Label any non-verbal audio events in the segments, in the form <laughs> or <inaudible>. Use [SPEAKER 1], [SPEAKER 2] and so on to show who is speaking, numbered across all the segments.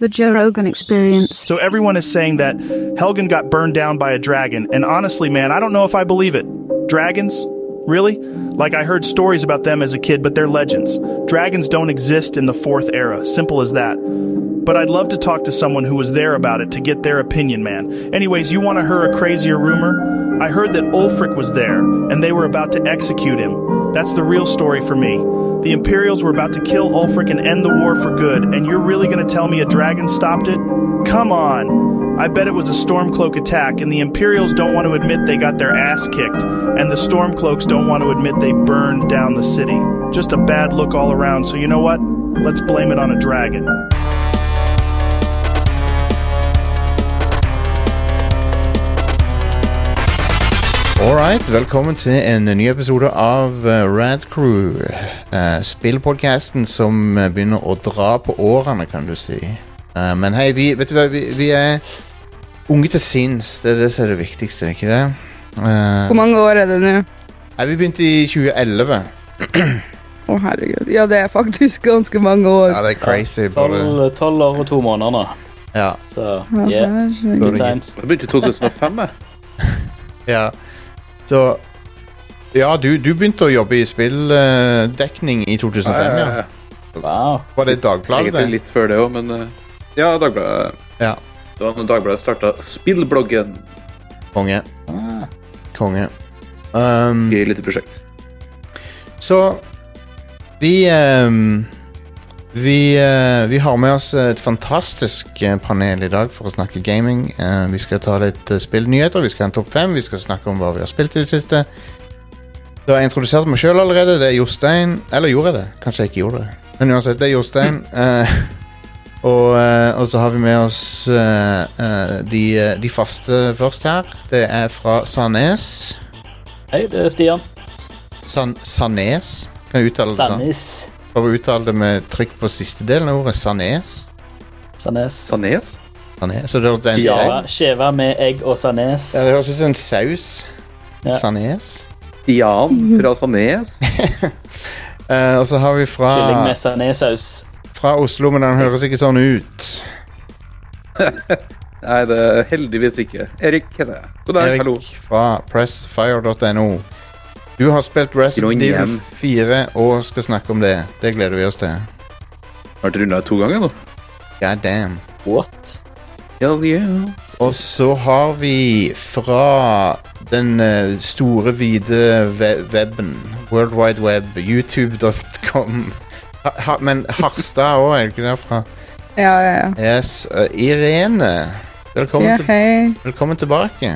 [SPEAKER 1] The Joe Rogan Experience.
[SPEAKER 2] So everyone is saying that Helgen got burned down by a dragon, and honestly, man, I don't know if I believe it. Dragons? Really? Like I heard stories about them as a kid, but they're legends. Dragons don't exist in the fourth era. Simple as that. But I'd love to talk to someone who was there about it to get their opinion, man. Anyways, you want to hear a crazier rumor? I heard that Ulfric was there, and they were about to execute him. That's the real story for me. The Imperials were about to kill Ulfric and end the war for good, and you're really going to tell me a dragon stopped it? Come on! I bet it was a Stormcloak attack, and the Imperials don't want to admit they got their ass kicked, and the Stormcloaks don't want to admit they burned down the city. Just a bad look all around, so you know what? Let's blame it on a dragon.
[SPEAKER 3] Alright, velkommen til en ny episode av eh, Rad Crew. Uh, Spillpodkasten som eh, begynner å dra på årene, kan du si. Eh, men hei, vi, vet du hva, vi, vi er unge til sinns. Det er det som er det viktigste, ikke det? Eh,
[SPEAKER 4] Hvor mange år er det nå?
[SPEAKER 3] nei, vi begynte i 2011.
[SPEAKER 4] Å, herregud. Ja, det er faktisk ganske mange år.
[SPEAKER 3] Ja, det er crazy. Bare,
[SPEAKER 5] Tolv tolv år og to måneder nå.
[SPEAKER 3] ja,
[SPEAKER 5] Så
[SPEAKER 4] Ja,
[SPEAKER 5] yeah,
[SPEAKER 4] herregud.
[SPEAKER 5] good times.
[SPEAKER 6] Jeg begynte i 2005, jeg.
[SPEAKER 3] ja. Så Ja, du, du begynte å jobbe i spilldekning i 2005, ja.
[SPEAKER 5] Wow.
[SPEAKER 3] Var det Dagbladet?
[SPEAKER 6] Eh, Egentlig litt før det òg, men eh, Ja, Dagbladet.
[SPEAKER 3] Ja.
[SPEAKER 6] Det var når Dagbladet starta spillbloggen.
[SPEAKER 3] Konge.
[SPEAKER 5] Ah.
[SPEAKER 3] Konge. Um,
[SPEAKER 6] Gøy lite prosjekt.
[SPEAKER 3] Så vi ehm, vi, eh, vi har med oss et fantastisk eh, panel i dag for å snakke gaming. Eh, vi skal ta litt eh, spillnyheter, vi skal ha en topp fem, vi skal snakke om hva vi har spilt i det siste. Da har jeg introdusert meg sjøl allerede. Det er Jostein. Eller gjorde jeg det? Kanskje jeg ikke gjorde det. Men uansett, det er Jostein. eh, <laughs> og, eh, og så har vi med oss eh, eh, de, eh, de faste først her. Det er fra Sandnes.
[SPEAKER 5] Hei, det er Stian.
[SPEAKER 3] San, Sandnes? Kan jeg uttale det sånn?
[SPEAKER 5] Sandnes.
[SPEAKER 3] Prøv å uttale det med trykk på siste delen av ordet. Sanes.
[SPEAKER 5] Sandnes.
[SPEAKER 6] Sanes?
[SPEAKER 3] Sanes. Så det høres ut som en
[SPEAKER 5] Skjeva,
[SPEAKER 3] saus.
[SPEAKER 5] skjeva med egg og sandnes.
[SPEAKER 3] Ja, det høres ut som en saus.
[SPEAKER 5] Ja.
[SPEAKER 3] Sanes.
[SPEAKER 6] Stian fra Sanes?
[SPEAKER 3] Eh, og så har vi
[SPEAKER 5] Kylling
[SPEAKER 3] fra,
[SPEAKER 5] med sandnesaus.
[SPEAKER 3] fra Oslo, men den høres ikke sånn ut.
[SPEAKER 6] Nei, det er heldigvis ikke. Erik heter jeg. God dag, hallo.
[SPEAKER 3] Erik fra pressfire.no. Du har spilt Resident
[SPEAKER 6] Grunn
[SPEAKER 3] Evil
[SPEAKER 6] hjem.
[SPEAKER 3] 4 og skal snakke om det. Det gleder vi oss til.
[SPEAKER 6] Har dere runda to ganger nå?
[SPEAKER 3] God damn.
[SPEAKER 5] What?
[SPEAKER 6] Hell yeah.
[SPEAKER 3] Og så har vi fra den eh, store, hvite we- webben, World Wide Web, youtube.com ha, ha, Men Harstad òg, er det ikke derfra?
[SPEAKER 4] Ja, ja, ja.
[SPEAKER 3] Yes. eh, Irene, velkommen,
[SPEAKER 4] Ja,
[SPEAKER 3] til,
[SPEAKER 4] hei.
[SPEAKER 3] velkommen tilbake.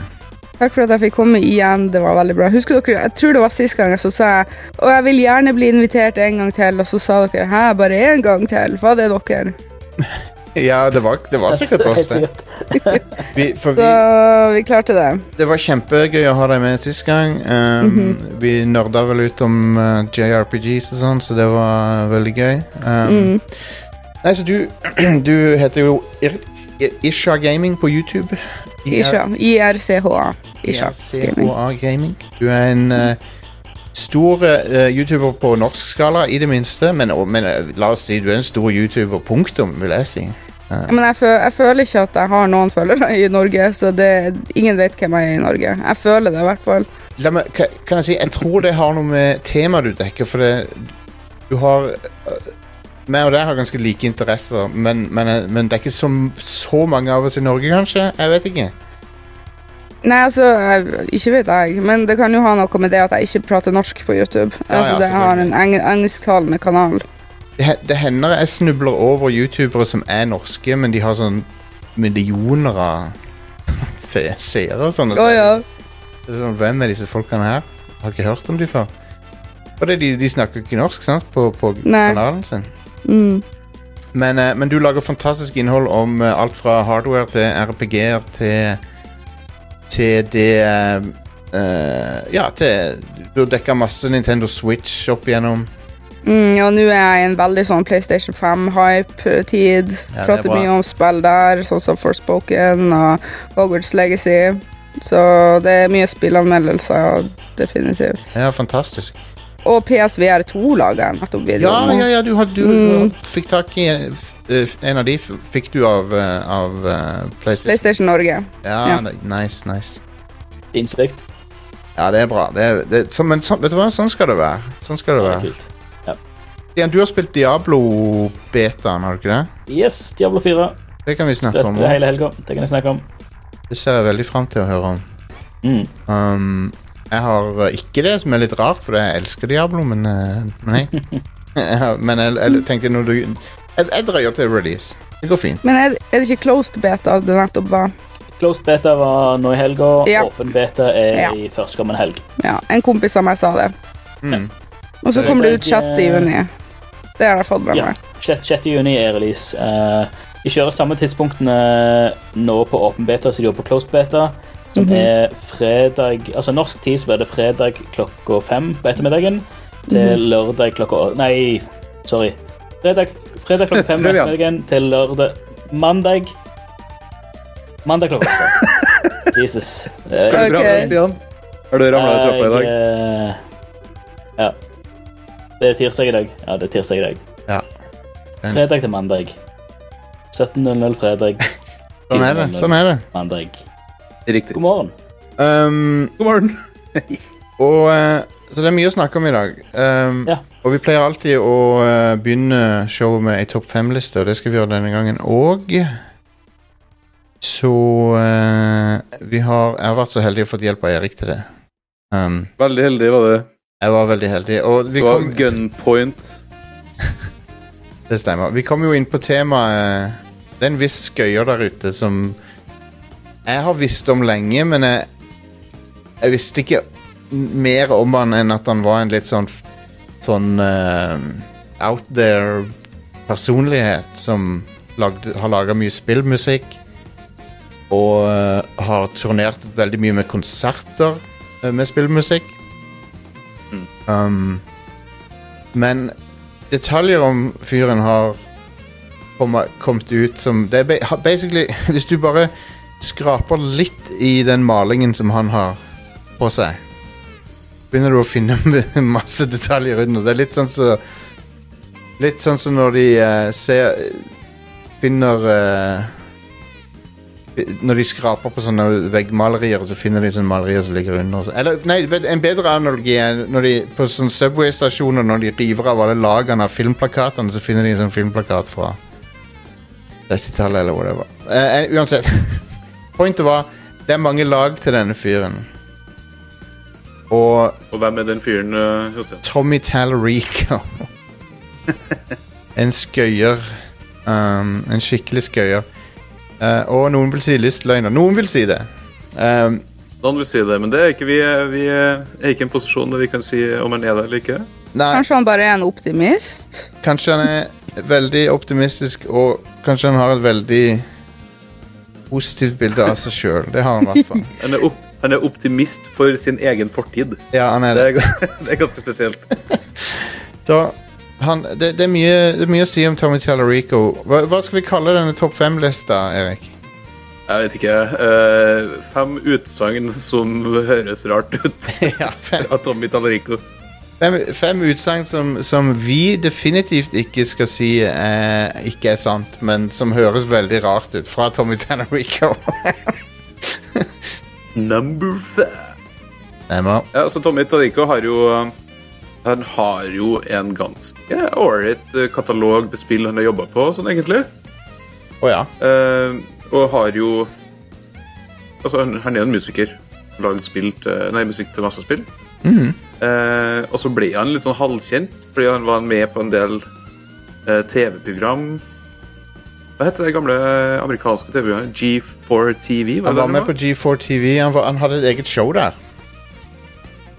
[SPEAKER 4] Takk for at jeg fikk komme igjen. Det var veldig bra. Husker dere, Jeg tror det var sist gang, så sa jeg og jeg vil gjerne bli invitert en gang til, og så sa dere hæ, bare en gang til? Hva er det dere?
[SPEAKER 3] Ja, det var, det var sikkert oss,
[SPEAKER 5] Helt
[SPEAKER 3] det.
[SPEAKER 5] sikkert.
[SPEAKER 3] <laughs> Vi, for
[SPEAKER 4] Så
[SPEAKER 3] vi,
[SPEAKER 4] vi klarte det.
[SPEAKER 3] det var kjempegøy å ha deg med sist gang. Um,
[SPEAKER 4] Mhm.
[SPEAKER 3] Vi nerda vel ut om eh, JRPGs og sånn, så det var veldig gøy.
[SPEAKER 4] Mhm. Mm.
[SPEAKER 3] Um, Nei, så du, <clears throat> du heter jo Ir I- Isha Gaming på YouTube.
[SPEAKER 4] Isha. IRCHA. Isha. Gaming.
[SPEAKER 3] IRCHA Gaming. Du er en eh, stor eh, YouTuber på norsk skala, i det minste, men, og- men eh, la oss si du er en stor YouTuber, punktum, vil jeg si.
[SPEAKER 4] Men jeg, fø jeg føler ikke at jeg har noen følgere i Norge, så det, ingen vet hvem jeg er i Norge. Jeg føler det i hvert fall.
[SPEAKER 3] La meg, ka- kan jeg si, jeg tror det har noe med temaet du dekker, for det, du har øh, Meg og deg har ganske like interesser, men, men, øh, men det er ikke så, så mange av oss i Norge, kanskje? Jeg vet ikke.
[SPEAKER 4] Nei, altså, jeg, ikke vet jeg, men det kan jo ha noe med det at jeg ikke prater norsk på YouTube.
[SPEAKER 3] Ja,
[SPEAKER 4] altså,
[SPEAKER 3] ja,
[SPEAKER 4] det har en eng engelsktalende kanal.
[SPEAKER 3] Det, he- det hender jeg snubler over youtubere som er norske, men de har sånn millioner av <laughs> se- seere og sånn.
[SPEAKER 4] Å ja.
[SPEAKER 3] Det er sånn, Hvem er disse folkene her? Har ikke hørt om de før. Og det, de, de snakker jo ikke norsk, sant, på, på
[SPEAKER 4] Nei.
[SPEAKER 3] kanalen sin.
[SPEAKER 4] Mm.
[SPEAKER 3] Men, eh, men du lager fantastisk innhold om eh, alt fra hardware til RPG-er til Til det eh, eh, Ja, til Du har dekka masse Nintendo Switch opp igjennom.
[SPEAKER 4] Mm, og nå er jeg i en veldig sånn PlayStation 5-hype-tid.
[SPEAKER 3] Ja, det er
[SPEAKER 4] prater
[SPEAKER 3] bra.
[SPEAKER 4] mye om spill der, sånn som Forspoken og Hogwarts Legacy. Så det er mye spillanmeldelser, definitivt.
[SPEAKER 3] Ja, fantastisk.
[SPEAKER 4] Og PSVR 2 lager jeg nettopp video
[SPEAKER 3] Ja,
[SPEAKER 4] om.
[SPEAKER 3] ja, ja, du, har, du, du
[SPEAKER 4] Mm.
[SPEAKER 3] fikk tak i eh, f- eh, f- en av de f- fikk du av, eh, av eh, PlayStation.
[SPEAKER 4] PlayStation Norge.
[SPEAKER 3] Ja,
[SPEAKER 4] ja.
[SPEAKER 3] ne- nice, nice.
[SPEAKER 5] Sinnssykt.
[SPEAKER 3] Ja, det er bra. Det er, det, så, men så, vet du hva, sånn skal det være. Sånn skal det
[SPEAKER 5] Det er
[SPEAKER 3] være.
[SPEAKER 5] kult.
[SPEAKER 3] Stian, du har spilt Diablo-betaen, har du ikke det?
[SPEAKER 5] Yes, Diablo 4.
[SPEAKER 3] Det kan vi snakke om
[SPEAKER 5] Spilte
[SPEAKER 3] òg.
[SPEAKER 5] hele helga. Det kan jeg snakke om.
[SPEAKER 3] Det ser jeg veldig fram til å høre om.
[SPEAKER 5] Mm.
[SPEAKER 3] Um, jeg har uh, ikke det, som er litt rart, for jeg elsker Diablo, men uh, nei. <laughs> Jeg har- men jeg, jeg tenkte når du jeg, jeg drøyer til release. Det går fint.
[SPEAKER 4] Men er, er det ikke closed beta det nettopp var?
[SPEAKER 5] Closed beta var nå i helga.
[SPEAKER 4] Ja.
[SPEAKER 5] Åpen beta er
[SPEAKER 4] Ja.
[SPEAKER 5] i førstkommende helg.
[SPEAKER 4] Ja, en kompis av meg sa det.
[SPEAKER 3] Mm.
[SPEAKER 4] Og så
[SPEAKER 3] Det-
[SPEAKER 4] kommer det ut 6. juni. Det har jeg fått med
[SPEAKER 5] Ja.
[SPEAKER 4] meg.
[SPEAKER 5] 6. 6. juni er release. Eh, de kjører samme tidspunktene nå på åpen beta som de gjorde på closed beta. Som
[SPEAKER 4] Mhm.
[SPEAKER 5] er fredag Altså norsk tid så blir det fredag klokka fem på ettermiddagen til lørdag klokka å- Nei, sorry. Fredag, fredag klokka fem på
[SPEAKER 6] Prøv igjen.
[SPEAKER 5] ettermiddagen til lørdag Mandag Mandag klokka åtte. Jesus. Eh,
[SPEAKER 6] Er det bra,
[SPEAKER 4] Ok.
[SPEAKER 6] Stian? Har du ramla i trappa i dag?
[SPEAKER 5] Jeg, eh, Ja. Det er tirsdag i dag. Ja, det er tirsdag i dag.
[SPEAKER 3] Ja. Den-
[SPEAKER 5] Fredag til mandag. 17.00 fredag.
[SPEAKER 3] Sånn er det. sånn er det.
[SPEAKER 5] Mandag.
[SPEAKER 6] Riktig.
[SPEAKER 5] God morgen.
[SPEAKER 3] Um,
[SPEAKER 6] God morgen.
[SPEAKER 3] og uh, Så det er mye å snakke om i dag. Um,
[SPEAKER 5] Ja.
[SPEAKER 3] Og vi pleier alltid å uh, begynne showet med ei topp fem-liste, og det skal vi gjøre denne gangen òg. Så uh, vi har Jeg har vært så heldig å fått hjelp av Erik til det. Um,
[SPEAKER 6] Veldig heldig var det.
[SPEAKER 3] jeg var veldig heldig. Og vi
[SPEAKER 6] Det var
[SPEAKER 3] kom,
[SPEAKER 6] gunpoint.
[SPEAKER 3] det stemmer. Vi kom jo inn på temaet eh, Det er en viss skøyer der ute som jeg har visst om lenge, men jeg, jeg visste ikke mer om han enn at han var en litt sånn f- sånn eh, out there personlighet som lagde, har laga mye spillmusikk og eh, har turnert veldig mye med konserter eh, med spillmusikk. Um, men detaljer om fyren har kommet, kommet ut som Det er ba- ha- basically <laughs> Hvis du bare skraper litt i den malingen som han har på seg, begynner du å finne <laughs> masse detaljer under. Det er litt sånn som Litt sånn som når de eh, ser Finner eh, Når de skraper på sånne veggmalerier, så finner de sånne malerier som ligger under. og så- Eller, nei, vet- en bedre analogi er når de, på sånne Subway-stasjoner når de river av alle lagene av filmplakatene, så finner de en sånn filmplakat fra 80-tallet eller whatever. Eh, eh, uansett. <laughs> Pointet var det er mange lag til denne fyren. Og
[SPEAKER 6] Og hvem er den fyren, eh, Jostein?
[SPEAKER 3] Tommy Tallarico. en skøyer. Um, en skikkelig skøyer. Eh, og noen vil si lystløgner. Noen vil si det. Um,
[SPEAKER 6] Noen vil si det, men det er ikke vi, vi er ikke i en posisjon der vi kan si om han er det eller ikke.
[SPEAKER 3] nei,
[SPEAKER 4] Kanskje han bare er en optimist?
[SPEAKER 3] kanskje han er veldig optimistisk, og kanskje han har et veldig positivt bilde av seg sjøl. Det har han i hvert fall.
[SPEAKER 6] Han er, opp, han er optimist for sin egen fortid.
[SPEAKER 3] Ja, han er
[SPEAKER 6] Det
[SPEAKER 3] det.
[SPEAKER 6] er, ga- <laughs> det er ganske spesielt.
[SPEAKER 3] Så han, det, det, er mye, det er mye å si om Tommy Tallarico. Hva, hva skal vi kalle denne topp fem-lista, Erik?
[SPEAKER 6] Jeg vet ikke. eh, fem utsagn som høres rart ut
[SPEAKER 3] <laughs> ja, fem.
[SPEAKER 6] av Tommy Tallarico.
[SPEAKER 3] Fem, fem utsagn som, som vi definitivt ikke skal si eh, ikke er sant, men som høres veldig rart ut. Fra Tommy <laughs> Tanarico.
[SPEAKER 6] Number five.
[SPEAKER 3] Stemmer.
[SPEAKER 6] Ja, så Tommy Tadiko har jo Han har jo en ganske ålreit eh, katalog med spill han har jobba på, sånn egentlig.
[SPEAKER 3] Å ja.
[SPEAKER 6] Eh, og har jo Altså, han, han er jo en musiker. Lagd spill til, nei, musikk til masse spill.
[SPEAKER 3] Mhm.
[SPEAKER 6] Eh, og så ble han litt sånn halvkjent fordi han var med på en del eh, TV-program. Hva heter det gamle eh, amerikanske TV-programmet? G4TV?
[SPEAKER 3] Han var
[SPEAKER 6] det
[SPEAKER 3] med på G4 TV. Han, var, han hadde et eget show der. <laughs>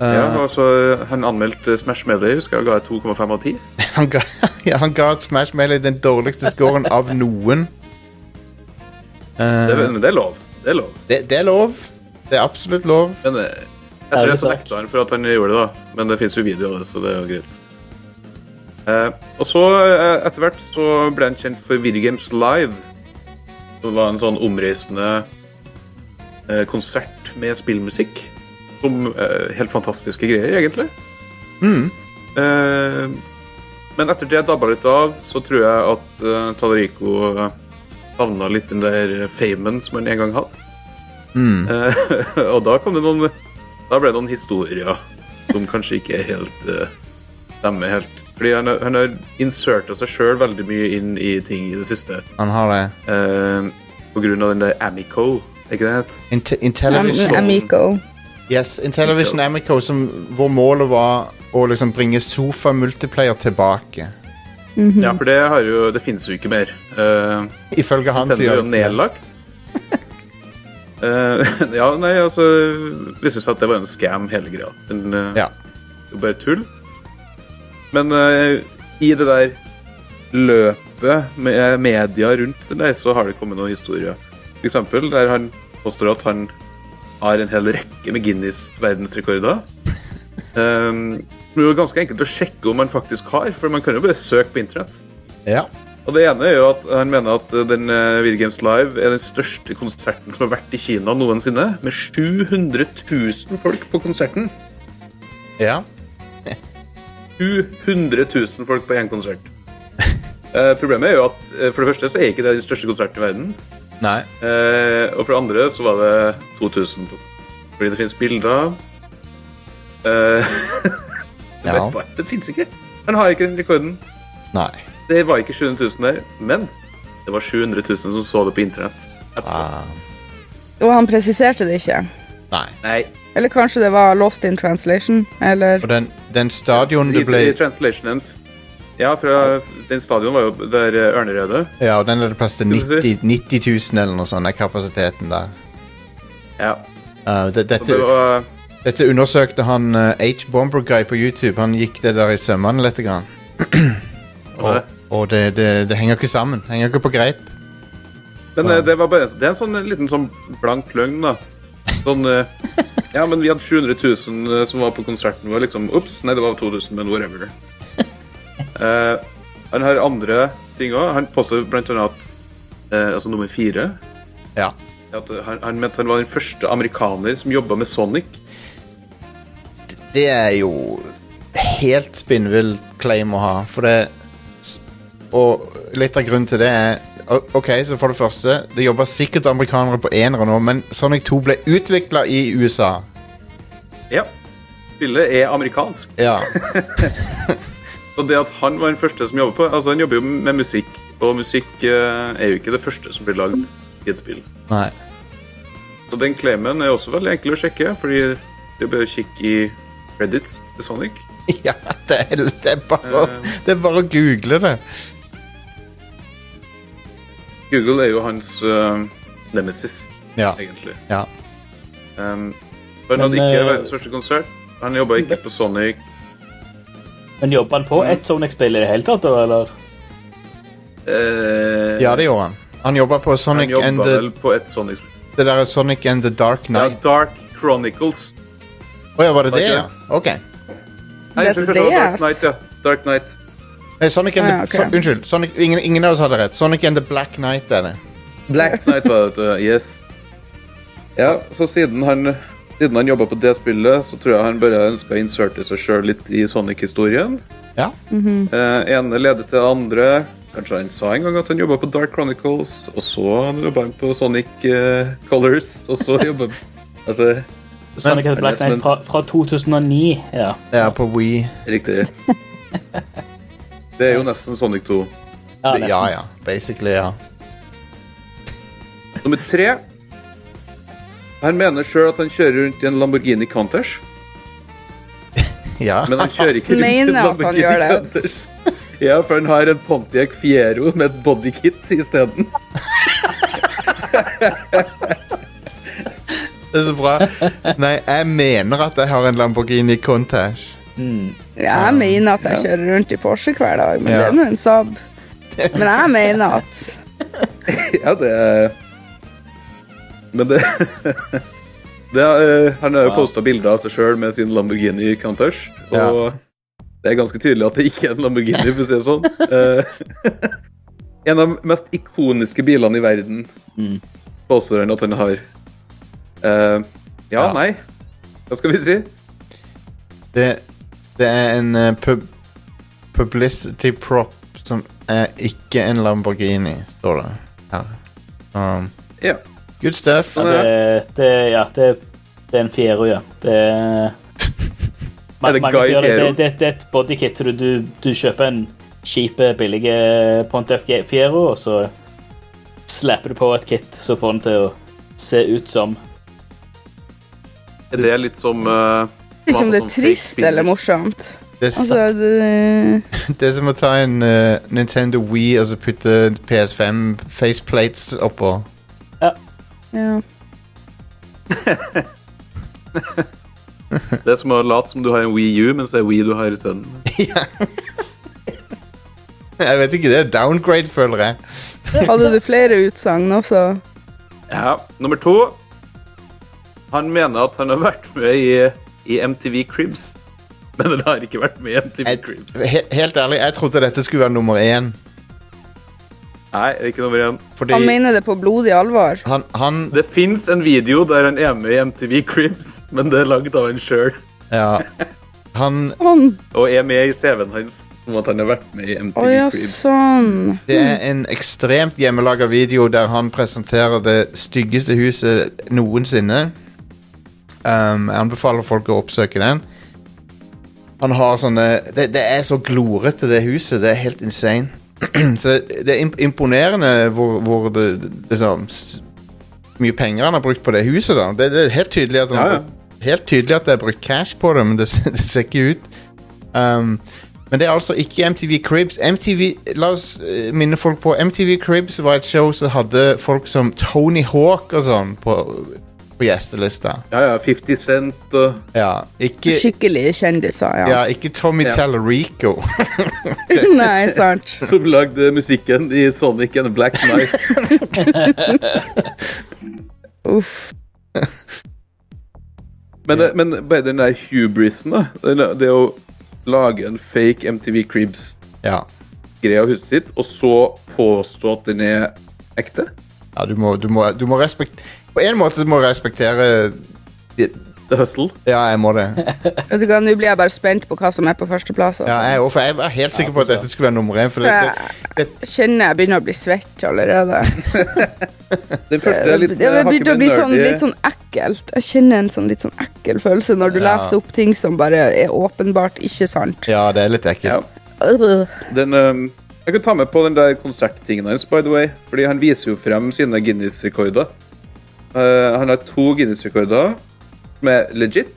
[SPEAKER 3] Eh,
[SPEAKER 6] Ja, og så Han anmeldte Smash Melee, husker jeg, og ga 2,5 av 10.
[SPEAKER 3] han, ga, ja, han ga Smash Melee den dårligste scoren av noen. Eh,
[SPEAKER 6] Det, men det er lov. Det er lov.
[SPEAKER 3] det, det er lov. Det er absolutt lov.
[SPEAKER 6] Men eh, jeg tror
[SPEAKER 5] Ærlig
[SPEAKER 6] jeg så
[SPEAKER 5] sak.
[SPEAKER 6] nekta han for at han gjorde det, da. Men det fins jo video av det, så det er jo greit. Eh, og så, eh, etter hvert, så ble han kjent for Video Games Live. Som var en sånn omreisende eh, konsert med spillmusikk.
[SPEAKER 5] Mm.
[SPEAKER 6] Som eh, helt fantastiske greier, egentlig.
[SPEAKER 3] Mm.
[SPEAKER 6] Eh, Men etter det dabba litt av, så tror jeg at uh, Tallarico eh, savna litt den der eh, famen som han en gang hadde.
[SPEAKER 3] Mm.
[SPEAKER 6] Eh, <laughs> og da kom det noen Da ble det noen historier som kanskje ikke er helt eh, stemmer helt. Fordi han, har- han har inserta seg sjøl veldig mye inn i ting i det siste.
[SPEAKER 3] Han har det.
[SPEAKER 6] Eh, på grunn av den der Amico, er ikke det het?
[SPEAKER 3] Inte-
[SPEAKER 4] Am
[SPEAKER 3] Intellivision.
[SPEAKER 4] Amico.
[SPEAKER 3] Yes, Intellivision Amico, som, hvor målet var å liksom bringe sofa-multiplayer tilbake. Mhm.
[SPEAKER 6] Ja, for det, har jo, det finnes jo ikke mer. Eh,
[SPEAKER 3] Ifølge han,
[SPEAKER 6] Nintendo er
[SPEAKER 3] sier
[SPEAKER 6] jo nedlagt.
[SPEAKER 3] <laughs>
[SPEAKER 6] Eh, <laughs> ja, nei, altså Vi syns at det var en scam, hele greia. Men, eh,
[SPEAKER 3] Ja.
[SPEAKER 6] Det var bare tull. Men eh, i det der løpet med eh, media rundt det der, så har det kommet noen historier. For eksempel der han påstår at han har en hel rekke med Guinness-verdensrekorder. Um, det er jo ganske enkelt å sjekke om han faktisk har, for man kan jo bare søke på internett.
[SPEAKER 3] Ja.
[SPEAKER 6] Og det ene er jo at han mener at den eh, Video Games Live er den største konserten som har vært i Kina noensinne, med 700 000 folk på konserten.
[SPEAKER 3] ja.
[SPEAKER 6] 700 000 folk på én konsert. <laughs> Eh, problemet er jo at eh, for det første så er ikke det den største konserten i verden.
[SPEAKER 3] Nei.
[SPEAKER 6] Eh, og for det andre så var det 2000. på- Fordi det finnes bilder. Eh, <laughs>
[SPEAKER 3] Ja.
[SPEAKER 6] men hva? Det finnes ikke. Han har ikke den rekorden.
[SPEAKER 3] Nei.
[SPEAKER 6] Det var ikke 700 000 der, men det var 700 000 som så det på internett.
[SPEAKER 3] Ah,
[SPEAKER 4] Og han presiserte det ikke.
[SPEAKER 3] nei.
[SPEAKER 6] Nei.
[SPEAKER 4] Eller kanskje det var lost in translation, eller
[SPEAKER 3] Og den, den stadion
[SPEAKER 6] I,
[SPEAKER 3] det ble
[SPEAKER 6] i translationen f- Ja, fra den stadion var jo der eh, Ørneredet.
[SPEAKER 3] Ja, og den er det plass til
[SPEAKER 6] Skal vi
[SPEAKER 3] 90, 90 000 eller noe sånt, er kapasiteten der.
[SPEAKER 6] Ja.
[SPEAKER 3] Uh, det,
[SPEAKER 6] Og
[SPEAKER 3] dette,
[SPEAKER 6] det var
[SPEAKER 3] dette undersøkte han uh, H. Bomber Guy på YouTube. Han gikk det der i sømmene litt. Grann. Og, og det, det, det henger ikke sammen. Henger ikke på greip.
[SPEAKER 6] Men eh, det var bare Det er en sånn liten sånn blank løgn, da. Sånn eh, Ja, men vi hadde 700 000 som var på konserten vår, liksom. Ops, nei, det var 2000, men whatever. Eh, han har andre ting òg. Han påstår blant annet at eh, Altså nummer fire
[SPEAKER 3] Ja.
[SPEAKER 6] at han, han mente han var den første amerikaner som jobba med Sonic.
[SPEAKER 3] Det er jo helt spinnvill claim å ha, for det Og litt av grunnen til det er o- OK, så for det første, det jobber sikkert amerikanere på enere nå, men Sonic 2 ble utvikla i USA.
[SPEAKER 6] Ja. Spillet er amerikansk.
[SPEAKER 3] Ja.
[SPEAKER 6] Og det at han var den første som jobber på Altså, han jobber jo med musikk, og musikk eh, er jo ikke det første som blir lagd i et spill.
[SPEAKER 3] Nei.
[SPEAKER 6] Så den claimen er også veldig enkel å sjekke, fordi du bør kikke i credits til Sonic.
[SPEAKER 3] Ja, det er, det, er bare, det er bare å google det.
[SPEAKER 6] Google er jo hans eh, nemesis,
[SPEAKER 3] Ja.
[SPEAKER 6] egentlig.
[SPEAKER 3] ja.
[SPEAKER 6] Um, for han
[SPEAKER 5] Men,
[SPEAKER 6] hadde ikke
[SPEAKER 5] eh,
[SPEAKER 6] verdens største konsert. Han jobba ikke på Sonic.
[SPEAKER 5] Men jobber han på ett Sonic-spill i det hele tatt, da, eller?
[SPEAKER 6] Eh,
[SPEAKER 3] ja, det gjorde han. Han jobba på
[SPEAKER 6] han
[SPEAKER 3] Sonic and
[SPEAKER 6] jobba vel
[SPEAKER 3] the,
[SPEAKER 6] på et Sonic.
[SPEAKER 3] det der Sonic and the Dark
[SPEAKER 6] Ja,
[SPEAKER 3] Night.
[SPEAKER 6] Dark Chronicles.
[SPEAKER 3] Å ja, var det det,
[SPEAKER 6] Ok.
[SPEAKER 3] ja? OK.
[SPEAKER 6] Nei,
[SPEAKER 4] Dette
[SPEAKER 6] unnskyld, kanskje det var Dark
[SPEAKER 4] DS.
[SPEAKER 6] Knight, ja. Dark Knight.
[SPEAKER 3] Nei, Sonic and the,
[SPEAKER 4] Ah, ja, ok.
[SPEAKER 3] so, unnskyld. Sonic, ingen, ingen av oss hadde rett. Sonic and the Black Night er det.
[SPEAKER 6] Black Knight var det, vet du. yes. Ja, så siden han, siden han jobba på det spillet, så tror jeg han bare ønska å inserte seg sjøl litt i Sonic-historien.
[SPEAKER 3] Ja.
[SPEAKER 6] Eh, ene leder til det andre. Kanskje han sa en gang at han jobba på Dark Chronicles, og så jobba han på Sonic eh, Colors,
[SPEAKER 4] <laughs>
[SPEAKER 6] og så jobba Altså,
[SPEAKER 5] Sonic and the Black Knight fra, fra 2009, ja.
[SPEAKER 3] Ja, på Wii.
[SPEAKER 6] riktig. Det er jo nesten Sonic 2.
[SPEAKER 5] Ja,
[SPEAKER 3] Det-
[SPEAKER 5] nesten.
[SPEAKER 3] Ja, ja. Basically, ja.
[SPEAKER 6] Nummer tre. Han mener sjøl at han kjører rundt i en Lamborghini Countach.
[SPEAKER 3] Ja,
[SPEAKER 6] Men han kjører
[SPEAKER 4] <laughs>
[SPEAKER 6] ikke rundt i en
[SPEAKER 4] Mener at han
[SPEAKER 6] Lamborghini
[SPEAKER 4] gjør det.
[SPEAKER 6] Countach. Ja, for han har en Pontiac Fiero med et bodykit isteden.
[SPEAKER 3] <laughs> det er så bra. Nei, jeg mener at jeg har en Lamborghini Countach.
[SPEAKER 4] Ja, jeg mener at jeg kjører rundt i Porsche hver dag, men
[SPEAKER 3] Ja.
[SPEAKER 4] det er nå en Saab. Men
[SPEAKER 3] <laughs>
[SPEAKER 4] jeg mener at
[SPEAKER 6] Ja, det er Men det <laughs> det er, eh, Han har jo
[SPEAKER 5] Wow.
[SPEAKER 6] posta bilder av seg sjøl med sin Lamborghini Countach, og
[SPEAKER 3] Ja.
[SPEAKER 6] det er ganske tydelig at det ikke er en Lamborghini, for å si det <laughs> sånn. Eh, en av de mest ikoniske bilene i verden
[SPEAKER 5] Mm.
[SPEAKER 6] påstår han at han har. Eh, ja,
[SPEAKER 3] Ja.
[SPEAKER 6] nei Hva skal vi si?
[SPEAKER 3] Det, det er en eh, pub... publicity prop som er ikke en Lamborghini, står det her. Um,
[SPEAKER 6] Ja.
[SPEAKER 3] good stuff.
[SPEAKER 5] Ja, det, det, ja, det, det er en Fiero, ja. Det <laughs> er
[SPEAKER 6] Er det
[SPEAKER 5] Mange
[SPEAKER 6] Guy
[SPEAKER 5] sier det,
[SPEAKER 6] Fiero?
[SPEAKER 5] det, det, det er et bodykit. så Du, du, du kjøper en kjip, eh, billig Pontef Fiero, og så slapper du på et kit som får den til å se ut som
[SPEAKER 6] Er det litt som eh,
[SPEAKER 4] Ikke om det
[SPEAKER 6] sånn
[SPEAKER 4] er
[SPEAKER 6] fake
[SPEAKER 4] trist
[SPEAKER 6] business?
[SPEAKER 4] eller morsomt.
[SPEAKER 3] Det, er
[SPEAKER 4] Altså, det,
[SPEAKER 3] sant. det er som å ta en eh, Nintendo Wii og så putte PS5 faceplates oppå. <laughs>
[SPEAKER 4] ja.
[SPEAKER 6] Det er som å late som du har en Wii U, mens det er Wii du har i sønnen.
[SPEAKER 3] Ja. Jeg vet ikke, det er downgrade, føler jeg.
[SPEAKER 4] Hadde du flere utsagn også?
[SPEAKER 6] Ja, nummer to. Han mener at han har vært med i, i MTV Cribs. Men han har ikke vært med i MTV
[SPEAKER 3] jeg
[SPEAKER 6] Cribs.
[SPEAKER 3] he helt ærlig, jeg trodde dette skulle være nummer én.
[SPEAKER 6] Nei, det er ikke nummer én.
[SPEAKER 3] Fordi
[SPEAKER 4] Han mener det på blodig alvor.
[SPEAKER 3] han, han
[SPEAKER 6] Det fins en video der han er med i MTV Cribs, men det er laget av han sjøl.
[SPEAKER 3] Ja. Han
[SPEAKER 4] Sånn.
[SPEAKER 6] Og er med i CV-en hans om at han har vært med i MTV
[SPEAKER 4] Å ja,
[SPEAKER 6] Cribs.
[SPEAKER 4] sånn.
[SPEAKER 3] Det er en ekstremt hjemmelaga video der han presenterer det styggeste huset noensinne. Um, jeg anbefaler folk å oppsøke den. Han har sånne Det, det er så glorete, det huset. Det er helt insane. <clears throat> så det er imp- imponerende hvor, hvor det, det- liksom, s- mye penger han har brukt på det huset. da. Det, det er helt tydelig at han
[SPEAKER 6] Ja, ja.
[SPEAKER 3] har brukt- Helt tydelig at det er brukt cash på det, men det, ser- <laughs> det ser ikke ut. Um, men det er altså ikke MTV Cribs. MTV, la oss eh, minne folk på MTV Cribs var et show som hadde folk som Tony Hawk og sånn på, på gjestelista.
[SPEAKER 6] Ja, ja, 50 Cent og
[SPEAKER 3] Ja, ikke,
[SPEAKER 4] Skikkelig kjendiser, ja. <laughs>
[SPEAKER 3] ja, ikke Tommy
[SPEAKER 6] Ja.
[SPEAKER 3] Tallarico. <laughs>
[SPEAKER 4] Nei, sant.
[SPEAKER 6] som lagde musikken i Sonic and the Black Knight.
[SPEAKER 4] Uff.
[SPEAKER 6] Men, det- men bare den der hubrisen, da. den der- Det å lage en fake MTV Cribs
[SPEAKER 3] ja.
[SPEAKER 6] greia huset sitt, og så påstå at den er ekte.
[SPEAKER 3] ja, du må, du må, du må respektere På en måte du må respektere
[SPEAKER 6] The Hustle.
[SPEAKER 3] Ja, jeg må det.
[SPEAKER 4] Vet du hva, Nå blir jeg bare spent på hva som er på førsteplass. altså.
[SPEAKER 3] Ja, jeg, også, for jeg var helt sikker på at dette skulle være nummer én. For det, det,
[SPEAKER 4] Jeg kjenner jeg begynner å bli svett allerede.
[SPEAKER 6] <laughs> Den første er
[SPEAKER 4] Det
[SPEAKER 6] litt eh, hakket
[SPEAKER 4] begynner å
[SPEAKER 6] mer
[SPEAKER 4] bli sånn,
[SPEAKER 6] nerdy.
[SPEAKER 4] litt sånn ekkelt. Jeg kjenner en sånn litt sånn ekkel følelse når du
[SPEAKER 3] Ja.
[SPEAKER 4] leser opp ting som bare er åpenbart ikke
[SPEAKER 6] <laughs>
[SPEAKER 4] sant.
[SPEAKER 3] ja, det er litt
[SPEAKER 6] Ja.
[SPEAKER 3] ekkelt.
[SPEAKER 4] Øh.
[SPEAKER 6] Den, ehm, jeg kan ta med på den der konserttingen hans, by the way. Fordi han viser jo frem sine Guinness-rekorder. Eh, han har to Guinness-rekorder som er legit,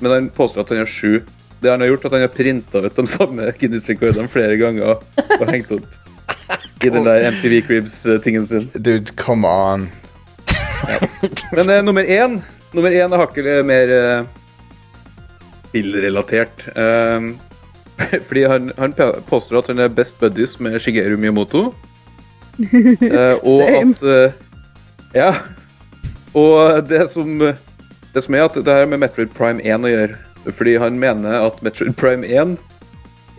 [SPEAKER 6] men han påstår at han har sju. Det han har gjort, er at han har printa ut de samme Guinness-rekordene flere ganger og hengt opp i den der MTV Cribs-tingen sin.
[SPEAKER 3] Dude, come on.
[SPEAKER 6] Men eh, nummer én Nummer én er hakket eh, mer eh, spillrelatert. Ehm, <laughs> fordi han, han pe- påstår at han er best buddies med Shigeru Miyamoto. Eh, og
[SPEAKER 4] Same.
[SPEAKER 6] at eh, Ja. Og det som Det som er at det her med Metroid Prime 1 å gjøre. Fordi han mener at Metroid Prime 1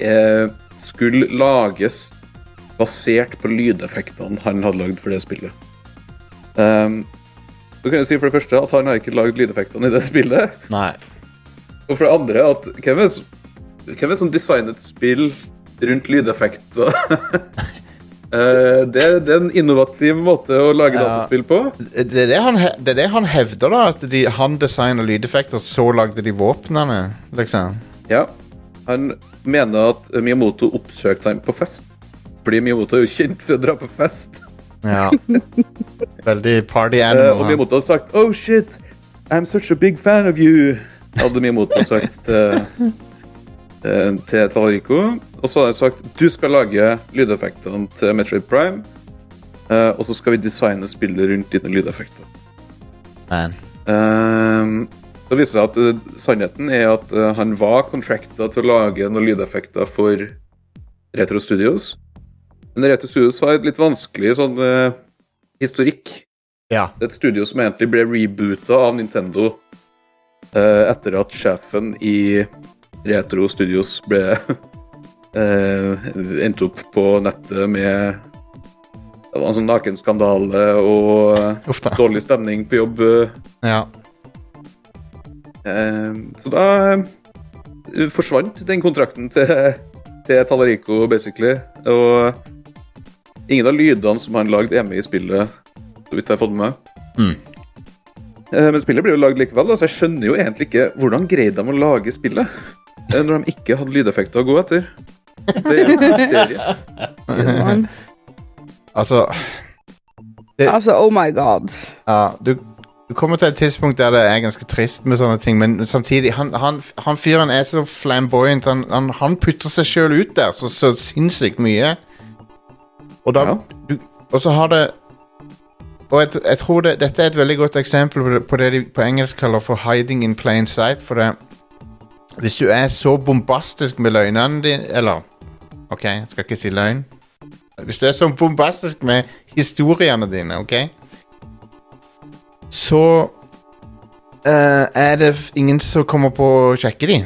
[SPEAKER 6] eh, skulle lages basert på lydeffektene han hadde lagd for det spillet. Ehm, så kan jeg si for det første at han har ikke lagd lydeffektene i det spillet.
[SPEAKER 3] Nei.
[SPEAKER 6] Og for det andre at hvem er, som- hvem er som designet spill rundt lydeffekter? <laughs> Eh, det, det er en innovativ måte å lage
[SPEAKER 3] Ja.
[SPEAKER 6] dataspill på.
[SPEAKER 3] Det er det han, he- det er det han hevder, da. At de, han designa lydeffekter, så lagde de våpnene, liksom.
[SPEAKER 6] Ja. Han mener at Miyamoto oppsøkte ham på fest. Fordi Miyamoto er jo kjent for å dra på fest. <laughs>
[SPEAKER 3] Ja. Veldig party
[SPEAKER 6] Eh, og
[SPEAKER 3] animal. han.
[SPEAKER 6] Miyamoto har sagt Oh shit, I'm such a big fan of you Hadde Miyamoto sagt til, eh, til Talarico Og så har han sagt Du skal lage lydeffektene til Metroid Prime eh, Og så skal vi designe spillet rundt dine lydeffekter
[SPEAKER 3] Man.
[SPEAKER 6] Eh, Så viser det seg at eh, sannheten er at eh, han var contracta til å lage noen lydeffekter for Retro Studios. Men Retro Studios har et litt vanskelig sånn eh, historikk.
[SPEAKER 3] Ja.
[SPEAKER 6] Det er et studio som egentlig ble reboota av Nintendo eh, etter at sjefen i Retro Studios ble <laughs> eh, endt opp på nettet med det var en sånn nakenskandale og eh,
[SPEAKER 3] Uff da.
[SPEAKER 6] dårlig stemning på jobb. eh,
[SPEAKER 3] Ja.
[SPEAKER 6] Ehm, Eh, Så da eh, forsvant den kontrakten til til Tallarico, basically. Og ingen av lydene som han lagde, er med i spillet, så vidt jeg har fått med meg.
[SPEAKER 3] Mm.
[SPEAKER 6] Eh, Men spillet blir jo lagd likevel, da, så jeg skjønner jo egentlig ikke hvordan greide de å lage spillet eh, når de ikke hadde lydeffekter å gå etter. Det er en mysterie.
[SPEAKER 4] Man.
[SPEAKER 3] Altså
[SPEAKER 4] Altså, oh my god.
[SPEAKER 3] Ja, du, du kommer til et tidspunkt der det er ganske trist med sånne ting, men samtidig Han, han, han fyren er så flamboyant. Han, han, han putter seg sjøl ut der så, så sinnssykt mye. Og da
[SPEAKER 6] Ja.
[SPEAKER 3] du, Og så har det Og jeg, jeg tror det, dette er et veldig godt eksempel på det, på det de på engelsk kaller for 'hiding in plain sight'. For det Hvis du er så bombastisk med løgnene dine Eller OK, jeg skal ikke si løgn. Hvis du er så bombastisk med historiene dine, OK? så eh, er det f- ingen som kommer på å sjekke de.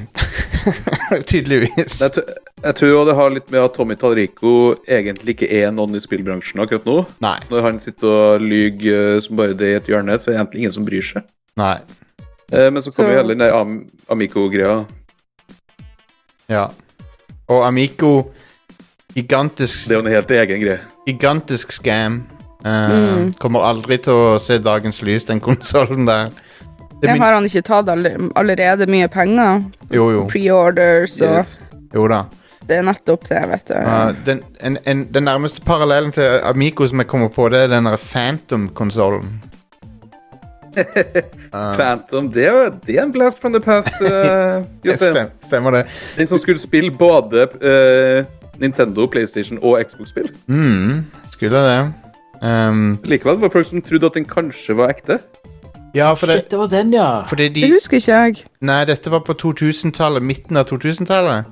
[SPEAKER 3] <laughs> Tydeligvis.
[SPEAKER 6] Jeg, tr- jeg tror også det har litt med at Tommy Tallarico egentlig ikke er noen i spillbransjen akkurat nå.
[SPEAKER 3] Nei.
[SPEAKER 6] Når han sitter og lyger eh, som bare det i et hjørne, så er det egentlig ingen som bryr seg.
[SPEAKER 3] Nei.
[SPEAKER 6] Eh, Men så kommer
[SPEAKER 4] Så-
[SPEAKER 6] jo hele den der Am Amico-greia.
[SPEAKER 3] Ja. Og Amico Gigantisk,
[SPEAKER 6] Det er jo en helt egen greie.
[SPEAKER 3] gigantisk scam. Eh,
[SPEAKER 4] Mm.
[SPEAKER 3] Kommer aldri til å se dagens lys, den konsollen der. Det
[SPEAKER 4] Jeg
[SPEAKER 3] min,
[SPEAKER 4] har han ikke tatt alle- allerede mye penger?
[SPEAKER 3] jo, jo.
[SPEAKER 4] Pre-orders og
[SPEAKER 6] Yes.
[SPEAKER 3] Jo da.
[SPEAKER 4] Det er nettopp det, vet du.
[SPEAKER 3] Eh, den, en, en, den nærmeste parallellen til Amico som jeg kommer på, det er den der Phantom-konsollen.
[SPEAKER 6] Phantom, det er, det er en blast from the past. eh, Jostein.
[SPEAKER 3] Stem, stemmer det?
[SPEAKER 6] Den som skulle spille både eh, Nintendo, PlayStation og Xbox-spill.
[SPEAKER 3] Mm, skulle det. Um,
[SPEAKER 6] Likevel var det folk som trodde at den kanskje var ekte.
[SPEAKER 3] ja, for det,
[SPEAKER 5] Shit, det var den, ja.
[SPEAKER 3] fordi de
[SPEAKER 4] det husker ikke jeg.
[SPEAKER 3] Nei, dette var på 2000-tallet, midten av 2000-tallet.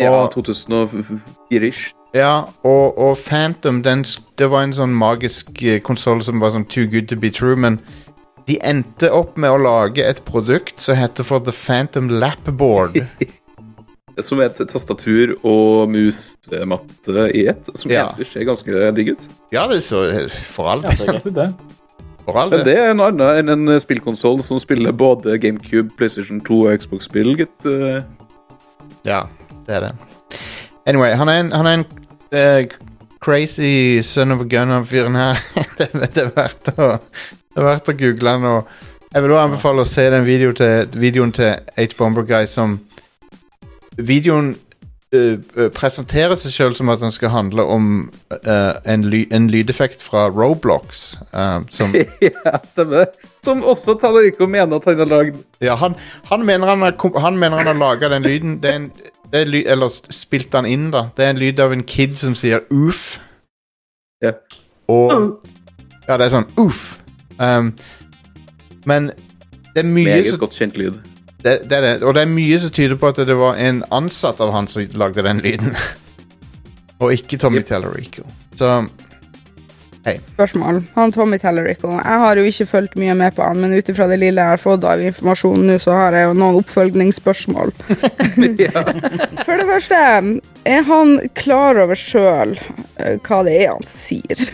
[SPEAKER 6] Ja,
[SPEAKER 3] Og-
[SPEAKER 6] 2004-ish.
[SPEAKER 3] Ja, og, og Phantom, den, s- det var en sånn magisk konsoll som var sånn too good to be true, men de endte opp med å lage et produkt som heter for The Phantom Lapboard.
[SPEAKER 6] Som er et tastatur og musmatte i ett. Som
[SPEAKER 3] Ja.
[SPEAKER 6] egentlig ser ganske digg ut.
[SPEAKER 3] ja, det er så eh, For all
[SPEAKER 5] <laughs> Ja, det er greit, det.
[SPEAKER 3] For all
[SPEAKER 6] Men
[SPEAKER 3] det.
[SPEAKER 6] det er noe annet enn en spillkonsoll som spiller både GameCube, PlayStation 2 og Xbox-spill, gitt. eh. <laughs>
[SPEAKER 3] Ja, det er det. Anyway, han er en, han er en eh, crazy son of a gun, han fyren her. <laughs> det, er- det, er verdt å, det er verdt å google han. Og jeg vil også anbefale å se den video til, videoen til H. Bomber Guy som Videoen eh, eh, presenterer seg sjøl som at den skal handle om eh, en, ly, en lydeffekt fra Roblox. eh, som,
[SPEAKER 6] ja, stemmer. Som også Tallarico mener at han har lagd.
[SPEAKER 3] ja, han, han mener han har, kom- han mener han har laga den lyden. Det er en, det er ly, eller spilt den inn, da. Det er en lyd av en kid som sier uff.
[SPEAKER 6] Ja.
[SPEAKER 3] Og Ja, det er sånn uff. Um, men det er mye
[SPEAKER 6] Meget
[SPEAKER 3] som
[SPEAKER 6] godt kjent
[SPEAKER 4] <laughs>
[SPEAKER 6] lyd.
[SPEAKER 3] det, det er det. Og det er mye som tyder på at det var en ansatt av han som lagde den lyden. <laughs> og ikke Tommy
[SPEAKER 6] Yep.
[SPEAKER 3] Tallarico. Så
[SPEAKER 4] Spørsmål. Han Tommy Tellerico. Jeg har jo ikke fulgt mye med på han, men ut ifra det lille jeg har fått av informasjon nå, så har jeg jo noen oppfølgningsspørsmål. For det første, er han klar over sjøl hva det er han sier?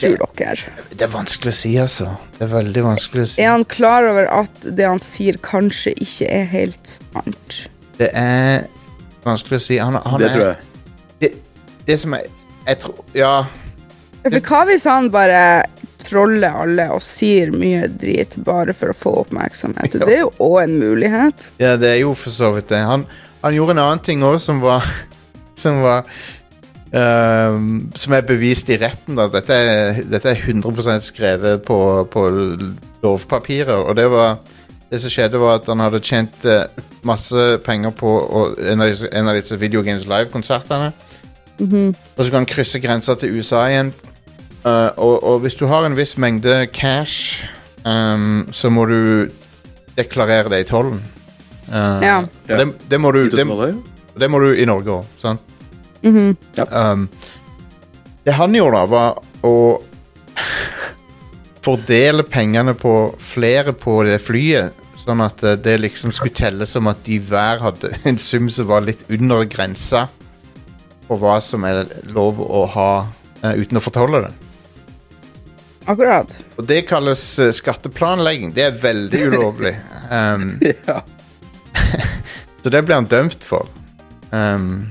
[SPEAKER 4] Tror dere.
[SPEAKER 3] det er vanskelig å si, altså. Det er veldig vanskelig å si.
[SPEAKER 4] Er han klar over at det han sier, kanskje ikke er helt sant?
[SPEAKER 3] Det er vanskelig å si. Han, han
[SPEAKER 6] Det
[SPEAKER 3] er,
[SPEAKER 6] tror jeg.
[SPEAKER 3] det, det som er Jeg tror Ja.
[SPEAKER 4] For hva hvis han bare troller alle og sier mye drit bare for å få oppmerksomhet? Det er jo òg en mulighet.
[SPEAKER 3] Ja, det er jo for så vidt det. Han, han gjorde en annen ting òg som var <laughs> Som var ehm, Som er bevist i retten, da. Dette er, dette er 100 skrevet på, på lovpapiret, og det var det som skjedde var at Han hadde tjent eh, masse penger på å- en av disse, en av disse Video Games Live-konsertene. Og så kan han krysse grensa til USA igjen. Eh, og, og hvis du har en viss mengde cash, ehm, så må du deklarere det i tollen. Eh,
[SPEAKER 4] Ja.
[SPEAKER 3] og Det, det, må du, det,
[SPEAKER 6] 2000 dollar.
[SPEAKER 3] det må du i Norge òg, sant?
[SPEAKER 4] Mhm.
[SPEAKER 3] Um, det han gjorde, da, var å <laughs> fordele pengene på flere på det flyet, sånn at eh, det liksom skulle telle som at de hver hadde <laughs> en sum som var litt under grensa for hva som er lov å ha eh, uten å fortolle det.
[SPEAKER 4] Akkurat.
[SPEAKER 3] Og det kalles eh, skatteplanlegging. Det er veldig ulovlig. Um,
[SPEAKER 6] Ja.
[SPEAKER 3] så det ble han dømt for. Um,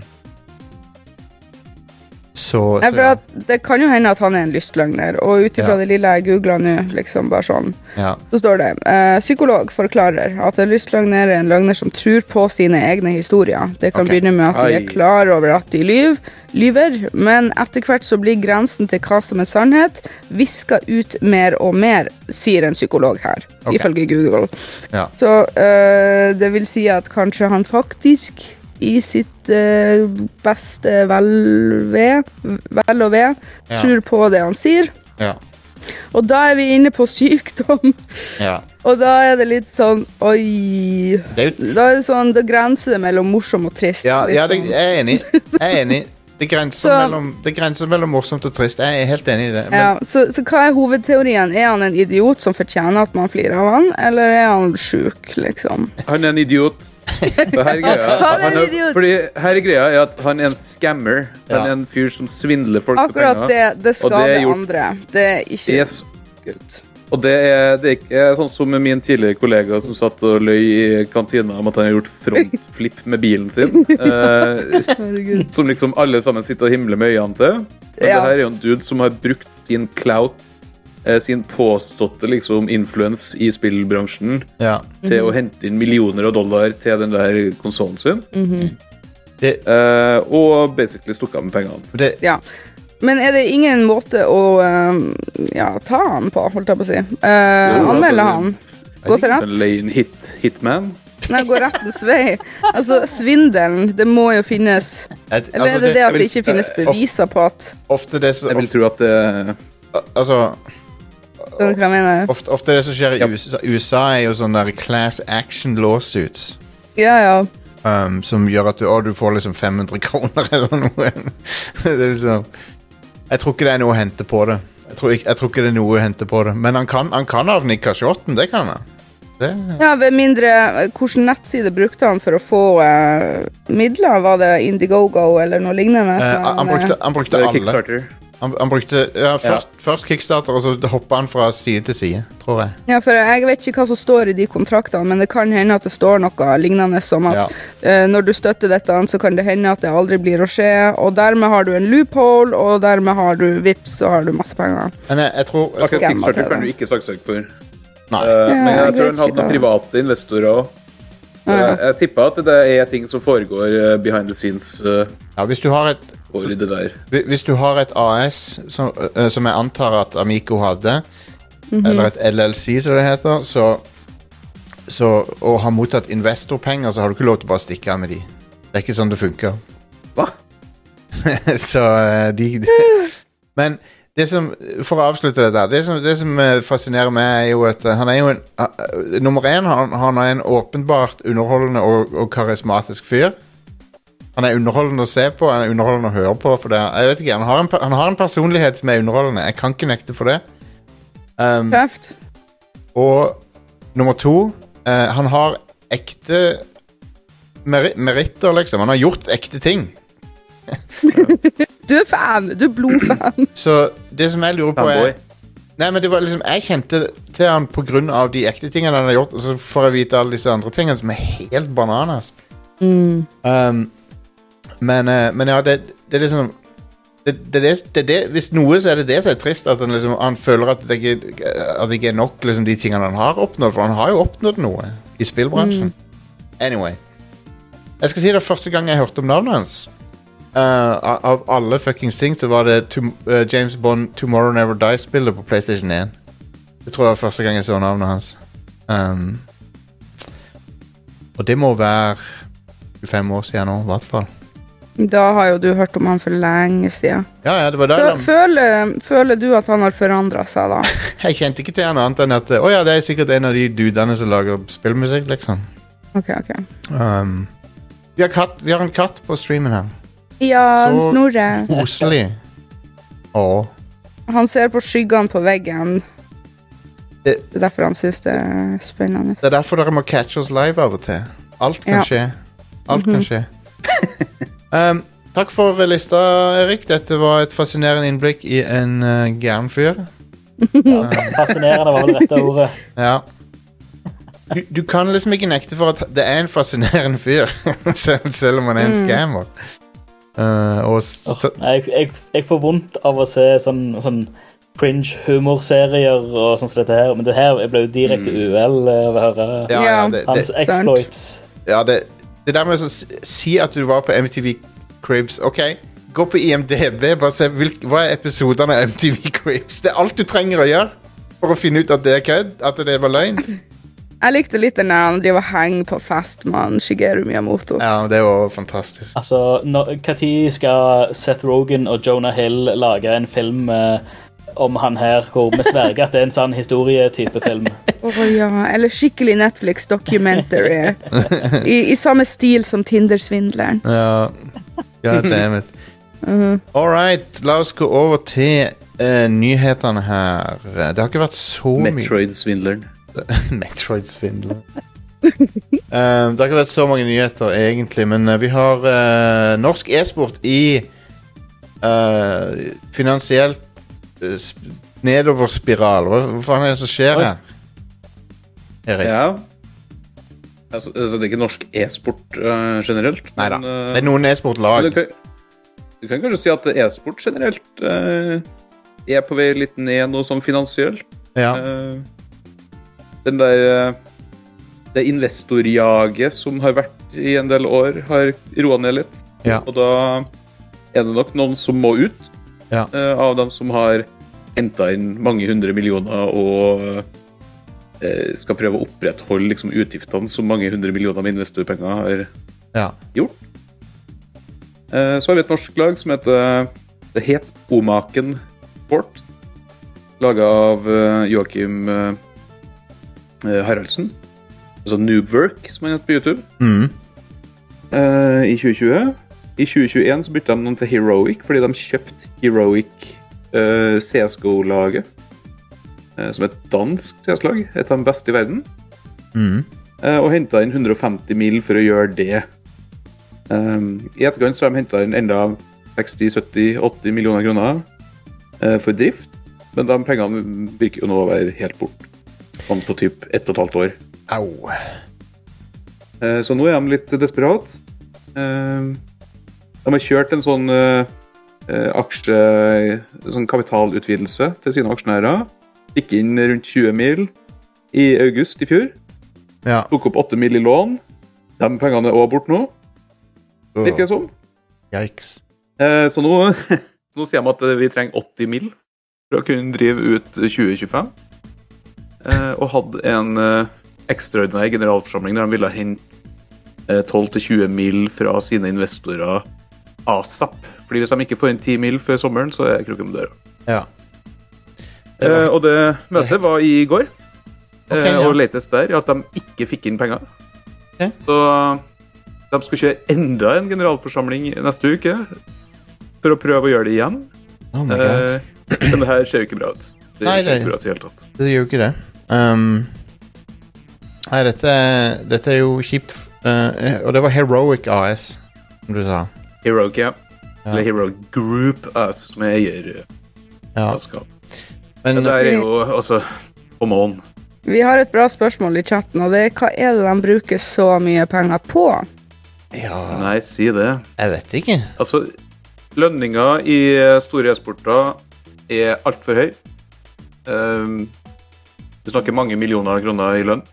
[SPEAKER 3] så,
[SPEAKER 4] Nei,
[SPEAKER 3] så
[SPEAKER 4] for
[SPEAKER 3] ja.
[SPEAKER 4] at Det kan jo hende at han er en lystløgner, og ut ifra
[SPEAKER 3] Ja.
[SPEAKER 4] det lille jeg googla nå, liksom bare sånn,
[SPEAKER 3] ja.
[SPEAKER 4] så står det eh, psykolog forklarer at en lystløgner er en løgner som tror på sine egne historier. Det kan
[SPEAKER 3] Ok.
[SPEAKER 4] begynne med at de
[SPEAKER 6] Ai.
[SPEAKER 4] er klar over at de lyv, lyver, men etter hvert så blir grensen til hva som er sannhet, viska ut mer og mer, sier en psykolog her,
[SPEAKER 3] Ok.
[SPEAKER 4] ifølge Google.
[SPEAKER 3] Ja.
[SPEAKER 4] Så eh, det vil si at kanskje han faktisk i sitt eh, beste velve, vel og ve
[SPEAKER 3] Ja.
[SPEAKER 4] tror på det han sier.
[SPEAKER 3] Ja.
[SPEAKER 4] Og da er vi inne på sykdom,
[SPEAKER 3] ja.
[SPEAKER 4] og da er det litt sånn Oi.
[SPEAKER 3] Det er jo
[SPEAKER 4] Da er det sånn, da grenser det mellom morsom og trist.
[SPEAKER 3] Ja,
[SPEAKER 4] litt
[SPEAKER 3] ja det,
[SPEAKER 4] sånn.
[SPEAKER 3] jeg er enig. Jeg er enig. Det
[SPEAKER 4] <laughs>
[SPEAKER 3] grenser,
[SPEAKER 4] Så-
[SPEAKER 3] mellom, det grenser mellom morsomt og trist. Jeg er helt enig i det. Men,
[SPEAKER 4] ja, så, så hva er hovedteorien? Er han en idiot som fortjener at man flirer av han, eller er han sjuk, liksom?
[SPEAKER 6] Han er en idiot. Og her er greia.
[SPEAKER 4] <laughs> Han er en
[SPEAKER 6] Han er,
[SPEAKER 4] idiot.
[SPEAKER 6] fordi her er greia er at han er en scammer. Han
[SPEAKER 3] Ja.
[SPEAKER 6] er en fyr som svindler folk for
[SPEAKER 4] Akkurat
[SPEAKER 6] penger.
[SPEAKER 4] det, det
[SPEAKER 6] Og det er
[SPEAKER 4] skader
[SPEAKER 6] gjort.
[SPEAKER 4] andre. Det er ikke
[SPEAKER 6] Yes.
[SPEAKER 4] gutt.
[SPEAKER 6] Og det er, det er ikke eh, sånn som min tidligere kollega som satt og løy i kantina om at han har gjort frontflip med bilen sin. Eh,
[SPEAKER 4] Herregud.
[SPEAKER 6] som liksom alle sammen sitter og himler med øynene til. Men
[SPEAKER 4] Ja.
[SPEAKER 6] det her er jo en dude som har brukt sin clout, eh, sin påståtte liksom influence i spillbransjen,
[SPEAKER 3] ja.
[SPEAKER 6] til å hente inn millioner av dollar til den der konsollen sin.
[SPEAKER 3] Det,
[SPEAKER 6] Eh, og basically stukket av med pengene.
[SPEAKER 3] det,
[SPEAKER 4] Ja. Men er det ingen måte å eh, ja, ta han på, holdt jeg på å si? Eh,
[SPEAKER 6] Jo,
[SPEAKER 4] anmelde
[SPEAKER 6] altså,
[SPEAKER 4] han? Gå til
[SPEAKER 6] En
[SPEAKER 4] rett?
[SPEAKER 6] lane hit, hitman.
[SPEAKER 4] Nei, gå rettens vei. Altså, svindelen, det må jo finnes
[SPEAKER 3] jeg,
[SPEAKER 4] Eller
[SPEAKER 3] altså,
[SPEAKER 4] er det det at
[SPEAKER 6] vil-
[SPEAKER 4] det ikke finnes
[SPEAKER 3] eh, of-
[SPEAKER 4] beviser på at
[SPEAKER 3] ofte det som
[SPEAKER 6] Jeg vil
[SPEAKER 3] ofte,
[SPEAKER 6] tro at eh, det
[SPEAKER 3] altså,
[SPEAKER 4] Skjønner du hva jeg mener?
[SPEAKER 3] ofte, ofte det som skjer i
[SPEAKER 6] Ja.
[SPEAKER 3] USA, USA, er jo sånne der class action lawsuits.
[SPEAKER 4] Ja, ja.
[SPEAKER 3] Um, som gjør at du, å, du får liksom 500 kroner eller noe. <laughs> det er liksom, jeg tror ikke det er noe å hente på det. Jeg tror ikke, jeg tror ikke det er noe å hente på det. Men han kan, han kan havne i kasjotten, det kan han. Det,
[SPEAKER 4] ja ved mindre Hvilken nettside brukte han for å få eh, midler? Var det Indiegogo eller noe lignende?
[SPEAKER 3] eh,
[SPEAKER 4] Så
[SPEAKER 3] han, brukte, han
[SPEAKER 6] det
[SPEAKER 3] brukte
[SPEAKER 6] er
[SPEAKER 3] alle.
[SPEAKER 6] kickstarter.
[SPEAKER 3] Han, han brukte ja, først, først kickstarter, og så hoppa han fra side til side, tror jeg.
[SPEAKER 4] Ja, for jeg vet ikke hva som står i de kontraktene, men det kan hende at det står noe lignende som at
[SPEAKER 3] Ja.
[SPEAKER 4] eh, når du støtter dette, så kan det hende at det aldri blir å skje, og dermed har du en loophole, og dermed har du vips, og har du masse penger.
[SPEAKER 3] Men jeg, jeg tror jeg,
[SPEAKER 6] Akkurat
[SPEAKER 4] Skamma
[SPEAKER 6] Kickstarter
[SPEAKER 4] TV.
[SPEAKER 6] kan du ikke saksøke for.
[SPEAKER 3] Nei.
[SPEAKER 6] Eh,
[SPEAKER 4] Ja,
[SPEAKER 6] men
[SPEAKER 4] jeg
[SPEAKER 6] jeg tror
[SPEAKER 4] vet
[SPEAKER 6] han hadde
[SPEAKER 4] ikke
[SPEAKER 6] noen
[SPEAKER 4] da.
[SPEAKER 6] private investorer òg.
[SPEAKER 4] Ja.
[SPEAKER 3] Eh,
[SPEAKER 6] Jeg tipper at det er ting som foregår eh, behind the scenes eh,
[SPEAKER 3] Ja, hvis, du har et,
[SPEAKER 6] over det der.
[SPEAKER 3] hvi- hvis du har et AS, som, eh, som jeg antar at Amico hadde, eller et LLC, som det heter, så, så, og har mottatt investorpenger, så har du ikke lov til å bare stikke av med de. Det er ikke sånn det funker.
[SPEAKER 6] Hva?
[SPEAKER 3] <laughs> så eh, de, de Men det som, for å avslutte det der Det som, det som eh, fascinerer meg er jo at eh, han er jo en ah, eh, Nummer én, han, han er en åpenbart underholdende og, og karismatisk fyr. Han er underholdende å se på, han er underholdende å høre på. For det, jeg vet ikke, han har, en, per- han har en personlighet som er underholdende. Jeg kan ikke nekte for det. Um,
[SPEAKER 4] Tøft.
[SPEAKER 3] og nummer to eh, Han har ekte meri meritter, liksom. Han har gjort ekte ting.
[SPEAKER 4] Du er fan! Du er blodfan. <laughs>
[SPEAKER 3] Så det som jeg lurer på
[SPEAKER 6] Fanboy.
[SPEAKER 3] er Nei, men det var liksom Jeg kjente til han på grunn av de ekte tingene han har gjort, og så får jeg vite alle disse andre tingene som er helt bananas. Um, men, eh, men ja, det, det er liksom det, det, er det, det, er det, Hvis noe, så er det det som er trist. At han, liksom, han føler at det ikke, at det ikke er nok liksom, de tingene han har oppnådd. For han har jo oppnådd noe i spillbransjen. Anyway. Jeg skal si det er første gang jeg hørte om navnet hans. eh, av- av alle fuckings ting så var det Tom- eh, James Bond Tomorrow Never Die-spillet på PlayStation 1. Det tror jeg var første gang jeg så navnet hans. Um, og det må være 25 år siden nå, i hvert fall.
[SPEAKER 4] Da har jo du hørt om han for lenge siden.
[SPEAKER 3] Ja, ja, det var der
[SPEAKER 4] Fø-
[SPEAKER 3] de-
[SPEAKER 4] Føler, føler du at han har forandra seg, da?
[SPEAKER 3] Jeg kjente ikke til han annet enn at eh, Å ja, det er sikkert en av de dudene som lager spillmusikk, liksom.
[SPEAKER 4] OK, OK.
[SPEAKER 3] Um, vi, har katt, vi har en katt på streamen her.
[SPEAKER 4] Ja,
[SPEAKER 3] Så-
[SPEAKER 4] Snorre.
[SPEAKER 3] Koselig. Å.
[SPEAKER 4] Han ser på skyggene på veggen. Det
[SPEAKER 3] Det-
[SPEAKER 4] er derfor han syns det er spennende.
[SPEAKER 3] Det er derfor dere må catche oss live av og til. Alt
[SPEAKER 4] Ja.
[SPEAKER 3] kan
[SPEAKER 4] Mhm.
[SPEAKER 3] skje. Alt kan skje. Um, takk for lista, Erik. Dette var et fascinerende innblikk i en uh, gæren fyr.
[SPEAKER 5] <laughs> Fascinerende var vel det rette ordet.
[SPEAKER 3] Ja. du, du kan liksom ikke nekte for at det er en fascinerende fyr, <laughs> selv, selv om han
[SPEAKER 4] Mm.
[SPEAKER 3] er en scammer. Eh, og s- så,
[SPEAKER 5] Nei, Jeg, jeg, jeg får vondt av å se sånn, sånn cringe-humorserier og sånn som dette her, men det her jeg ble jo direkte uvel av å høre
[SPEAKER 3] ja, ja,
[SPEAKER 4] Ja.
[SPEAKER 3] det,
[SPEAKER 5] hans
[SPEAKER 3] det,
[SPEAKER 5] exploits.
[SPEAKER 3] ja det, det der med å s- si at du var på MTV Cribs OK, gå på IMDb. Bare se hvilk, hva er episodene av MTV Cribs. Det er alt du trenger å gjøre for å finne ut at det er kødd. At det var løgn.
[SPEAKER 4] Jeg likte litt den der han driver og henger på fest med han Shigeru Miyamoto.
[SPEAKER 3] Ja, det var fantastisk.
[SPEAKER 5] Altså, når når skal Seth Rogan og Jonah Hill lage en film eh, om han her, hvor vi sverger at det er en sann historietype film?
[SPEAKER 4] Å ja, Eller skikkelig Netflix documentary. I, I samme stil som Tinder-svindleren.
[SPEAKER 3] Ja. God damn it. All right, la oss gå over til eh, nyhetene her. Det har ikke vært så mye
[SPEAKER 6] Metroid-svindleren.
[SPEAKER 3] <laughs> Metroid-svindler. Eh, det har ikke vært så mange nyheter, egentlig, men eh, vi har eh, norsk e-sport i eh, finansielt eh, sp nedoverspiral. Hva, hva faen er det som skjer
[SPEAKER 5] Oi.
[SPEAKER 3] her? Erik?
[SPEAKER 6] Ja. Altså, altså, det er ikke norsk e-sport eh, generelt. men,
[SPEAKER 3] Neida.
[SPEAKER 6] eh,
[SPEAKER 3] Det er noen
[SPEAKER 6] men
[SPEAKER 3] e-sportlag.
[SPEAKER 6] du, kan, du kan kanskje si at e-sport generelt eh, er på vei litt ned nå sånn finansielt.
[SPEAKER 3] Ja.
[SPEAKER 6] Eh, den der eh, Det investorjaget som har vært i en del år, har roa ned litt.
[SPEAKER 3] Ja.
[SPEAKER 6] Og da er det nok noen som må ut,
[SPEAKER 3] Ja.
[SPEAKER 6] eh, av dem som har henta inn mange hundre millioner og eh, skal prøve å opprettholde liksom, utgiftene som mange hundre millioner med investorpenger har
[SPEAKER 3] ja.
[SPEAKER 6] gjort. Eh, Så har vi et norsk lag som heter Det het Omaken Sport. Laga av eh, Joakim eh, eh, Haraldsen. Altså Noobwork, som han het på YouTube.
[SPEAKER 3] Mm.
[SPEAKER 6] eh, I 2020. I 2021 så bytta de noen til Heroic, fordi de kjøpte Heroic eh, CSGO-laget. eh, Som er et dansk CS-lag. Et av de beste i verden.
[SPEAKER 3] Mm.
[SPEAKER 6] Eh, og henta inn 150 mil for å gjøre det. Um, I etterkant så har de henta inn enda 60-70-80 millioner kroner eh, for drift, men de pengene virker jo nå å være helt borte. Sånn på typ ett og et halvt år.
[SPEAKER 3] Au.
[SPEAKER 6] Eh, så nå er de litt desperate. Eh, de har kjørt en sånn eh, eh, aksje... Sånn kapitalutvidelse til sine aksjonærer. Fikk inn rundt 20 mil i august i fjor.
[SPEAKER 3] Ja.
[SPEAKER 6] Tok opp 8 mill. i lån. De pengene er også borte nå, virker det som.
[SPEAKER 3] Yikes.
[SPEAKER 6] Eh, Så nå, <laughs> nå sier de at eh, vi trenger 80 mill. for å kunne drive ut 2025. Eh, Og hadde en eh, ekstraordinær generalforsamling der de ville hente eh, 12-20 mill. fra sine investorer asap. Fordi hvis de ikke får inn 10 mill. før sommeren, så er kroken på døra.
[SPEAKER 3] Ja.
[SPEAKER 6] Eh, Og det møtet var i går.
[SPEAKER 3] Ok,
[SPEAKER 6] Eh,
[SPEAKER 3] ja.
[SPEAKER 6] Og latest der er at de ikke fikk inn penger.
[SPEAKER 3] Ok.
[SPEAKER 6] Så de skal kjøre enda en generalforsamling neste uke for å prøve å gjøre det igjen.
[SPEAKER 3] Oh my god.
[SPEAKER 6] Eh, <clears throat> men det her ser jo ikke bra ut. Det
[SPEAKER 3] Nei,
[SPEAKER 6] ser
[SPEAKER 3] det-
[SPEAKER 6] ikke bra ut i det hele tatt.
[SPEAKER 3] Det gjør jo ikke det. Ehm, nei, dette, er- dette er jo kjipt. f- eh, og det var Heroic AS, som du sa.
[SPEAKER 6] Heroic, ja.
[SPEAKER 3] Ja.
[SPEAKER 6] Eller Hero Group AS, som er eierselskap.
[SPEAKER 3] Ja. Men eh,
[SPEAKER 6] Men det her er jo altså Come on.
[SPEAKER 4] Vi har et bra spørsmål i chatten, og det er hva er det de bruker så mye penger på?
[SPEAKER 3] ja,
[SPEAKER 6] Nei, si det.
[SPEAKER 3] Jeg vet ikke.
[SPEAKER 6] Altså, lønninger i eh, store e-sporter er altfor høy. Um, vi snakker mange millioner kroner i lønn.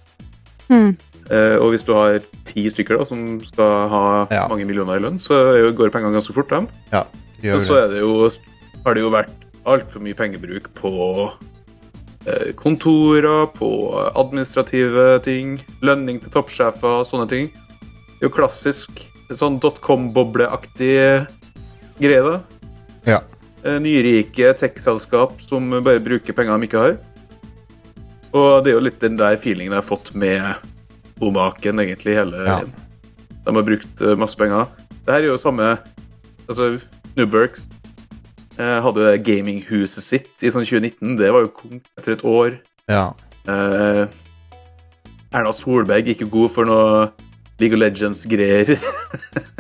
[SPEAKER 4] Hmm.
[SPEAKER 6] Eh, og hvis du har ti stykker da, som skal ha
[SPEAKER 3] Ja.
[SPEAKER 6] mange millioner i lønn, så er jo- går pengene ganske fort, dem.
[SPEAKER 3] Ja, det gjør
[SPEAKER 6] Men så
[SPEAKER 3] jo det.
[SPEAKER 6] er det jo, har det jo vært altfor mye pengebruk på eh, kontorer, på administrative ting, lønning til toppsjefer og sånne ting. Det er jo klassisk sånn dotcom-bobleaktig greie, da.
[SPEAKER 3] Ja.
[SPEAKER 6] Eh, Nyrike tech-selskap som bare bruker penger de ikke har. Og det er jo litt den der feelingen jeg har fått med Omaken, egentlig, hele
[SPEAKER 3] Ja.
[SPEAKER 6] veien. De har brukt eh, masse penger. Det her er jo samme Altså, Noobworks eh, hadde jo det gaminghuset sitt i sånn 2019. Det var jo kong etter et år.
[SPEAKER 3] ja.
[SPEAKER 6] Eh, Erna Solberg gikk jo god for noe League of Legends-greier. <laughs> eh,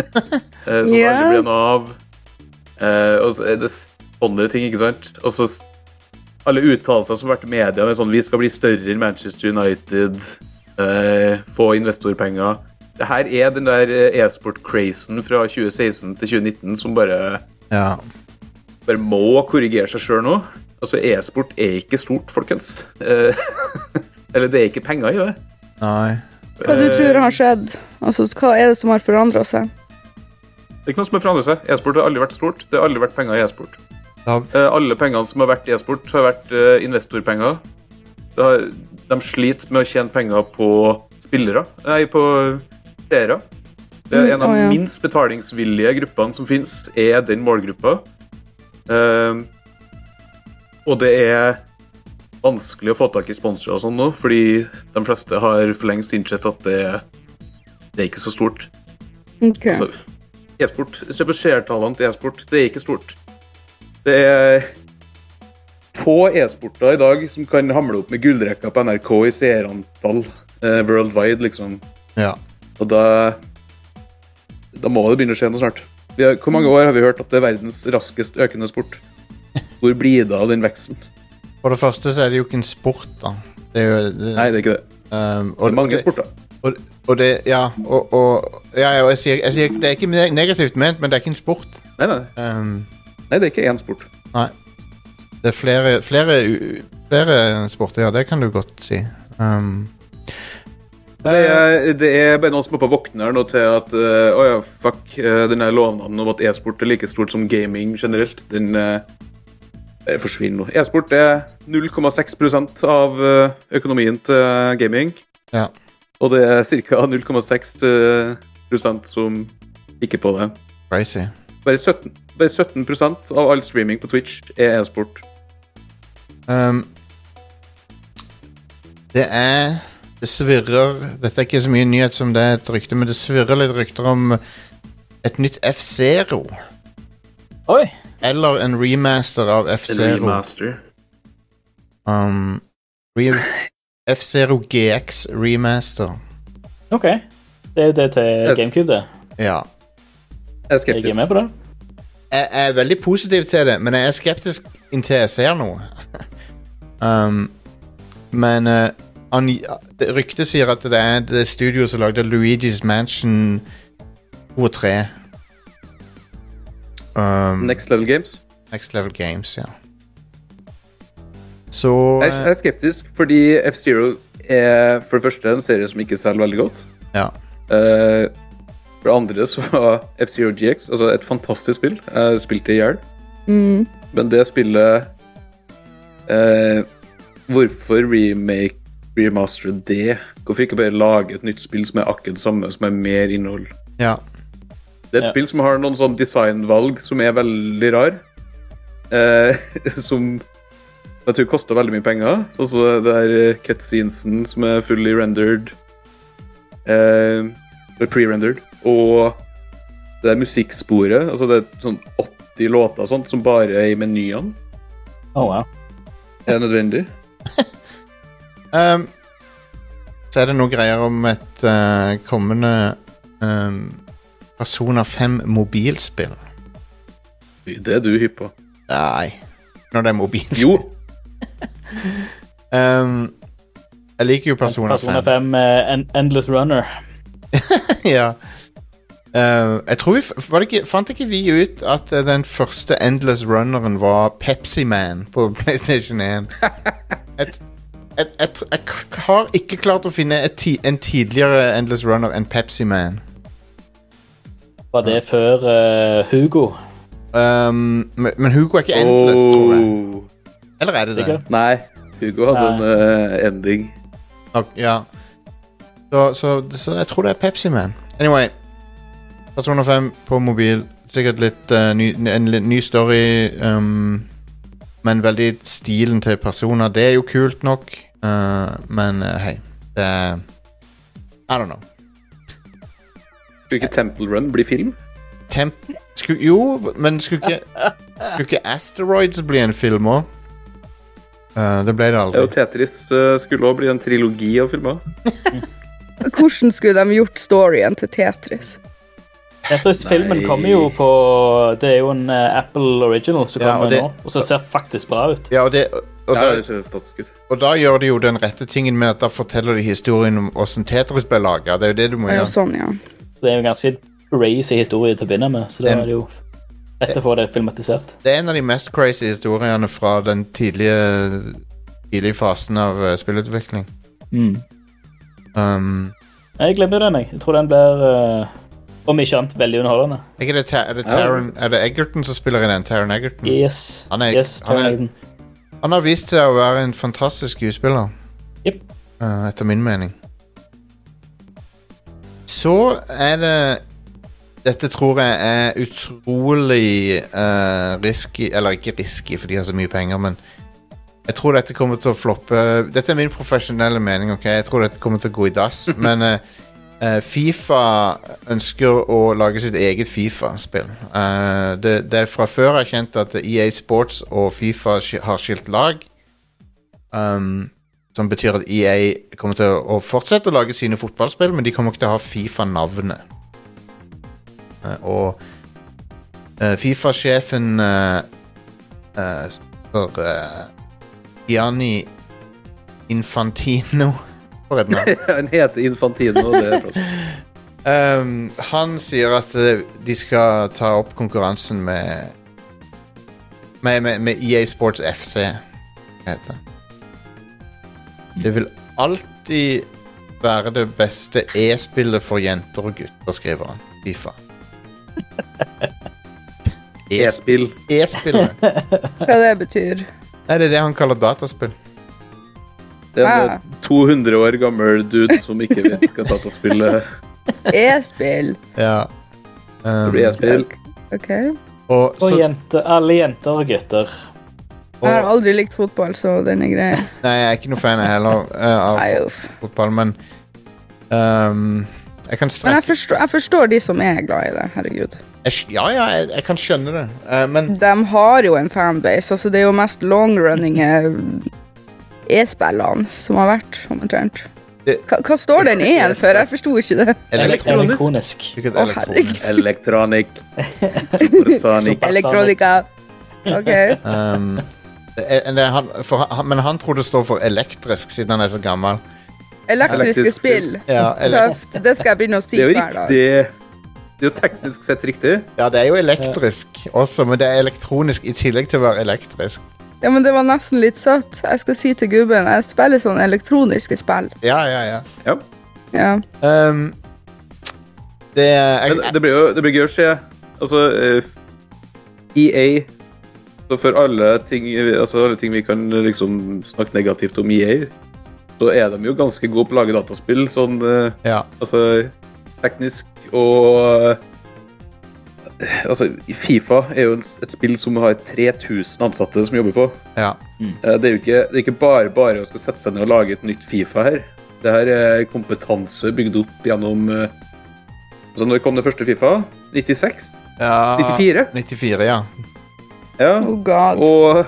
[SPEAKER 6] som
[SPEAKER 4] Ja.
[SPEAKER 6] aldri ble noe av. Eh, og så er det sånne ting, ikke sant? Og så s- alle uttalelser som har vært i media med sånn Vi skal bli større enn Manchester United. eh, få investorpenger. Det her er den der eh, e-sport-crazen fra 2016 til 2019 som bare,
[SPEAKER 3] Ja.
[SPEAKER 6] bare må korrigere seg sjøl nå. Altså, e-sport er ikke stort, folkens. Eh, <laughs> eller det er ikke penger i det.
[SPEAKER 3] Nei.
[SPEAKER 4] Hva du
[SPEAKER 3] Eh.
[SPEAKER 4] tror har skjedd? Altså, hva er det som har forandra seg?
[SPEAKER 6] Det er ikke noe som har forandret seg. E-sport har aldri vært stort. Det har aldri vært penger i e-sport.
[SPEAKER 3] Ja.
[SPEAKER 6] Eh, alle pengene som har vært i e-sport, har vært eh, investorpenger. Det har, de sliter med å tjene penger på spillere, nei, på seere. Det er
[SPEAKER 4] Mm,
[SPEAKER 6] en av
[SPEAKER 4] å, ja.
[SPEAKER 6] minst betalingsvillige gruppene som finnes, er den målgruppa. Eh, og det er vanskelig å få tak i sponsorer og sånn nå, fordi de fleste har for lengst innsett at det, det er ikke så stort.
[SPEAKER 4] Ok.
[SPEAKER 6] Så, e-sport, se på seertallene til e-sport, det er ikke stort. Det er få e-sporter i dag som kan hamle opp med gullrekka på NRK i seerantall eh, worldwide, liksom.
[SPEAKER 3] Ja.
[SPEAKER 6] Og da, da må det begynne å skje noe snart. Vi har, hvor mange år har vi hørt at det er verdens raskest økende sport? Hvor blir det av den veksten?
[SPEAKER 3] For det første så er det jo ikke en sport, da. Det er jo det,
[SPEAKER 6] Nei, det er ikke det.
[SPEAKER 3] um, og,
[SPEAKER 6] Det er mange
[SPEAKER 3] det-
[SPEAKER 6] sporter.
[SPEAKER 3] Og, og det Ja, og, og ja, ja, og jeg sier, jeg sier Det er ikke ne- negativt ment, men det er ikke en sport.
[SPEAKER 6] Nei, nei,
[SPEAKER 3] Um,
[SPEAKER 6] nei, det er ikke én sport.
[SPEAKER 3] nei. Det er flere, flere, u- flere sporter, ja. Det kan du godt si. Um,
[SPEAKER 6] Det er, eh, det er bare noen som er på våkner nå til at eh, Å ja, fuck. eh, den her lovnaden om at e-sport er like stort som gaming generelt, den eh, eh, forsvinner nå. E-sport er 0,6 av eh, økonomien til gaming.
[SPEAKER 3] Ja.
[SPEAKER 6] Og det er ca. 0,6 eh, prosent som ikke på det.
[SPEAKER 3] crazy.
[SPEAKER 6] Bare 17, bare 17 av all streaming på Twitch er e-sport.
[SPEAKER 3] Um, det er Det svirrer Dette er ikke så mye nyhet som det er et rykte, men det svirrer litt rykter om et nytt F-Zero.
[SPEAKER 5] <laughs> Oi!
[SPEAKER 3] Eller en remaster av F-Zero. Um, re F-Zero GX remaster.
[SPEAKER 5] OK. Det er jo det til
[SPEAKER 6] Yes.
[SPEAKER 5] GameCube, det.
[SPEAKER 3] Ja.
[SPEAKER 6] Jeg er
[SPEAKER 5] Jeg er
[SPEAKER 6] skeptisk.
[SPEAKER 5] med på det.
[SPEAKER 3] Jeg er veldig positiv til det, men jeg er skeptisk inntil jeg ser noe. <laughs> um, men eh, an, det- ryktet sier at det er det studioet som lagde Luigi's Mansion 2 og 3. Um,
[SPEAKER 6] Next Level Games.
[SPEAKER 3] Next Level Games, ja. Så
[SPEAKER 6] Jeg er- jeg
[SPEAKER 3] eh,
[SPEAKER 6] er skeptisk fordi F-Zero er for det første en serie som ikke selger veldig godt.
[SPEAKER 3] Ja.
[SPEAKER 6] Eh, for det andre så var F-Zero GX altså et fantastisk spill. Jeg spilte i hjel.
[SPEAKER 4] Mm.
[SPEAKER 6] Men det spillet eh, Hvorfor remake, remastere det? Hvorfor ikke bare lage et nytt spill som er akkurat det samme, som er mer innhold?
[SPEAKER 3] ja.
[SPEAKER 6] Det er et
[SPEAKER 5] Ja.
[SPEAKER 6] spill som har noen sånn designvalg som er veldig rar. Eh, <laughs> som jeg tror koster veldig mye penger. Sånn som det der cutscenesen som er fully rendered. Eh, eller pre-rendered. Og det der musikksporet. Altså det er sånn 80 låter og sånt som bare er i menyene.
[SPEAKER 5] Å, Oh, wow.
[SPEAKER 6] Er nødvendig.
[SPEAKER 3] Um, så er det noen greier om et eh, kommende um, Persona 5 mobilspill.
[SPEAKER 6] Det er du hypp på.
[SPEAKER 3] Nei, når det er mobilspill.
[SPEAKER 6] Jo,
[SPEAKER 3] Um, jeg liker jo Persona,
[SPEAKER 5] Persona
[SPEAKER 3] 5.
[SPEAKER 5] 5 eh, En- Endless Runner.
[SPEAKER 3] <laughs> ja. Uh, jeg tror vi f- var det ikke, Fant ikke vi ut at eh, den første Endless Runneren var Pepsi Man på <laughs> PlayStation 1? Et, et, et, jeg k- har ikke klart å finne et ti, en tidligere Endless Runner enn Pepsi Man.
[SPEAKER 5] Var det før eh, Hugo?
[SPEAKER 3] Um, men, men Hugo er ikke Endless, tror jeg.
[SPEAKER 6] Åh.
[SPEAKER 3] Eller er det det?
[SPEAKER 5] Sikkert.
[SPEAKER 6] Nei, Hugo hadde
[SPEAKER 5] Nei.
[SPEAKER 6] en eh, ending.
[SPEAKER 3] Nok, ja. så, så, så jeg tror det er Pepsi Man. Anyway. Persona 5 på mobil. Sikkert litt eh, ny, en litt ny story, um, men veldig stilen til Persona. Det er jo kult nok, eh, men eh, hei. Det er I don't know.
[SPEAKER 6] Skulle ikke Temple Run bli film?
[SPEAKER 3] Temp... Sku, jo, men skulle ikke Skulle ikke Asteroids bli en film òg? det ble det
[SPEAKER 6] Ja,
[SPEAKER 3] aldri.
[SPEAKER 6] og Tetris eh, skulle også bli en trilogi av filmer.
[SPEAKER 4] Hvordan skulle de gjort storyen til Tetris?
[SPEAKER 5] Tetris-filmen
[SPEAKER 6] Nei.
[SPEAKER 5] kommer jo på Det er jo en eh, Apple Original som
[SPEAKER 3] Ja, og
[SPEAKER 5] kommer
[SPEAKER 3] det-
[SPEAKER 5] nå, og som ser faktisk bra ut.
[SPEAKER 3] Ja, og det, og,
[SPEAKER 6] Ja,
[SPEAKER 3] da,
[SPEAKER 6] det ser fantastisk ut.
[SPEAKER 3] og da gjør de jo den rette tingen med at da forteller de historien om åssen Tetris ble laga. Det er jo det du må
[SPEAKER 4] Ja,
[SPEAKER 3] gjøre.
[SPEAKER 4] sånn, ja.
[SPEAKER 5] Det er jo en ganske crazy historie til å begynne med, så da
[SPEAKER 3] Den-
[SPEAKER 5] er det jo lett å få det filmatisert.
[SPEAKER 3] Det er en av de mest crazy historiene fra den tidlige, tidlige fasen av eh, spillutvikling. Mm. Um,
[SPEAKER 5] Jeg glemmer den, jeg. Jeg tror den blir, eh, om ikke annet, veldig underholdende.
[SPEAKER 3] er, det Ta- er, det Taron, er det Egerton som spiller i den? Taron Egerton?
[SPEAKER 5] Yes.
[SPEAKER 3] Mm. Han er-
[SPEAKER 5] yes,
[SPEAKER 3] han er-
[SPEAKER 5] Terminator.
[SPEAKER 3] Han har vist seg å være en fantastisk skuespiller.
[SPEAKER 5] Jep.
[SPEAKER 3] Eh, etter min mening. Så er det Dette tror jeg er utrolig eh, risky Eller ikke risky, for de har så mye penger, men jeg tror dette kommer til å floppe. Dette er min profesjonelle mening, ok? Jeg tror dette kommer til å gå i dass, men eh, eh, Fifa ønsker å lage sitt eget Fifa-spill. Eh, det, det er fra før erkjent at EA Sports og Fifa sk- har skilt lag. Um, som betyr at EA kommer til å fortsette å lage sine fotballspill, men de kommer ikke til å ha Fifa-navnet. Eh, og eh, Fifa-sjefen eh, eh, for eh, Gianni Infantino <laughs> For et navn.
[SPEAKER 6] Han heter Infantino. Det er flott.
[SPEAKER 3] Ehm, han sier at eh, de skal ta opp konkurransen med med, med, med EA Sports FC, heter det. Det vil alltid være det beste e-spillet for jenter og gutter, skriver han. Fifa. E-sp-
[SPEAKER 6] <laughs> E-spill.
[SPEAKER 3] E-spillet.
[SPEAKER 4] Hva det betyr.
[SPEAKER 3] Nei, det er det han kaller dataspill.
[SPEAKER 6] Det er
[SPEAKER 4] Ah.
[SPEAKER 6] en 200 år gammel dude som ikke vet hva dataspill er.
[SPEAKER 4] E-spill.
[SPEAKER 3] Ja.
[SPEAKER 6] Det
[SPEAKER 3] Ehm,
[SPEAKER 6] blir E-spill.
[SPEAKER 4] OK.
[SPEAKER 3] og,
[SPEAKER 5] Og
[SPEAKER 3] så,
[SPEAKER 5] jente, alle jenter og gutter.
[SPEAKER 4] Jeg har aldri likt fotball, så den er grei.
[SPEAKER 3] nei, jeg er ikke noe fan jeg heller eh, av
[SPEAKER 4] Nei,
[SPEAKER 3] fot-
[SPEAKER 4] uff.
[SPEAKER 3] fotball, men ehm, jeg
[SPEAKER 4] Men
[SPEAKER 3] kan
[SPEAKER 4] jeg
[SPEAKER 3] strekke
[SPEAKER 4] forstår, jeg forstår de som er glad i det. Herregud.
[SPEAKER 3] Jeg, skj- ja, ja, jeg, jeg kan skjønne det, Eh, men
[SPEAKER 4] De har jo en fanbase. Altså, det er jo mest longrunninge e-spillene som har vært, omtrent.
[SPEAKER 3] Det-
[SPEAKER 4] Hva, hva står den E-en for? Jeg forsto ikke det.
[SPEAKER 5] Elek-
[SPEAKER 3] elektronisk
[SPEAKER 5] Elektronisk.
[SPEAKER 3] Sikkert
[SPEAKER 4] Å,
[SPEAKER 3] elektronisk.
[SPEAKER 6] Elektronikk.
[SPEAKER 4] <laughs>
[SPEAKER 6] Supersonic.
[SPEAKER 4] Elektronika. OK.
[SPEAKER 3] Um, det er- det er han, for han, men han tror det står for elektrisk, siden han er så gammel.
[SPEAKER 4] Elektriske
[SPEAKER 6] Elektrisk
[SPEAKER 4] spill.
[SPEAKER 3] Ja, ele
[SPEAKER 4] Tøft. Det skal jeg begynne å si
[SPEAKER 6] Det er jo
[SPEAKER 4] hver dag.
[SPEAKER 6] riktig. Det er jo teknisk sett riktig.
[SPEAKER 3] ja, det er jo elektrisk også, men det er elektronisk i tillegg til å være elektrisk.
[SPEAKER 4] Ja, men Det var nesten litt søtt. Jeg skal si til gubben jeg spiller sånne elektroniske spill.
[SPEAKER 3] Ja, ja, ja.
[SPEAKER 6] Ja.
[SPEAKER 4] Ja.
[SPEAKER 3] Um, det er
[SPEAKER 6] Men
[SPEAKER 3] jeg,
[SPEAKER 6] det blir jo det blir gøy å se. Altså eh, EA Så for alle ting, altså alle ting vi kan liksom snakke negativt om EA, så er de jo ganske gode på å lage dataspill. Sånn eh,
[SPEAKER 3] ja.
[SPEAKER 6] altså teknisk og eh, Altså, Fifa er jo en- et spill som har 3000 ansatte som jobber på.
[SPEAKER 3] ja.
[SPEAKER 6] Eh, Det er jo ikke, det er ikke bare bare å skal sette seg ned og lage et nytt Fifa her. Det her er kompetanse bygd opp gjennom eh, Altså, når kom det første Fifa? 96?
[SPEAKER 3] ja
[SPEAKER 6] 94?
[SPEAKER 3] 94, ja.
[SPEAKER 6] Ja.
[SPEAKER 4] Oh god. <laughs>
[SPEAKER 6] Og,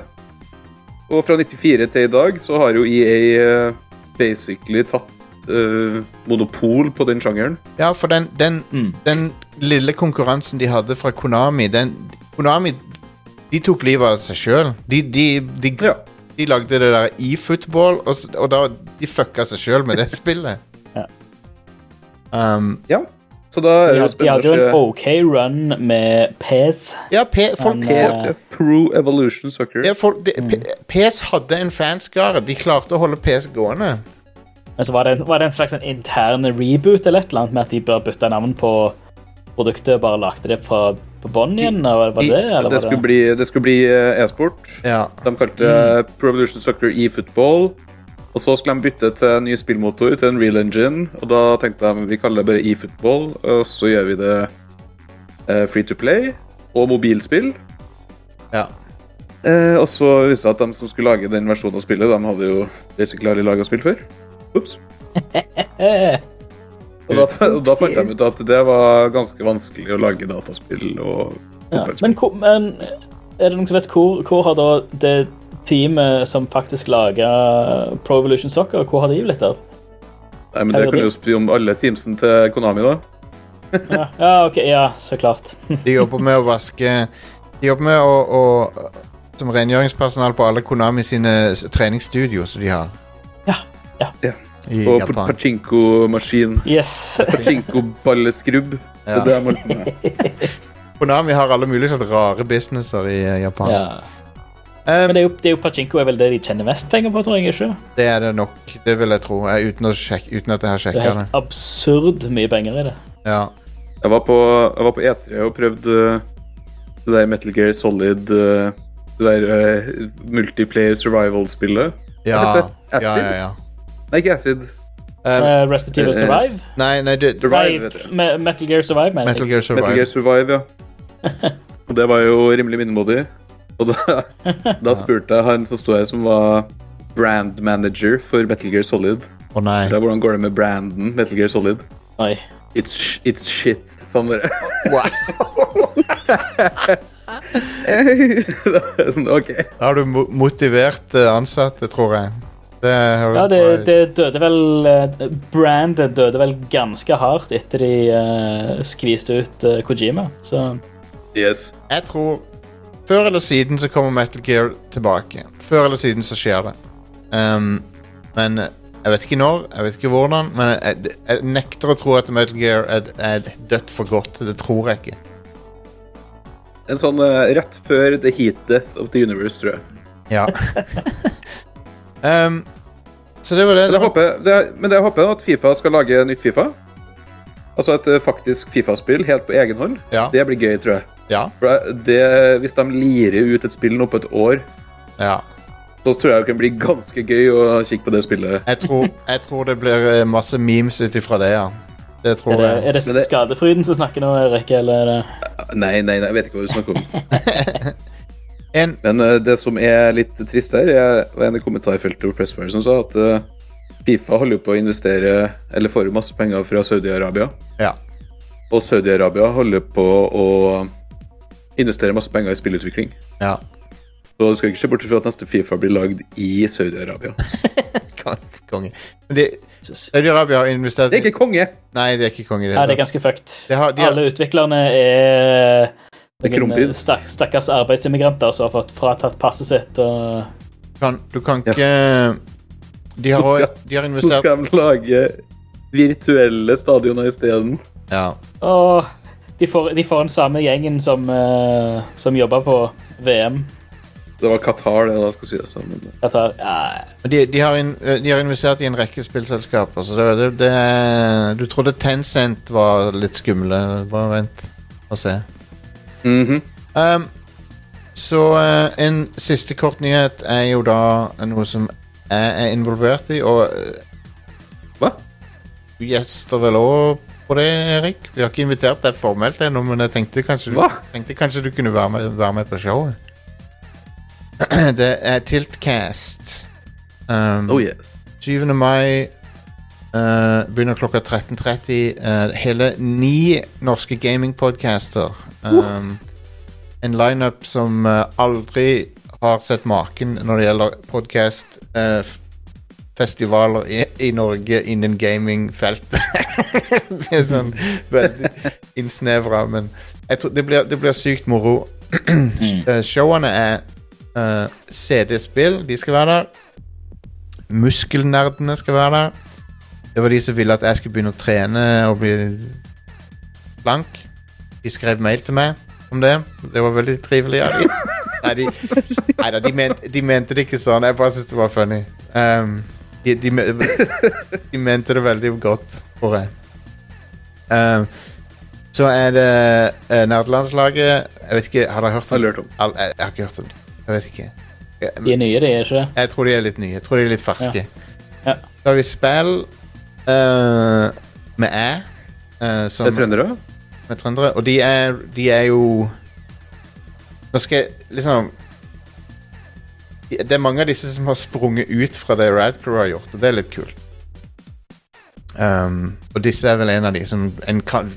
[SPEAKER 6] og fra 94 til i dag så har jo EA eh, basically tatt eh, monopol på den sjangeren.
[SPEAKER 3] Ja, for den, den,
[SPEAKER 5] Mm.
[SPEAKER 3] den lille konkurransen de hadde fra Konami den, Konami de tok livet av seg sjøl. De, de, de,
[SPEAKER 6] Ja.
[SPEAKER 3] de lagde det der e-football, og, s- og da, de fucka seg sjøl med
[SPEAKER 6] <laughs>
[SPEAKER 3] det spillet.
[SPEAKER 5] Ja.
[SPEAKER 3] um,
[SPEAKER 6] ja. Så da
[SPEAKER 5] Så de
[SPEAKER 6] er det jo
[SPEAKER 5] hadde- de hadde jo en
[SPEAKER 6] spennende å se.
[SPEAKER 5] OK run med PES.
[SPEAKER 3] ja, P, folk,
[SPEAKER 5] Men,
[SPEAKER 6] PS, ja. Pro Evolution Soccer.
[SPEAKER 3] ja, folk de, P, PS hadde en fanskare. De klarte å holde PS gående.
[SPEAKER 5] Men så var det, en- var det en slags en intern reboot eller et eller annet med at de bare bytta navn på produktet og bare lagde det fra, på bånn igjen? Eller var
[SPEAKER 3] i-
[SPEAKER 5] det det? Eller
[SPEAKER 6] Det
[SPEAKER 5] var det?
[SPEAKER 6] skulle bli, det skulle bli eh, e-sport.
[SPEAKER 3] Ja,
[SPEAKER 6] De kalte det Pro Evolution Soccer eFootball. Og så skulle de bytte til en ny spillmotor, til en real engine. Og da tenkte de vi kaller det bare eFootball, og så gjør vi det eh, free to play og mobilspill.
[SPEAKER 3] ja.
[SPEAKER 6] Eh, og så viste det seg at de som skulle lage den versjonen av spillet, de hadde jo basically aldri laga spill før. Ups.
[SPEAKER 5] Eh,
[SPEAKER 6] Og da, og da fant de ut at det var ganske vanskelig å lage dataspill og
[SPEAKER 5] ja.
[SPEAKER 6] fotballspill.
[SPEAKER 5] men, hvor- men er det noen som vet hvor, hvor har da det teamet som faktisk laga Pro Evolution Soccer, hvor har de blitt av?
[SPEAKER 6] Nei, men det kan du jo spy om alle teamsen til Konami, da.
[SPEAKER 5] Ja, ja, ok, ja, så klart. <laughs>
[SPEAKER 3] De jobber med å vaske De jobber med å, å som rengjøringspersonal på alle Konami sine s- treningsstudio som de har i
[SPEAKER 6] Og pa-
[SPEAKER 3] Japan.
[SPEAKER 6] pachinko-maskin.
[SPEAKER 5] Yes.
[SPEAKER 6] Pachinko-balleskrubb. Det
[SPEAKER 3] Ja.
[SPEAKER 6] er det jeg må holde på med.
[SPEAKER 3] Konami har alle mulige slags rare businesser i eh, Japan.
[SPEAKER 5] Ja.
[SPEAKER 3] Ehm,
[SPEAKER 5] Men det er, jo, det er jo Pachinko er vel det de tjener mest penger på, tror jeg. ikke?
[SPEAKER 3] det er det nok, det vil jeg tro, eh, uten, å sjekke, uten at jeg har
[SPEAKER 5] Det er
[SPEAKER 3] sjekka det.
[SPEAKER 5] helt absurd mye penger i det.
[SPEAKER 3] Ja.
[SPEAKER 6] Jeg var på, jeg var på E3 og prøvde eh, det der Metal Gear Solid eh, Det der eh, multiplayer survival-spillet.
[SPEAKER 3] Ja,
[SPEAKER 6] Hva heter det?
[SPEAKER 3] ja, ja,
[SPEAKER 6] Acid?
[SPEAKER 3] ja.
[SPEAKER 6] Nei, ikke Acid.
[SPEAKER 3] Ehm,
[SPEAKER 5] Uh, Restitive
[SPEAKER 6] eh,
[SPEAKER 5] Survive?
[SPEAKER 3] nei, nei, det,
[SPEAKER 6] Survive,
[SPEAKER 5] Nei,
[SPEAKER 6] vet du.
[SPEAKER 5] Me- Metal Gear Survive, mener
[SPEAKER 3] Metal
[SPEAKER 5] jeg.
[SPEAKER 3] Gear
[SPEAKER 6] Metal Gear
[SPEAKER 3] Survive.
[SPEAKER 6] Survive, ja. Og det var jo rimelig middelmådig. Og da, da spurte jeg han som sto her, som var brand manager for Metal Gear Solid.
[SPEAKER 3] Å nei.
[SPEAKER 6] Da, hvordan går det med branden Metal Gear Solid?
[SPEAKER 5] Oi.
[SPEAKER 6] It's, sh- it's shit. Sånn bare. <laughs> Da var jeg sånn, OK.
[SPEAKER 3] Da har du mo motivert eh, ansatte, tror jeg. Det høres
[SPEAKER 5] Ja, det,
[SPEAKER 3] bra ut.
[SPEAKER 5] det døde vel eh, Brandet døde vel ganske hardt etter de eh, skviste ut eh, Kojima. Så
[SPEAKER 6] Yes.
[SPEAKER 3] Jeg tror Før eller siden så kommer Metal Gear tilbake. Før eller siden så skjer det. Ehm, men eh, jeg vet ikke når, jeg vet ikke hvordan, men jeg, jeg, jeg nekter å tro at Metal Gear er, er dødt for godt. Det tror jeg ikke.
[SPEAKER 6] En sånn eh, rett før The Heat Death of the Universe, tror jeg.
[SPEAKER 3] Ja. <laughs> Ehm, så det var det.
[SPEAKER 6] Men
[SPEAKER 3] det
[SPEAKER 6] jeg
[SPEAKER 3] var,
[SPEAKER 6] håper, det er, men jeg håper at Fifa skal lage nytt Fifa. Altså et eh, faktisk Fifa-spill helt på egen hånd.
[SPEAKER 3] Ja.
[SPEAKER 6] Det blir gøy, tror jeg.
[SPEAKER 3] ja,
[SPEAKER 6] For jeg- det, hvis de lirer ut et spill nå på et år,
[SPEAKER 3] ja.
[SPEAKER 6] så tror jeg det kan bli ganske gøy å kikke på det spillet.
[SPEAKER 3] Jeg, tror, jeg tror det blir eh, masse memes ut ifra det, ja. Det tror
[SPEAKER 5] er det,
[SPEAKER 3] jeg.
[SPEAKER 5] er det
[SPEAKER 6] Men det-
[SPEAKER 5] skadefryden som snakker nå, Erik? Eller er det
[SPEAKER 6] Nei, nei, nei, jeg vet ikke hva du snakker om. <laughs>
[SPEAKER 3] En,
[SPEAKER 6] Men eh, det som er litt trist her, er var en i kommentarfeltet på Pressfire som sa at eh, Fifa holder jo på å investere, eller får jo masse penger fra Saudi-Arabia.
[SPEAKER 3] ja.
[SPEAKER 6] Og Saudi-Arabia holder på å investere masse penger i spillutvikling.
[SPEAKER 3] ja.
[SPEAKER 6] Så du skal ikke se bort fra at neste Fifa blir lagd i Saudi-Arabia.
[SPEAKER 3] Kong- Konge. Men de-
[SPEAKER 5] Jesus.
[SPEAKER 3] Saudi-Arabia har investert
[SPEAKER 6] <laughs> Det er ikke konge!
[SPEAKER 3] Nei, det er ikke konge. i
[SPEAKER 5] Nei, det er
[SPEAKER 3] hele tatt.
[SPEAKER 5] ganske fucked.
[SPEAKER 3] De har- de har-
[SPEAKER 5] Alle utviklerne er
[SPEAKER 6] Det er
[SPEAKER 5] noen
[SPEAKER 6] krumpyd.
[SPEAKER 5] stak, stakkars arbeidsimmigranter som har fått fratatt passet sitt. Og...
[SPEAKER 3] kan, du kan
[SPEAKER 6] Ja.
[SPEAKER 3] ikke De har, også- de har
[SPEAKER 6] Så
[SPEAKER 3] investert
[SPEAKER 6] skal de lage virtuelle stadioner isteden.
[SPEAKER 3] ja.
[SPEAKER 5] Åh, de, får, de får den samme gjengen som, eh, som jobber på VM.
[SPEAKER 6] Det var Qatar, det da, skal sies. Men
[SPEAKER 5] Jeg tar, ja,
[SPEAKER 3] Men de, de, har in, eh, de har investert i en rekke spillselskaper, så det, det, det er- Du trodde Tencent var litt skumle. Bare vent og se.
[SPEAKER 6] Mhm.
[SPEAKER 3] Ehm, så eh, en siste kort nyhet er jo da noe som jeg er involvert i, og eh,
[SPEAKER 6] Hva?
[SPEAKER 3] du gjester vel òg på det, Erik? Vi har ikke invitert deg formelt ennå, men jeg tenkte kanskje, du-
[SPEAKER 6] Hva?
[SPEAKER 3] tenkte kanskje du kunne være med, være med på showet. <clears throat> Det er Tiltcast. Um,
[SPEAKER 6] Oh yes.
[SPEAKER 3] 7. mai eh, begynner klokka 13.30. eh, hele ni norske gamingpodcaster. Um, En lineup som eh, aldri har sett maken når det gjelder podcast eh, f- festivaler i, i Norge innen gamingfeltet. <laughs> det er sånn veldig innsnevra, men jeg tror det blir, det blir sykt moro. <clears throat> Eh, Showene er eh, CD-spill, de skal være der. Muskelnerdene skal være der. Det var de som ville at jeg skulle begynne å trene og bli slank. De skrev mail til meg om det. Det var veldig trivelig av dem. Nei, de, neida, de, mente, de mente det ikke sånn. Jeg bare syntes det var funny. Ehm, de, de, me- de mente det veldig godt, tror jeg. Ehm, så er det eh, nerdelandslaget. Jeg vet ikke, har dere hørt
[SPEAKER 6] Har
[SPEAKER 3] om
[SPEAKER 6] du hørt om?
[SPEAKER 3] Al- Jeg, jeg har ikke hørt om dem. Jeg vet ikke. Jeg-
[SPEAKER 5] de er nye, de er ikke det?
[SPEAKER 3] jeg tror de er litt nye. Jeg tror de er litt ferske.
[SPEAKER 5] Ja.
[SPEAKER 3] Så har vi spill eh, med æ. eh, som-
[SPEAKER 6] Det er trøndere?
[SPEAKER 3] med trøndere. Og de er, de er jo Nå skal jeg liksom Det er mange av disse som har sprunget ut fra det Radcrow har gjort, og det er litt kult. Um, og disse er vel en av de som en kan,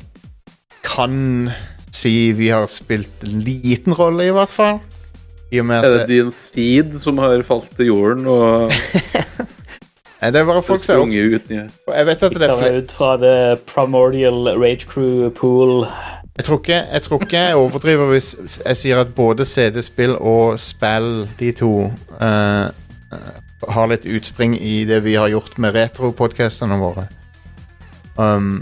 [SPEAKER 3] kan si vi har spilt en liten rolle, i hvert fall. I og med at
[SPEAKER 6] Er det Dean Steed som har falt til jorden <laughs> og
[SPEAKER 3] Nei, det er bare folk som er opp-
[SPEAKER 6] sprunget ut? i-
[SPEAKER 3] Jeg vet at det er
[SPEAKER 5] Tar
[SPEAKER 3] flere
[SPEAKER 5] ut fra The Primordial Rage Crew Pool
[SPEAKER 3] Jeg tror ikke jeg, tror ikke jeg overdriver hvis jeg sier at både CD-spill og spill, de to, eh, eh, har litt utspring i det vi har gjort med retro-podcastene våre. Um,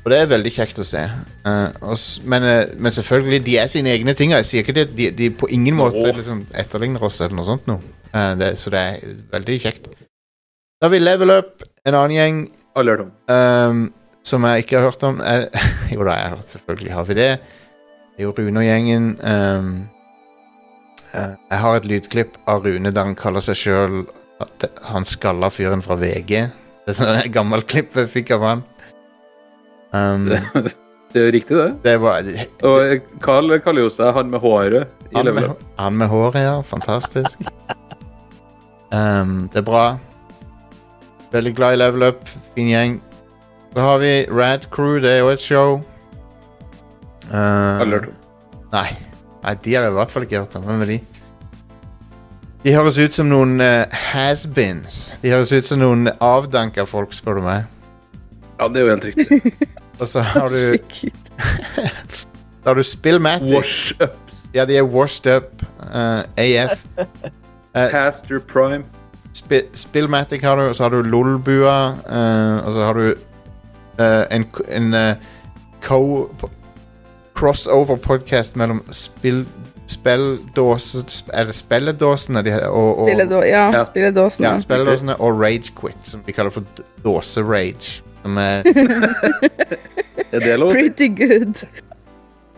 [SPEAKER 3] og det er veldig kjekt å se. Eh, og s- men, eh, men selvfølgelig, de er sine egne ting. og Jeg sier ikke det, de, de på ingen måte
[SPEAKER 6] Åh.
[SPEAKER 3] liksom, etterligner oss eller noe sånt nå. Eh, det, så det er veldig kjekt. Da har vi Level Up, en annen gjeng
[SPEAKER 6] Alle hørt om.
[SPEAKER 3] Ehm, som jeg ikke har hørt om. Eh, <laughs> jo da, jeg har, selvfølgelig har vi det. Det er jo Rune og gjengen. ehm, eh, jeg har et lydklipp av Rune der han kaller seg sjøl Han skalla fyren fra VG. Det er sånn et gammelt klipp jeg fikk av han. Ehm,
[SPEAKER 6] Det er jo riktig, det.
[SPEAKER 3] det var
[SPEAKER 6] Og Carl kaller jo seg han med håret i
[SPEAKER 3] han med,
[SPEAKER 6] level up.
[SPEAKER 3] han med håret, ja. Fantastisk.
[SPEAKER 6] <laughs>
[SPEAKER 3] Ehm, det er bra. Veldig glad i level up. Fin gjeng. Så har vi Rad Crew. Det er jo et show. Ehm,
[SPEAKER 6] Alle hørt om.
[SPEAKER 3] Nei. Nei, de har jeg i hvert fall ikke hørt om. Hvem er de? De høres ut som noen eh, has-beens. De høres ut som noen avdanka folk, spør du meg.
[SPEAKER 6] Ja, det er jo helt riktig.
[SPEAKER 3] Og så har
[SPEAKER 6] <laughs>
[SPEAKER 3] du,
[SPEAKER 4] Shit.
[SPEAKER 3] da har du Spillmatic.
[SPEAKER 6] Wash-ups.
[SPEAKER 3] Ja, de er washed up. eh,
[SPEAKER 6] <laughs>
[SPEAKER 3] AF. Uh,
[SPEAKER 6] Past your prime.
[SPEAKER 3] Spi- Spillmatic har du, og så har du Lolbua, eh, og så har du eh, en, k- en eh, co crossover podcast mellom spill spilledåse- sp- er det spilledåsene de, he- og, og,
[SPEAKER 4] Spilledå ja, sånn
[SPEAKER 6] Ja.
[SPEAKER 4] spilledåsen.
[SPEAKER 3] ja, spilledåsene og Rage Quit, som de kaller for d- dåse-rage. som eh, er-
[SPEAKER 6] Er det lov?
[SPEAKER 4] Pretty good.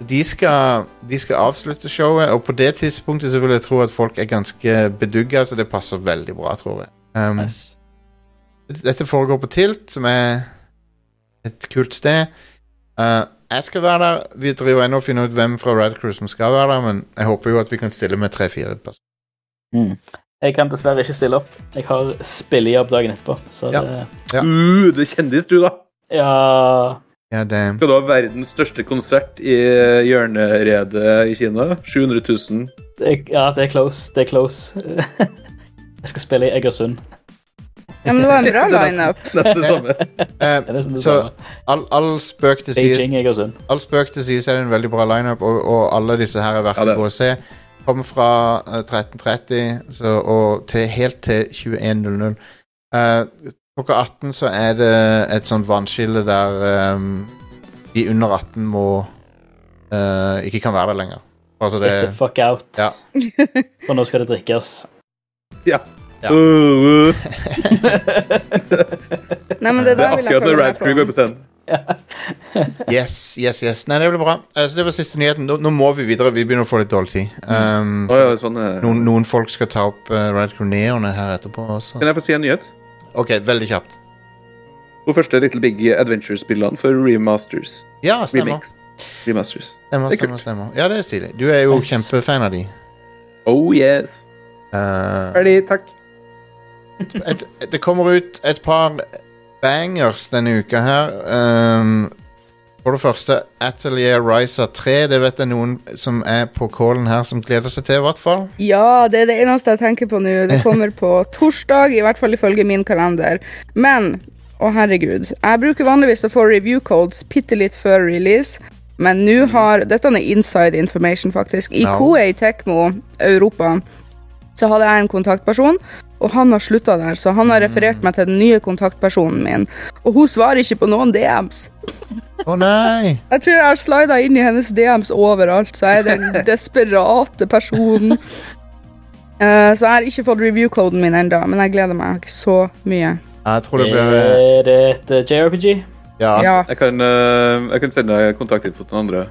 [SPEAKER 3] De skal, de skal avslutte showet, og på det tidspunktet så vil jeg tro at folk er ganske bedugga, så det passer veldig bra, tror jeg. Um,
[SPEAKER 5] Nice.
[SPEAKER 3] Dette foregår på Tilt, som er et kult sted. Eh, jeg skal være der. Vi driver ennå og finner ut hvem fra Red Crew som skal være der, men jeg håper jo at vi kan stille med tre-fire personer.
[SPEAKER 5] Mm. Jeg kan dessverre ikke stille opp. Jeg har spillejobb dagen etterpå. Så
[SPEAKER 3] Ja.
[SPEAKER 5] det,
[SPEAKER 3] Ja.
[SPEAKER 6] Uh, det er kjendis, du, da.
[SPEAKER 5] ja
[SPEAKER 3] Ja, det,
[SPEAKER 6] Skal du ha verdens største konsert i eh, hjørneredet i Kina? 700 000.
[SPEAKER 5] det, ja, det er close. Det er <laughs> close. jeg skal spille i Egersund.
[SPEAKER 4] Ja, men det var en bra
[SPEAKER 6] Det er nesten-
[SPEAKER 4] lineup.
[SPEAKER 6] Nesten det samme.
[SPEAKER 3] eh,
[SPEAKER 5] Det er nesten det
[SPEAKER 3] Så-
[SPEAKER 5] samme.
[SPEAKER 3] all, all spøk til sies,
[SPEAKER 5] Beijing, Egersund.
[SPEAKER 3] all spøk til sies er det en veldig bra lineup, og, og alle disse her er verdt
[SPEAKER 6] Ja, det.
[SPEAKER 3] å gå og se. Kommer fra eh, 13.30 så, og til, helt til 21.00. Eh, klokka 18 så er det et sånt vannskille der eh, de under 18 må eh, ikke kan være der lenger. Altså det,
[SPEAKER 5] Get the fuck out.
[SPEAKER 3] Ja.
[SPEAKER 5] <laughs> For nå skal det drikkes.
[SPEAKER 6] Ja.
[SPEAKER 3] <laughs> Ja.
[SPEAKER 6] Uh, uh.
[SPEAKER 4] Nei, men det
[SPEAKER 6] Det
[SPEAKER 4] der
[SPEAKER 6] er
[SPEAKER 4] vil jeg
[SPEAKER 6] akkurat når
[SPEAKER 4] følge
[SPEAKER 6] Rad
[SPEAKER 4] med
[SPEAKER 6] Crew går
[SPEAKER 4] på.
[SPEAKER 6] på scenen.
[SPEAKER 3] <laughs> yes, yes, yes. Nei, det blir bra. Eh, så det var siste nyheten. Nå, nå må vi videre. Vi begynner å få litt dårlig tid. Um,
[SPEAKER 6] Å, ja, sånn, eh.
[SPEAKER 3] noen, noen folk skal ta opp uh, Red Corneoene her etterpå også.
[SPEAKER 6] Kan jeg få si en nyhet?
[SPEAKER 3] Ok, veldig kjapt.
[SPEAKER 6] Hun første Little Big Adventure-spillene for remasters.
[SPEAKER 3] Ja, stemmer.
[SPEAKER 6] Remix. Remasters.
[SPEAKER 3] Stemmer,
[SPEAKER 6] Det er
[SPEAKER 3] stemmer, stemmer. Ja, det er stilig. Du er jo
[SPEAKER 5] Nice.
[SPEAKER 3] kjempefan av de.
[SPEAKER 6] Oh yes.
[SPEAKER 3] Eh,
[SPEAKER 6] Ferdig, takk.
[SPEAKER 3] et, det kommer ut et par bangers denne uka her. Um, for det første Atelier Risa 3. Det vet jeg noen som er på callen her, som gleder seg til, i hvert fall.
[SPEAKER 4] Ja, det er det eneste jeg tenker på nå. Det kommer på torsdag, i hvert fall ifølge min kalender. Men å herregud. Jeg bruker vanligvis å få review codes bitte litt før release, men nå har Dette er inside information, faktisk. I
[SPEAKER 3] Ja.
[SPEAKER 4] Koei Tekmo Europa så hadde jeg en kontaktperson, og han har slutta der, så han har referert meg til den nye kontaktpersonen min, og hun svarer ikke på noen DMs.
[SPEAKER 3] Å nei!
[SPEAKER 4] Jeg tror jeg har slida inn i hennes DMs overalt, så jeg er den desperate personen. Eh, så jeg har ikke fått review-koden min ennå, men jeg gleder meg så mye.
[SPEAKER 3] Jeg tror det blir eh,
[SPEAKER 5] Er det et eh, JRPG?
[SPEAKER 3] Ja,
[SPEAKER 4] Ja,
[SPEAKER 6] Jeg kan, eh, jeg kan sende deg kontaktinfo til den andre.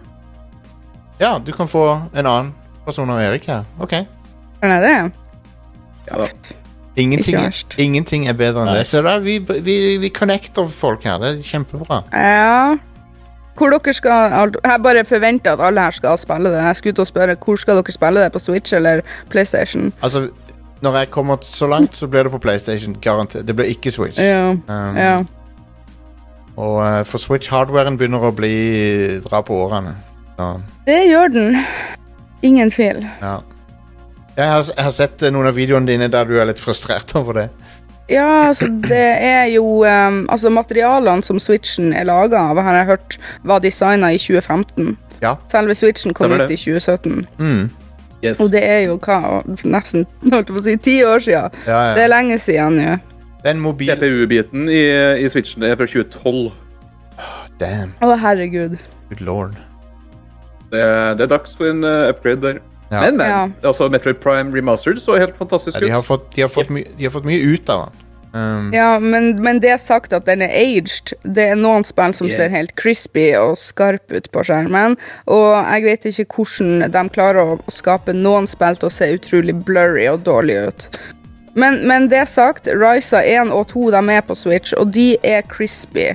[SPEAKER 3] Ja, du kan få en annen person av Erik her. Ok.
[SPEAKER 4] er det det?
[SPEAKER 6] Ja da.
[SPEAKER 3] Ingenting,
[SPEAKER 4] Ikke verst.
[SPEAKER 3] ingenting er bedre enn det.
[SPEAKER 5] Nice.
[SPEAKER 3] Se der, vi, vi, vi connecter folk her. Det er kjempebra.
[SPEAKER 4] Ja. Hvor dere skal alt- Jeg bare forventer at alle her skal spille det. Jeg skulle til å spørre hvor skal dere spille det, på Switch eller PlayStation?
[SPEAKER 3] Altså, når jeg kommer så langt, så blir det på PlayStation. Garantert. Det blir ikke Switch.
[SPEAKER 4] Ja,
[SPEAKER 3] Um,
[SPEAKER 4] ja.
[SPEAKER 3] Og eh, for Switch-hardwaren begynner å bli dra på årene. Ja.
[SPEAKER 4] Det gjør den. Ingen tvil.
[SPEAKER 3] ja. Jeg, har, jeg har sett eh, noen av videoene dine der du er litt frustrert <laughs> over det.
[SPEAKER 4] Ja, altså det er jo ehm, Altså materialene som Switchen er laga av, har jeg hørt var designa i 2015.
[SPEAKER 3] Ja.
[SPEAKER 4] Selve Switchen kom
[SPEAKER 6] Stemmer
[SPEAKER 4] ut i 2017,
[SPEAKER 7] Yes.
[SPEAKER 4] og det er jo hva, nesten holdt jeg på å si, ti år siden.
[SPEAKER 3] Ja,
[SPEAKER 4] Det
[SPEAKER 3] ja.
[SPEAKER 4] er lenge siden nå.
[SPEAKER 3] Den mobil...
[SPEAKER 6] CPU-biten i, i Switchen er fra 2012.
[SPEAKER 3] Damn,
[SPEAKER 4] Å, herregud.
[SPEAKER 3] good lord.
[SPEAKER 6] Det er, det er dags for en eh, upgrade der.
[SPEAKER 3] Ja.
[SPEAKER 6] Men, men.
[SPEAKER 4] Ja.
[SPEAKER 6] Altså, Metroid Prime Remastered så helt fantastisk
[SPEAKER 3] Ja,
[SPEAKER 6] ut.
[SPEAKER 3] de, har fått, de, har fått my, de har fått mye ut av den. Um,
[SPEAKER 4] Ja, men, men det sagt at den er aged, det er noen spill som
[SPEAKER 7] Yes.
[SPEAKER 4] ser helt crispy og skarp ut på skjermen, og jeg vet ikke hvordan de klarer å skape noen spill til å se utrolig blurry og dårlig ut. Men, men det sagt, Ryza 1 og 2 de er på Switch, og de er crispy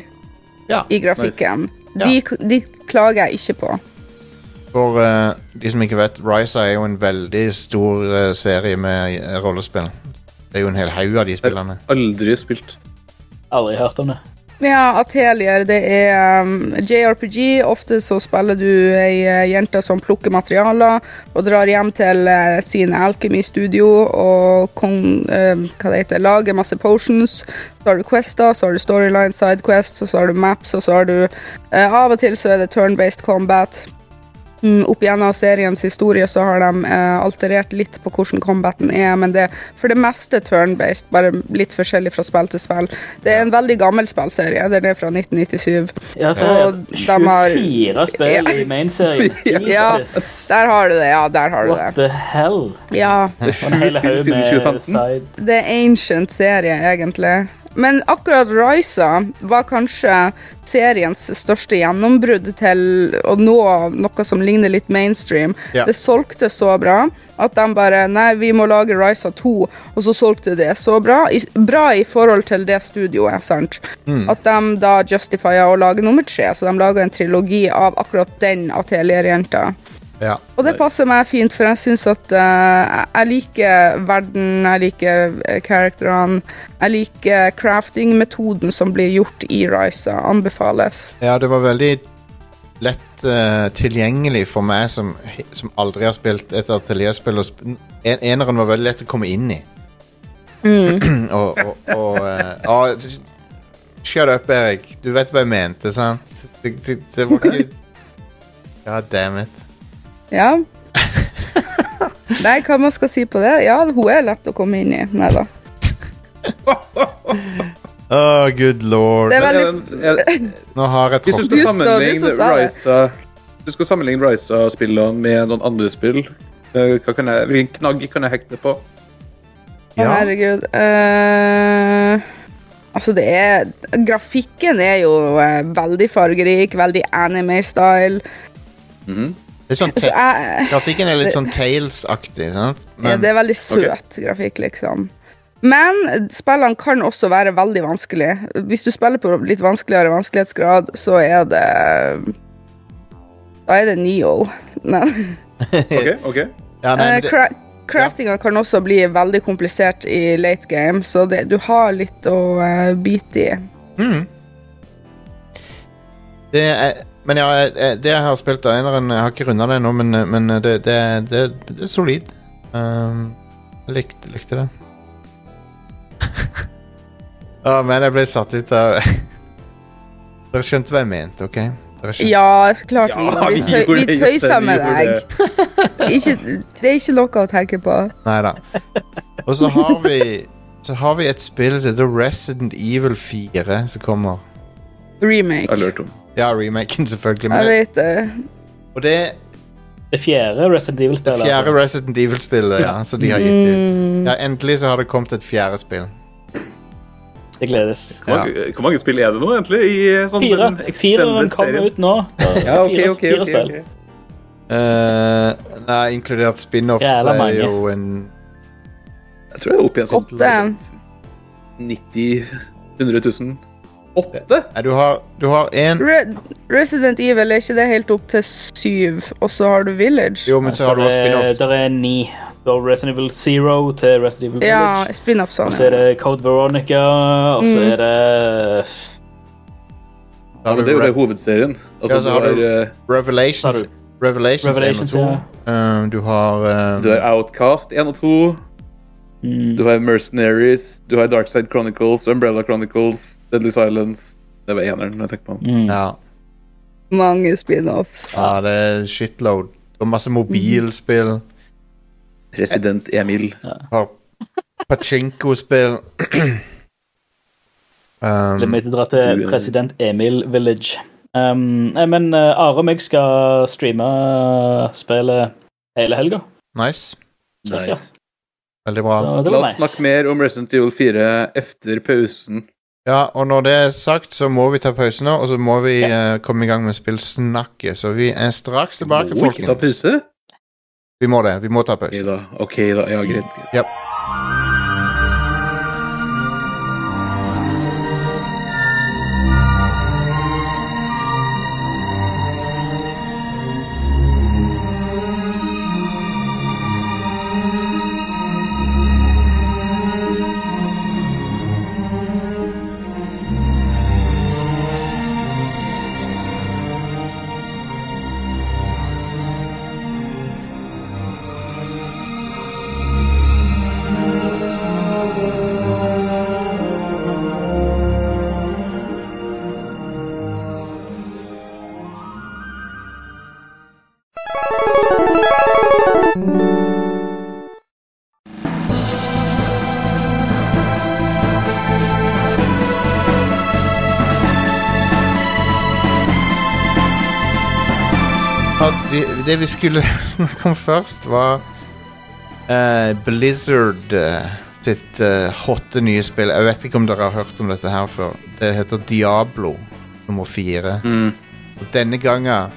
[SPEAKER 3] Ja,
[SPEAKER 4] i grafikken.
[SPEAKER 3] Ja.
[SPEAKER 4] De, de klager jeg ikke på.
[SPEAKER 3] For eh, de som ikke vet, Ryza er jo en veldig stor eh, serie med eh, rollespill. Det er jo en hel haug av de spillene.
[SPEAKER 6] Aldri spilt.
[SPEAKER 5] Aldri hørt om det.
[SPEAKER 4] Ja, atelier, det er um, JRPG. Ofte så spiller du ei eh, jente som plukker materialer og drar hjem til eh, sin alchemy-studio og kon, eh, hva det heter, lager masse potions. Så har du quester, så har du storyline, sidequests, og så har du maps, og så har du eh, Av og til så er det turn-based combat. Mm, opp gjennom seriens historie så har de eh, alterert litt på hvordan combaten er, men det er for det meste turn-based, bare litt forskjellig fra spill til spill. Det er en veldig gammel spillserie, den er fra 1997.
[SPEAKER 5] Ja, så
[SPEAKER 4] Og de har-
[SPEAKER 5] 24 spill i <laughs> mainserien.
[SPEAKER 4] Ja.
[SPEAKER 5] Jesus.
[SPEAKER 4] Der har du det, ja, der har du
[SPEAKER 5] What
[SPEAKER 4] det.
[SPEAKER 5] the hell?
[SPEAKER 4] Ja,
[SPEAKER 5] Det er en hel haug
[SPEAKER 6] spill siden
[SPEAKER 5] med
[SPEAKER 6] 2015.
[SPEAKER 5] side
[SPEAKER 4] det er ancient serie, egentlig. Men akkurat Ryza var kanskje seriens største gjennombrudd til å nå noe som ligner litt mainstream.
[SPEAKER 3] Ja.
[SPEAKER 4] Det solgte så bra at de bare Nei, vi må lage Ryza 2, og så solgte det så bra. I, bra i forhold til det studioet, sant. At de da justifier å lage nummer tre, så de lager en trilogi av akkurat den atelierjenta.
[SPEAKER 3] Ja.
[SPEAKER 4] Og det passer meg fint, for jeg syns at eh, jeg liker verden, jeg liker eh, karakterene, jeg liker crafting-metoden som blir gjort i Ryza. Anbefales.
[SPEAKER 3] ja, det var veldig lett eh, tilgjengelig for meg som, som aldri har spilt et atelierspill. og sp- En, eneren var veldig lett å komme inn i.
[SPEAKER 4] Mm.
[SPEAKER 3] <clears throat> og og, og eh, ja, Shut up, Erik. Du vet hva jeg mente, sant? Det, det, det var
[SPEAKER 4] <laughs>
[SPEAKER 3] ikke God damn it.
[SPEAKER 4] Ja. Nei, hva man skal si på det? Ja, hun er lett å komme inn i. Nei da.
[SPEAKER 3] Oh, good lord.
[SPEAKER 4] Det er
[SPEAKER 6] Men,
[SPEAKER 4] veldig
[SPEAKER 6] eh,
[SPEAKER 4] <laughs>
[SPEAKER 6] eh,
[SPEAKER 3] Nå har jeg
[SPEAKER 6] Hvis du
[SPEAKER 3] tråkket
[SPEAKER 6] skal
[SPEAKER 4] Just da, du
[SPEAKER 6] sammenligne
[SPEAKER 4] som sa det.
[SPEAKER 6] Ryza- hvis du skal sammenligne Ryza-spillene med noen andre spill, eh, hva kan jeg, hvilken knagg kan jeg hekte på?
[SPEAKER 3] <laughs>
[SPEAKER 4] Å, Herregud. Eh, altså, det er Grafikken er jo eh, veldig fargerik, veldig anime-style.
[SPEAKER 3] Litt sånn
[SPEAKER 4] Altså,
[SPEAKER 3] te-
[SPEAKER 4] jeg
[SPEAKER 3] grafikken er litt sånn Tales-aktig, sant?
[SPEAKER 4] Ja,
[SPEAKER 3] Men
[SPEAKER 4] det er veldig
[SPEAKER 6] Ok.
[SPEAKER 4] søt grafikk, liksom. Men spillene kan også være veldig vanskelig. Hvis du spiller på litt vanskeligere vanskelighetsgrad, så er det Da er det Neo. Men,
[SPEAKER 6] Ok, ok.
[SPEAKER 3] ja, nei,
[SPEAKER 4] eh,
[SPEAKER 3] men det,
[SPEAKER 4] cra craftinga kan også bli veldig komplisert i late game, så det, du har litt å eh, bite i.
[SPEAKER 3] Mm. det er, men ja, jeg- jeg- det jeg har spilt av eneren Jeg har ikke runda det ennå, men, men det, det, det, det er solid. Um, jeg likte, likte det. <laughs> Å, Ah, men jeg ble satt ut av <laughs> Dere skjønte hva jeg mente, OK? Dere skjønte.
[SPEAKER 4] Ja, klart vi, vi, tøy,
[SPEAKER 6] gjorde
[SPEAKER 4] vi
[SPEAKER 6] det,
[SPEAKER 4] tøyser
[SPEAKER 6] Jostein, vi
[SPEAKER 4] med
[SPEAKER 6] gjorde
[SPEAKER 4] deg.
[SPEAKER 6] det.
[SPEAKER 4] Ikke, det er ikke noe å tenke på.
[SPEAKER 3] Nei da. Og så har vi Så har vi et spill som heter Resident Evil 4, som kommer.
[SPEAKER 6] Jeg
[SPEAKER 4] Remake.
[SPEAKER 6] lurte om.
[SPEAKER 3] Ja, remaken, selvfølgelig.
[SPEAKER 4] Jeg
[SPEAKER 3] Men,
[SPEAKER 4] vet det.
[SPEAKER 3] og det
[SPEAKER 5] Det fjerde Resident Evil-spillet.
[SPEAKER 3] Det fjerde
[SPEAKER 5] altså.
[SPEAKER 3] Resident Evil-spillet, ja, som de har gitt ut. Ja, endelig så har det kommet et fjerde spill.
[SPEAKER 5] Det gledes.
[SPEAKER 6] Hvor mange- Hvor mange spill er det nå, egentlig? I sånn
[SPEAKER 5] Fire.
[SPEAKER 6] den
[SPEAKER 5] Fireren
[SPEAKER 6] extended
[SPEAKER 5] kommer
[SPEAKER 6] serien?
[SPEAKER 5] ut nå. Da-
[SPEAKER 6] Ja, ok,
[SPEAKER 5] fire-
[SPEAKER 6] ok,
[SPEAKER 5] fire
[SPEAKER 6] ok,
[SPEAKER 5] spill.
[SPEAKER 6] ok.
[SPEAKER 3] Eh, nei, inkludert spin-offs
[SPEAKER 5] Jævla
[SPEAKER 3] er
[SPEAKER 5] mange.
[SPEAKER 3] jo en
[SPEAKER 6] Jeg tror jeg er oppe i en sånn
[SPEAKER 4] Åtte.
[SPEAKER 6] 90 100 000. Åtte?
[SPEAKER 3] Nei, du har, du har en
[SPEAKER 4] Re Resident Evil, er ikke det helt opp til syv, og så har du Village?
[SPEAKER 3] Jo, men så har du også spin-offs.
[SPEAKER 5] Eh, Der er ni. Du har Resident Evil Zero til Resident Evil
[SPEAKER 4] Ja,
[SPEAKER 5] Village. Og så er
[SPEAKER 4] spin-off-sangene.
[SPEAKER 5] det Code Veronica, og så er det
[SPEAKER 3] Da har
[SPEAKER 6] Men det er
[SPEAKER 3] du
[SPEAKER 6] jo det
[SPEAKER 3] Re
[SPEAKER 6] hovedserien. Altså,
[SPEAKER 3] Ja, så har
[SPEAKER 6] du, har,
[SPEAKER 3] du-
[SPEAKER 5] Sa
[SPEAKER 6] eh,
[SPEAKER 5] du?
[SPEAKER 3] Revelations. Revelations,
[SPEAKER 5] Revelations,
[SPEAKER 3] 1 og 2.
[SPEAKER 5] ja.
[SPEAKER 3] Eh, du har eh,
[SPEAKER 6] du har Outcast 1 og 2. Du har Mercenaries, du har Darkside
[SPEAKER 3] Mm.
[SPEAKER 5] Mm.
[SPEAKER 6] Chronicles, Umbrella Chronicles, Deadly Silence Det var eneren jeg tenkte på.
[SPEAKER 3] Ja.
[SPEAKER 4] Mange spin-offs.
[SPEAKER 3] Ja, det er shitload. Og masse mobilspill.
[SPEAKER 5] Mm.
[SPEAKER 6] President Emil.
[SPEAKER 3] Har
[SPEAKER 5] <clears throat>
[SPEAKER 3] Pachinko-spill. um,
[SPEAKER 5] Vi drar
[SPEAKER 6] Mm.
[SPEAKER 5] til president Emil Village. Um, nei, men eh, Are og meg skal streame eh, spillet hele helga.
[SPEAKER 3] nice.
[SPEAKER 6] Nice.
[SPEAKER 3] Veldig bra.
[SPEAKER 5] Så Det
[SPEAKER 6] La
[SPEAKER 5] var
[SPEAKER 6] oss snakke
[SPEAKER 5] nice.
[SPEAKER 6] mer om Resident Evil 4 efter pausen.
[SPEAKER 3] Ja, og når det er sagt, så må vi ta pause nå, og så må vi eh, komme i gang med spillsnakket. Så vi er straks tilbake,
[SPEAKER 6] Må ikke ta
[SPEAKER 3] folkens.
[SPEAKER 6] pause?
[SPEAKER 3] Vi må det. Vi må ta
[SPEAKER 6] Ok
[SPEAKER 3] pause.
[SPEAKER 6] da. ok da, Ja, greit. greit.
[SPEAKER 3] Ja. Ja, vi, det vi skulle <laughs> snakke om først, var eh, Blizzard eh, sitt eh, hotte nye spill. Jeg vet ikke om dere har hørt om dette her før. Det heter Diablo nummer fire.
[SPEAKER 6] Mm.
[SPEAKER 3] Og denne gangen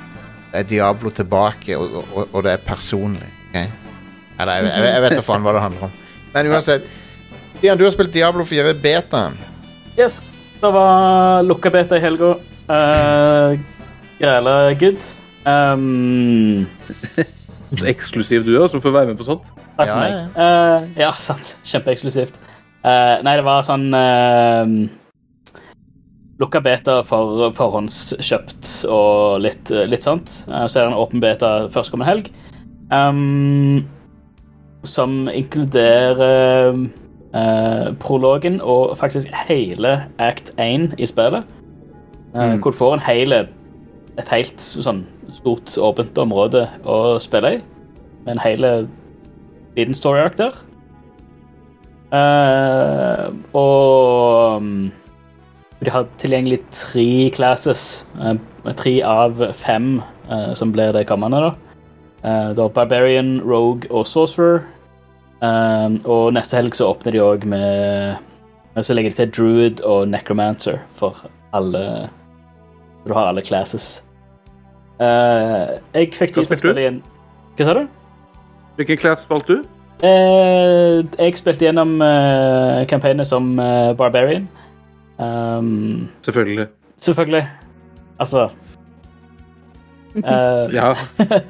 [SPEAKER 3] er Diablo tilbake, og, og, og det er personlig. ok? Eller, jeg, jeg, jeg vet da faen hva det handler om. Men uansett. Stian, du har spilt Diablo 4 beta.
[SPEAKER 5] Yes, det var lukka beta i helga. Uh, Græla good. Um,
[SPEAKER 6] Så eksklusiv du er, som får være med på sånt.
[SPEAKER 5] Takk
[SPEAKER 3] Ja,
[SPEAKER 5] for meg. Eh, ja, sant. Kjempeeksklusivt. Eh, nei, det var sånn eh, Lukka beta for forhåndskjøpt og litt, eh, litt sånt. Eh, så er det en åpen beta førstkommende helg. ehm, som inkluderer eh, prologen og faktisk hele Act 1 i spillet. Eh, Hvor du får en hele, et helt sånn stort, åpent område å spille i. Med en hele liten story arc der. Eh, og mm, de har tilgjengelig tre classes. eh, tre av fem eh, som blir det kommende, da. Eh, det er Barbarian, Rogue og Sorcerer. Eh, og neste helg så åpner de òg med Så legger de til Druid og Necromancer for alle så Du har alle classes. Eh, jeg fikk tid til å
[SPEAKER 6] spilte du?
[SPEAKER 5] spille igjen Hva sa du?
[SPEAKER 6] Hvilken class valgte du?
[SPEAKER 5] Eh, jeg spilte gjennom eh, kampanjen som eh, Barbarian. Um,
[SPEAKER 6] Selvfølgelig.
[SPEAKER 5] selvfølgelig. Altså eh,
[SPEAKER 6] Ja.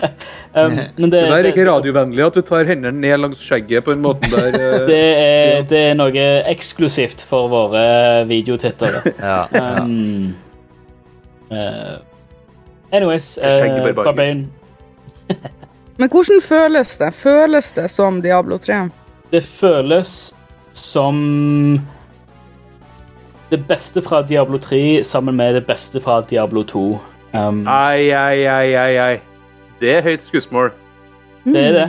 [SPEAKER 5] <laughs> um, men det,
[SPEAKER 6] Det der er ikke
[SPEAKER 5] det-
[SPEAKER 6] radiovennlig at du tar hendene ned langs skjegget på en
[SPEAKER 5] <laughs>
[SPEAKER 6] måte der eh,
[SPEAKER 5] det er, det er noe eksklusivt for våre videotittere.
[SPEAKER 6] <laughs>
[SPEAKER 3] Ja, ja.
[SPEAKER 5] Um, eh, anyways
[SPEAKER 6] er skjegg i
[SPEAKER 5] eh,
[SPEAKER 6] Barbarians.
[SPEAKER 5] Barbarian
[SPEAKER 4] Men hvordan føles det? Føles det som Diablo 3?
[SPEAKER 5] Det føles som det beste fra Diablo 3 sammen med det beste fra Diablo 2.
[SPEAKER 6] Mm.
[SPEAKER 5] Um,
[SPEAKER 6] Ai, ai, ai, ai, ai. Det er høyt skussmål.
[SPEAKER 5] det er det.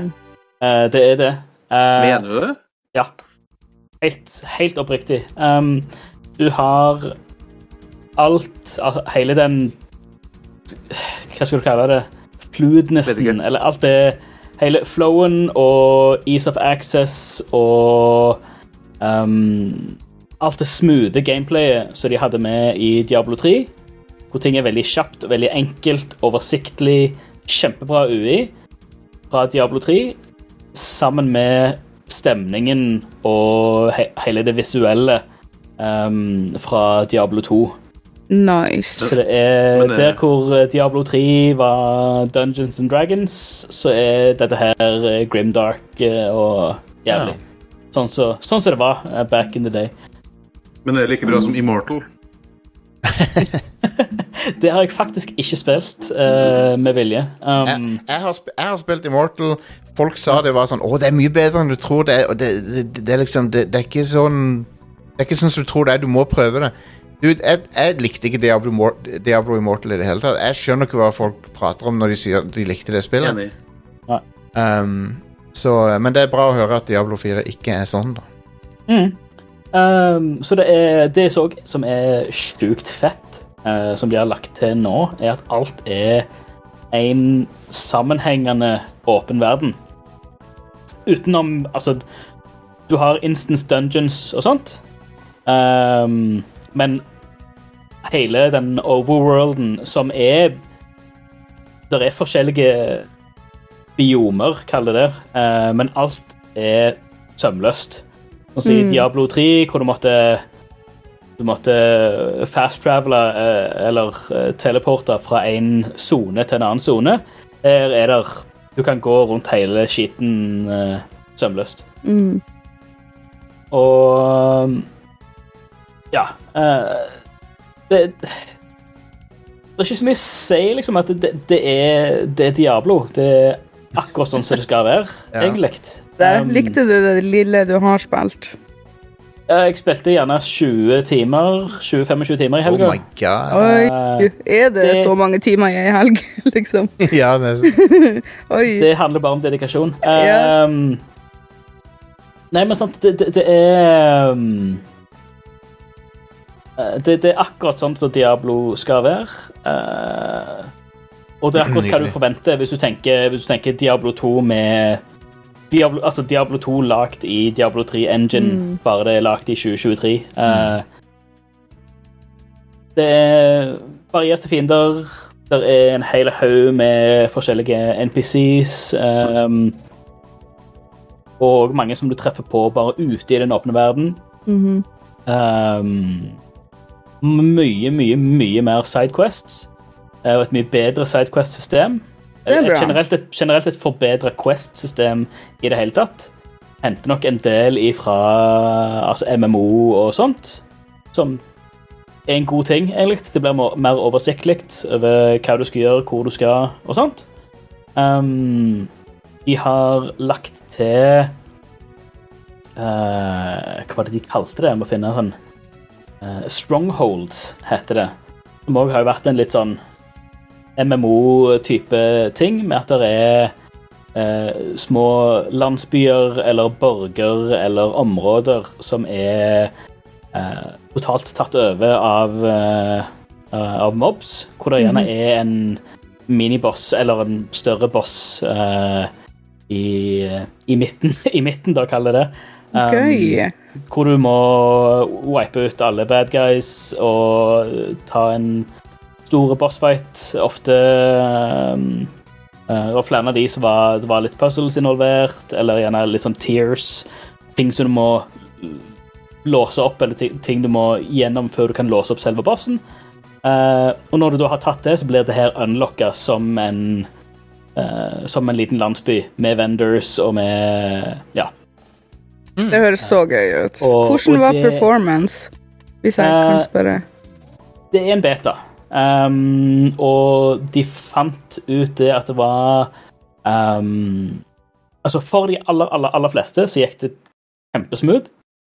[SPEAKER 5] Eh, det er det. Eh,
[SPEAKER 6] Mener du det?
[SPEAKER 5] Ja. Helt, helt oppriktig. Um, du har alt al- Hele den Hva skal du kalle det?
[SPEAKER 6] Vet
[SPEAKER 5] Fluidnessen,
[SPEAKER 6] ikke.
[SPEAKER 5] eller alt det Hele flowen og ease of access og um, Alt det smoothe gameplayet som de hadde med i Diablo 3, hvor ting er veldig kjapt, veldig enkelt, oversiktlig, kjempebra UI fra Diablo 3, sammen med stemningen og he hele det visuelle ehm, fra Diablo 2.
[SPEAKER 4] Nice.
[SPEAKER 5] Så det er
[SPEAKER 6] Men, eh,
[SPEAKER 5] der hvor eh, Diablo 3 var Dungeons and Dragons, så er dette her eh, Grimdark eh, og jævlig. Sånn som så, sånn som det var eh, back in the day.
[SPEAKER 6] Men det er like bra som Immortal.
[SPEAKER 5] Det har jeg faktisk ikke spilt eh, med vilje. Um,
[SPEAKER 3] Jeg, jeg, har sp jeg har spilt Immortal. Folk sa det var sånn Å, det er mye bedre enn du tror det er. Og det, det, det, det er liksom det, det er ikke sånn Det er ikke sånn som du tror det er. Du må prøve det. Dude, jeg, jeg likte ikke Diablo, Mor- Diablo Immortal i det hele tatt. Jeg skjønner ikke hva folk prater om når de sier de likte det spillet.
[SPEAKER 6] Enig.
[SPEAKER 3] Um, så, men det er bra å høre at Diablo 4 ikke er sånn, da.
[SPEAKER 5] Mm. Ehm, så det er det jeg så som er sjukt fett, eh, som de har lagt til nå, er at alt er en sammenhengende åpen verden. Utenom Altså, du har Instance Dungeons og sånt, Ehm, men hele den overworlden som er Det er forskjellige biomer, kaller det, eh, men alt er sømløst. Sånn som i Diablo 3, hvor du måtte du måtte fast-travele eh, eller eh, teleporte fra en sone til en annen sone. Her er der Du kan gå rundt hele skiten eh, sømløst.
[SPEAKER 4] Mm.
[SPEAKER 5] Og Ja. eh, det, det er ikke så mye å si, liksom, at det, det, er, det er Diablo. Det er akkurat sånn som det skal være,
[SPEAKER 3] Ja.
[SPEAKER 5] egentlig.
[SPEAKER 4] Der
[SPEAKER 5] Um,
[SPEAKER 4] likte du det lille du har spilt.
[SPEAKER 5] eh, Jeg spilte gjerne 20 timer, 20-25 timer i
[SPEAKER 3] Oh
[SPEAKER 5] helga.
[SPEAKER 3] my god.
[SPEAKER 4] Oi,
[SPEAKER 5] Eh,
[SPEAKER 4] er det
[SPEAKER 5] det-
[SPEAKER 4] så mange timer jeg er i helg, <laughs> liksom?
[SPEAKER 3] <laughs> ja, det er så-
[SPEAKER 4] Oi.
[SPEAKER 5] Det handler bare om dedikasjon.
[SPEAKER 4] Ja.
[SPEAKER 5] Ehm, nei, men sant, det, det, det er ehm, eh, det, det er akkurat sånn som Diablo skal være. Eh, og det er akkurat hva du
[SPEAKER 3] Nydelig.
[SPEAKER 5] forventer hvis du tenker, hvis du tenker Diablo 2 med Diablo, altså Diablo 2 lagt i Diablo 3 Engine, bare det er lagt i 2023. Eh, Det er varierte fiender. Det er en hel haug med forskjellige NPCs. ehm, og mange som du treffer på bare ute i den åpne verden.
[SPEAKER 4] Mhm.
[SPEAKER 5] Ehm, mye, mye, mye mer sidequests. eh, Og et mye bedre sidequest-system.
[SPEAKER 4] Det er
[SPEAKER 5] Et
[SPEAKER 4] bra.
[SPEAKER 5] Generelt et, generelt et forbedra quest-system i det hele tatt. Henter nok en del ifra altså MMO og sånt, som er en god ting, egentlig. Det blir mer- mer oversiktlig over hva du skal gjøre, hvor du skal, og sånt. Ehm, de har lagt til eh, Hva var det de kalte det? Jeg må finne den. Eh, Strongholds heter det. Som òg har jo vært en litt sånn MMO-type ting, med at det er eh, små landsbyer eller borger eller områder som er eh, totalt tatt over av, eh, eh, av mobs, hvor det gjerne er en miniboss eller en større boss eh, i, i midten, <laughs> i midten da kaller jeg det. Um,
[SPEAKER 4] Gøy.
[SPEAKER 5] hvor du må eh, wipe ut alle bad guys og eh, ta en stor bossfight. Ofte um, eh, Og flere av de som var, det var litt puzzles involvert, eller gjerne litt sånn tears. Ting som du må eh, låse opp, eller ti- ting du må gjennom før du kan låse opp selve bossen. Eh, og når du da har tatt det, så blir det her unlocka som en eh, som en liten landsby med vendors og med ja,
[SPEAKER 4] Det høres så gøy ut.
[SPEAKER 5] Og-
[SPEAKER 4] Hvordan
[SPEAKER 5] og
[SPEAKER 4] var
[SPEAKER 5] det-
[SPEAKER 4] performance, hvis jeg kan
[SPEAKER 5] Eh,
[SPEAKER 4] spørre?
[SPEAKER 5] Det er en beta. Um, og de fant ut det at det var um, Altså, for de aller, aller, aller fleste så gikk det kjempesmooth.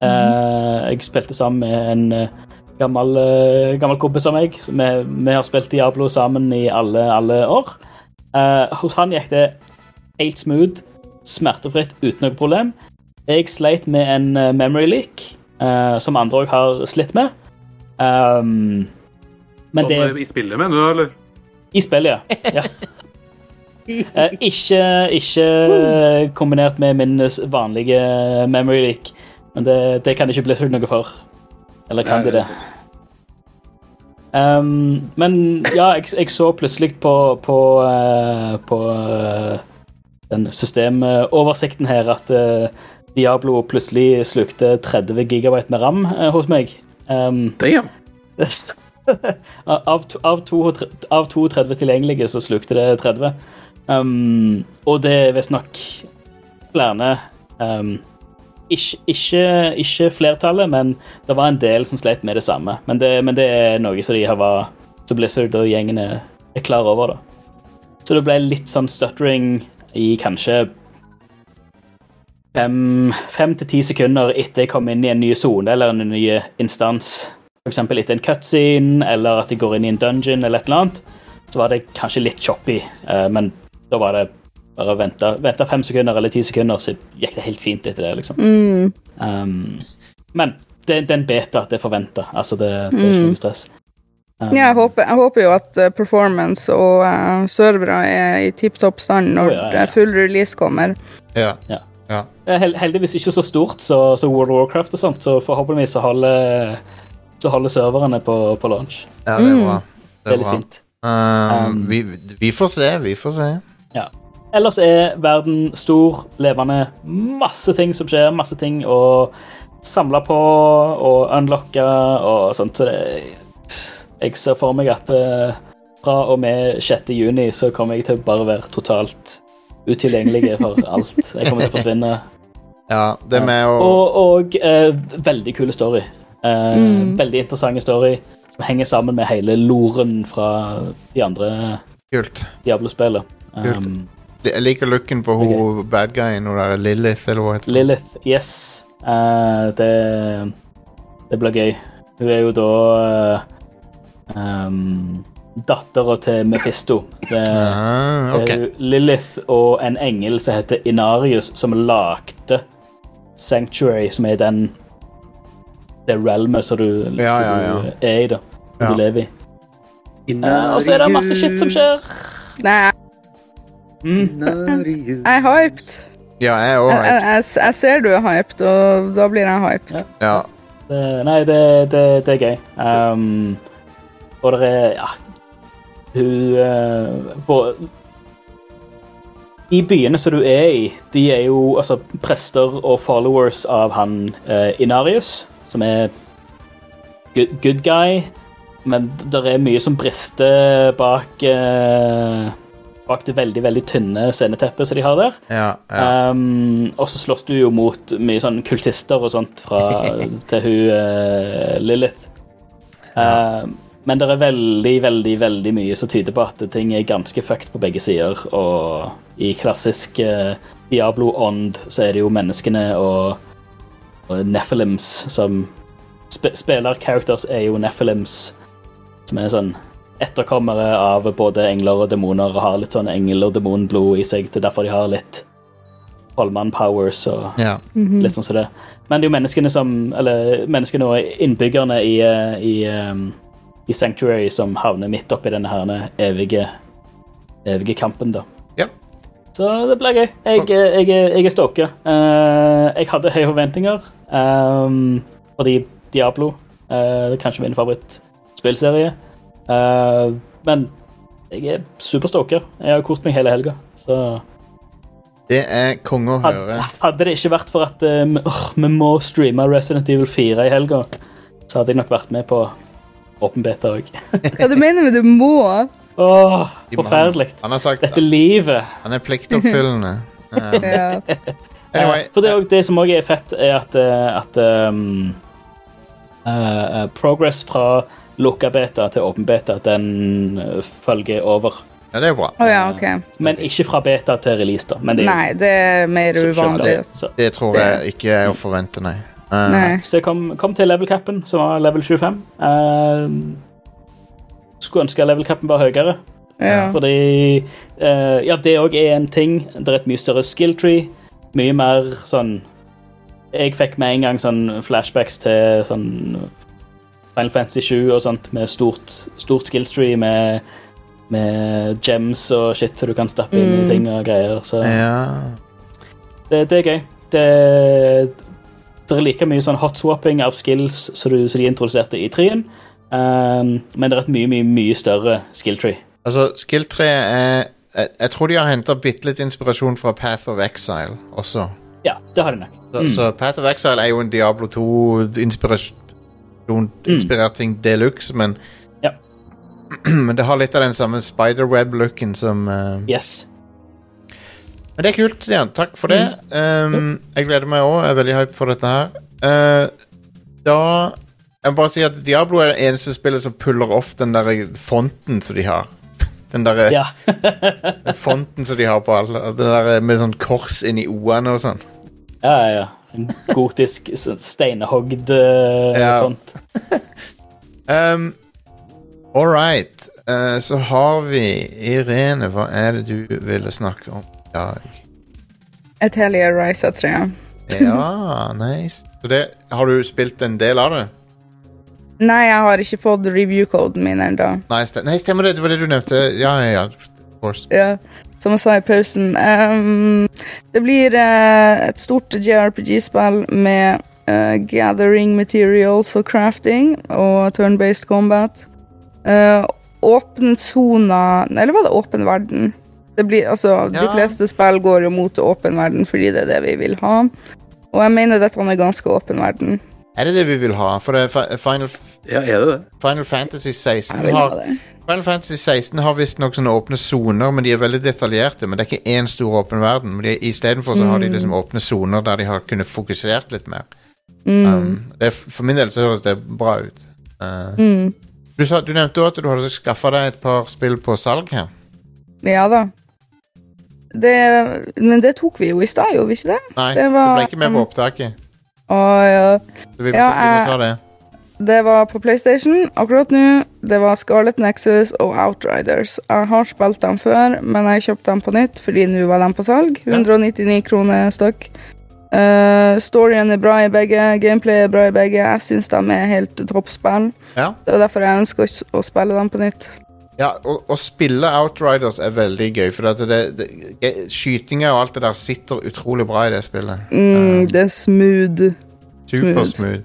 [SPEAKER 5] Eh, jeg spilte sammen med en eh, gammel, eh, gammel kompis av meg. som Vi, vi har spilt Diablo sammen i alle, alle år. Eh, hos han gikk det helt smooth, smertefritt, uten noe problem. Jeg sleit med en eh, memory leak, eh, som andre òg har slitt med. Um, men
[SPEAKER 6] Sånn
[SPEAKER 5] det
[SPEAKER 6] eh, i spillet, mener du, eller?
[SPEAKER 5] i spillet, ja. ja. Eh, ikke, ikke kombinert med min s- vanlige memory leak. Men det, det kan ikke Blizzard noe for. Eller kan de det? Um, men ja, jeg, jeg så plutselig på på, eh, på eh, den systemoversikten her at eh, Diablo plutselig slukte 30 gigabyte med ram eh, hos meg. Um,
[SPEAKER 6] Damn.
[SPEAKER 5] det st- av, to, av, to, og tre- av 32 tilgjengelige så slukte det 30. Um, og det er visstnok flere um, ikke, ikke, ikke flertallet, men det var en del som slet med det samme. Men det, men det er noe som de har var, så Blizzard og gjengen er, er klar over. da. Så det ble litt sånn stuttering i kanskje fem, fem til ti sekunder etter jeg kom inn i en ny sone eller en ny instans. f.eks. etter en cutscene, eller at de går inn i en dungeon, eller et eller annet, så var det kanskje litt choppy, eh, men da var det bare å vente, vente fem sekunder eller ti sekunder, så gikk det helt fint etter det, liksom.
[SPEAKER 4] Mm.
[SPEAKER 5] Um, men det, det er en beta, det er forventa. Altså, det, det er ikke noe stress. Um,
[SPEAKER 4] Ja, jeg håper, jeg håper jo at eh, performance og eh, servere er i tipp topp stand når
[SPEAKER 5] Å, ja, ja.
[SPEAKER 4] eh, full release kommer.
[SPEAKER 3] Ja.
[SPEAKER 5] Ja.
[SPEAKER 3] Ja.
[SPEAKER 5] Det er hel- heldigvis ikke så stort så, så World of Warcraft og sånt, så forhåpentligvis så holder, så holder serverne på, på launch.
[SPEAKER 3] ja, det er bra.
[SPEAKER 5] Det
[SPEAKER 3] Det
[SPEAKER 5] er
[SPEAKER 3] er
[SPEAKER 5] litt
[SPEAKER 3] bra.
[SPEAKER 5] fint.
[SPEAKER 3] Um, vi, vi får se, vi får se.
[SPEAKER 5] Ja. Ellers er verden stor, levende, masse ting som skjer, masse ting å samle på og unlocke og sånt, så det Jeg ser for meg at eh, fra og med 6. juni så kommer jeg til å bare være totalt utilgjengelig for alt. Jeg kommer til å forsvinne.
[SPEAKER 3] Ja, det er med å
[SPEAKER 5] Og, og eh, veldig kule story. Eh, Veldig interessante story som henger sammen med hele loren fra de andre
[SPEAKER 3] Kult.
[SPEAKER 5] Diablo-spillene. Um,
[SPEAKER 3] Jeg liker looken på hun bad guyen, hun der Lilith, eller hva heter hun?
[SPEAKER 5] Lilith, yes. Eh, det, det blir gøy. Hun er jo da eh, um, dattera til Mephisto. Det,
[SPEAKER 3] Ah,
[SPEAKER 5] det er
[SPEAKER 3] ok.
[SPEAKER 5] jo Lilith og en engel som heter Inarius, som lagde Sanctuary, som er den det realmet som du,
[SPEAKER 3] Ja, ja, ja.
[SPEAKER 5] du er i, da. Som
[SPEAKER 3] Ja.
[SPEAKER 5] du lever i. Eh, og så er det masse shit som skjer.
[SPEAKER 4] Nei, jeg- jeg er hyped.
[SPEAKER 3] Ja, jeg er òg
[SPEAKER 4] Jeg, jeg,
[SPEAKER 3] hyped.
[SPEAKER 4] jeg, jeg ser du er hyped, og da blir jeg hyped.
[SPEAKER 3] Ja.
[SPEAKER 5] Det, nei, det, det, det er gøy. Ehm, og det er ja, hun eh, på, I byene som du er i, de er jo altså, prester og followers av han eh, Inarius, som er good, good guy, men det er mye som brister bak eh, Bak det veldig veldig tynne sceneteppet som de har der.
[SPEAKER 3] ja, ja.
[SPEAKER 5] Um, og så slåss du jo mot mye sånn kultister og sånt fra, til hun eh, Lilith. Um, men det er veldig, veldig veldig mye som tyder på at ting er ganske fucked på begge sider. Og i klassisk eh, Diablo-ånd så er det jo menneskene og, og Nephilims som sp Spiller-characters er jo Nephilims, som er sånn etterkommere av både engler og demoner og har litt sånn engel- og demonblod i seg. Det er derfor de har litt Holman Powers og
[SPEAKER 3] ja.
[SPEAKER 5] litt sånn som det. Men det er jo menneskene som Eller menneskene og innbyggerne i, eh, i, eh, i Sanctuary som havner midt oppi denne her evige, evige kampen, da.
[SPEAKER 3] Ja.
[SPEAKER 5] Så det blir gøy. Jeg, jeg, eh, jeg er stoka. Eh, jeg hadde høye forventninger ehm, fordi Diablo eh, det er kanskje min favorittspillserie. Eh, men jeg er superstoka. Jeg har kost meg hele helga. Så
[SPEAKER 3] Det er konge å
[SPEAKER 5] hadde,
[SPEAKER 3] høre.
[SPEAKER 5] hadde det ikke vært for at eh, m- åh, vi må streame Resident Evil 4 i helga, så hadde jeg nok vært med på åpen beta òg.
[SPEAKER 4] Hva du mener med du må?
[SPEAKER 5] Åh,
[SPEAKER 3] De må-
[SPEAKER 5] forferdelig.
[SPEAKER 3] Han har sagt
[SPEAKER 5] Dette livet.
[SPEAKER 3] han er
[SPEAKER 5] <laughs>
[SPEAKER 3] pliktoppfyllende. Um,
[SPEAKER 4] Ja.
[SPEAKER 3] anyway.
[SPEAKER 5] Eh, For det, er også- det som òg er fett, er at, eh, at ehm, eh, eh, progress fra lukka beta til åpen beta, den eh, følger over.
[SPEAKER 3] Ja, det er bra.
[SPEAKER 4] Å ja, OK.
[SPEAKER 5] Men ikke fra beta til release, da. Men det er jo-
[SPEAKER 4] Nei, det er mer
[SPEAKER 5] skjønner
[SPEAKER 4] uvanlig.
[SPEAKER 5] jeg. Så,
[SPEAKER 3] Det tror jeg ikke er å forvente, nei. Uh,
[SPEAKER 4] Nei.
[SPEAKER 5] så jeg kom, kom til level capen, som var level 25. Ehm, skulle ønske level capen var høyere.
[SPEAKER 4] Ja.
[SPEAKER 5] Fordi eh, Ja, det òg er en ting. Det er et mye større skill tree. Mye mer sånn Jeg fikk med en gang sånn flashbacks til sånn Final Fantasy 7 og sånt, med stort, stort skill tree med, med gems og shit, så du kan stappe inn i ting og greier. Så
[SPEAKER 3] Eh, Ja.
[SPEAKER 5] det, det er gøy. Det, det er like mye sånn hot-swapping av skills som du- som de introduserte i 3-en, ehm, men det er et mye, mye, mye større skill tree.
[SPEAKER 3] Altså, Skill-treet er jeg, jeg tror de har henta bitte litt inspirasjon fra Path of Exile også.
[SPEAKER 5] Ja, det har de nok.
[SPEAKER 3] Så, så Path of Exile er jo en Diablo 2-inspirert ting de luxe, men <clears throat>
[SPEAKER 5] Ja.
[SPEAKER 3] Men det har litt av den samme spiderweb-looken som eh,
[SPEAKER 5] Yes.
[SPEAKER 3] Men det er kult, Stian. Takk for det. Um, jeg gleder meg òg. Jeg er veldig hype for dette her. Eh, da Jeg må bare si at Diablo er det eneste spillet som puller off den der fonten som de har. <laughs> Den der
[SPEAKER 5] Ja. <laughs>
[SPEAKER 3] fonten som de har på alle. Den der med sånn kors inni O-ene og sånn.
[SPEAKER 5] Ja, ja, ja. En gotisk s- steinhogd eh,
[SPEAKER 3] Ja.
[SPEAKER 5] font.
[SPEAKER 3] Um, All right. Eh, så har vi Irene, hva er det du ville snakke om
[SPEAKER 4] <laughs>
[SPEAKER 3] i dag?
[SPEAKER 4] Et Helia Risa-tre.
[SPEAKER 3] Ja, nice. Så det, har du spilt en del av det?
[SPEAKER 4] Nei, jeg har ikke fått review-koden min ennå.
[SPEAKER 3] Nei, ste- nei, stemmer det. Det var det du nevnte. Ja, ja, ja. Of course.
[SPEAKER 4] Ja, som jeg sa i pausen. ehm, det blir eh, et stort JRPG-spill med eh, gathering materials for crafting og turn-based combat. Eh, åpne soner Eller var det åpen verden? Det blir, altså, De
[SPEAKER 3] Ja.
[SPEAKER 4] fleste spill går jo mot åpen verden fordi det er det vi vil ha. Og jeg mener dette er ganske åpen verden.
[SPEAKER 3] Er det det vi vil ha? For det, er fi- Final, F-
[SPEAKER 6] Ja, er det det?
[SPEAKER 3] Final Fantasy
[SPEAKER 4] Jeg
[SPEAKER 3] 16
[SPEAKER 4] vil ha
[SPEAKER 3] har
[SPEAKER 4] det.
[SPEAKER 3] Final Fantasy 16 har visstnok sånne åpne soner, men de er veldig detaljerte. Men det er ikke én stor åpen verden. Men de- Istedenfor så har de liksom åpne soner der de har kunnet fokusert litt mer.
[SPEAKER 4] Mm,
[SPEAKER 3] Um, det, er f- for min del så høres det bra ut. Uh,
[SPEAKER 4] mm.
[SPEAKER 3] du, sa, du nevnte òg at du hadde skaffa deg et par spill på salg her.
[SPEAKER 4] Ja da. Det, men det tok vi jo i stad, gjorde vi ikke det?
[SPEAKER 3] Nei,
[SPEAKER 4] Det
[SPEAKER 3] du
[SPEAKER 4] var,
[SPEAKER 3] ble ikke med
[SPEAKER 4] um,
[SPEAKER 3] på opptaket.
[SPEAKER 4] Å, ja.
[SPEAKER 3] Så vi,
[SPEAKER 4] ja, eh,
[SPEAKER 3] vi må ta det.
[SPEAKER 4] Det var på PlayStation akkurat nå. Det var Scarlet Nexus og Outriders. Jeg har spilt dem før, men jeg kjøpte dem på nytt fordi nå var de på salg. 199 kroner stykk. Eh, storyen er bra i begge, gameplay er bra i begge. Jeg syns de er helt toppspill.
[SPEAKER 3] Ja.
[SPEAKER 4] Det var derfor jeg ønsker å s- å spille dem på nytt.
[SPEAKER 3] Ja, å, å spille Outriders er veldig gøy, for at det, det, det- skytinga og alt det der sitter utrolig bra i det spillet. Um,
[SPEAKER 4] Mm, det er smooth.
[SPEAKER 3] Supersmooth.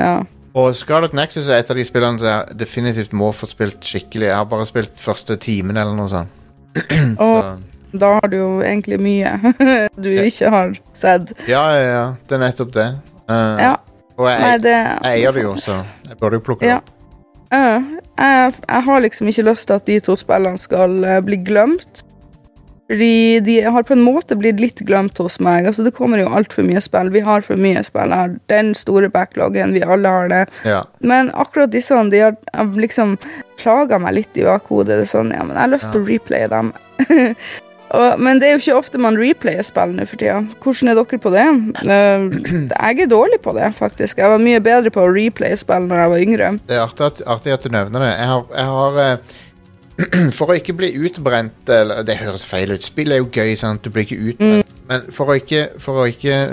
[SPEAKER 4] Ja.
[SPEAKER 3] Og Scarlet Nexus er et av de spillene som jeg definitivt må få spilt skikkelig. Jeg har bare spilt første timen eller noe sånt.
[SPEAKER 4] Og
[SPEAKER 3] Mm, Så,
[SPEAKER 4] da har du jo egentlig mye <laughs> du ikke har sett.
[SPEAKER 3] ja, ja, ja. Det er nettopp det. Eh,
[SPEAKER 4] Ja.
[SPEAKER 3] Og jeg,
[SPEAKER 4] Nei,
[SPEAKER 3] jeg,
[SPEAKER 4] det
[SPEAKER 3] eier det jo, så jeg burde jo plukke det
[SPEAKER 4] Ja.
[SPEAKER 3] opp.
[SPEAKER 4] Ja, Eh, jeg, jeg har liksom ikke lyst til at de to spillene skal eh, bli glemt. Fordi de har på en måte blitt litt glemt hos meg. Altså, det kommer jo altfor mye spill. Vi har for mye spill. Jeg har den store backloggen. Vi alle har det.
[SPEAKER 3] Ja.
[SPEAKER 4] Men akkurat disse de har har liksom plaga meg litt i bakhodet. Det er sånn, ja, men jeg har lyst til å replaye dem. <laughs> Og, men det er jo ikke ofte man replayer spill nå for tida. Hvordan er dere på det? Eh, jeg er dårlig på det, faktisk. Jeg var mye bedre på å replaye spill når jeg var yngre.
[SPEAKER 3] Det er artig at, artig at du nevner det. Jeg har, jeg har eh, <clears throat> For å ikke bli utbrent eller, Det høres feil ut. Spill er jo gøy, sant? du blir ikke utbrent. Men for å ikke, for å ikke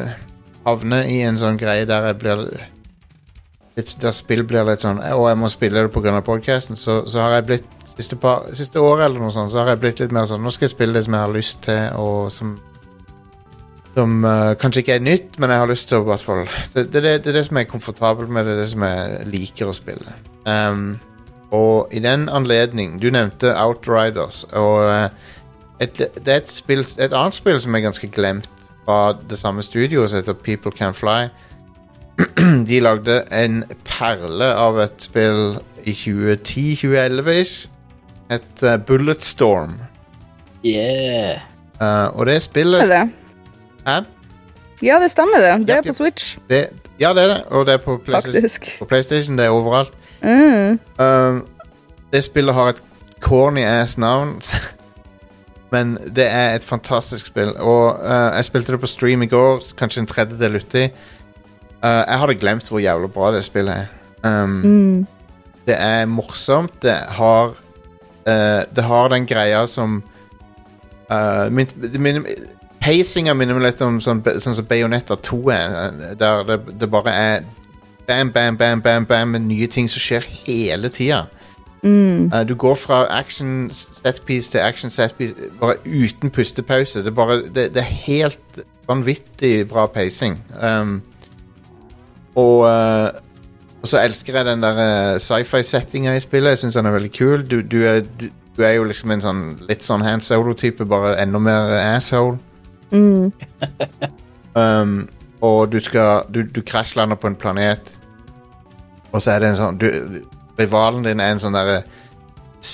[SPEAKER 3] havne i en sånn greie der jeg blir litt, Der spill blir litt sånn Å, jeg må spille det pga. podkasten. Så, så har jeg blitt siste, par, siste året eller noe sånt, så har jeg blitt litt mer sånn Nå skal jeg spille det som jeg har lyst til, og som som eh, kanskje ikke er nytt, men jeg har lyst til å i hvert fall det, det, det, det er det som jeg er komfortabel med, det er det som jeg liker å spille. Ehm, og i den anledning Du nevnte Outriders, og eh, et, det er et, spill, et annet spill som er ganske glemt fra det samme studioet, som heter People Can Fly. <clears throat> De lagde en perle av et spill i 2010-2011-ish. Et eh, Bulletstorm.
[SPEAKER 5] Yeah.
[SPEAKER 3] Eh, og det
[SPEAKER 4] Stemmer
[SPEAKER 3] spillet
[SPEAKER 4] det?
[SPEAKER 3] Hæ?
[SPEAKER 4] Ja, det stemmer det. Det er
[SPEAKER 3] Japp, japp.
[SPEAKER 4] på Switch,
[SPEAKER 3] Det, ja, det er det, og det er på PlayStation.
[SPEAKER 4] faktisk.
[SPEAKER 3] På PlayStation, det er overalt.
[SPEAKER 4] Mm.
[SPEAKER 3] Um, det spillet har et corny ass navn, <laughs> men det er et fantastisk spill. Og uh, jeg spilte det på stream i går, kanskje en tredjedel uti. Uh, jeg hadde glemt hvor jævlig bra det spillet er. Um,
[SPEAKER 4] Mm.
[SPEAKER 3] det er morsomt. Det har eh, Det har den greia som uh, min, det min, Pacinga minner meg litt om sånn, be- sånn som Bayonetta 2 er. eh, Der det, det bare er bam, bam, bam, bam, bam med nye ting som skjer hele tida.
[SPEAKER 4] Mm.
[SPEAKER 3] Eh, du går fra action setpiece til action setpiece eh, bare uten pustepause. Det er, bare, det, det er helt vanvittig bra pacing. Um, og, eh, og så elsker jeg den der eh, sci-fi-settinga i spillet. Jeg syns den er veldig kul. Du, du, er, du, du er jo liksom en sånn litt sånn hand solo-type, bare enda mer asshole.
[SPEAKER 4] Mm.
[SPEAKER 3] <laughs> Um, og du skal Du, du krasjlander på en planet, og så er det en sånn du, Rivalen din er en sånn derre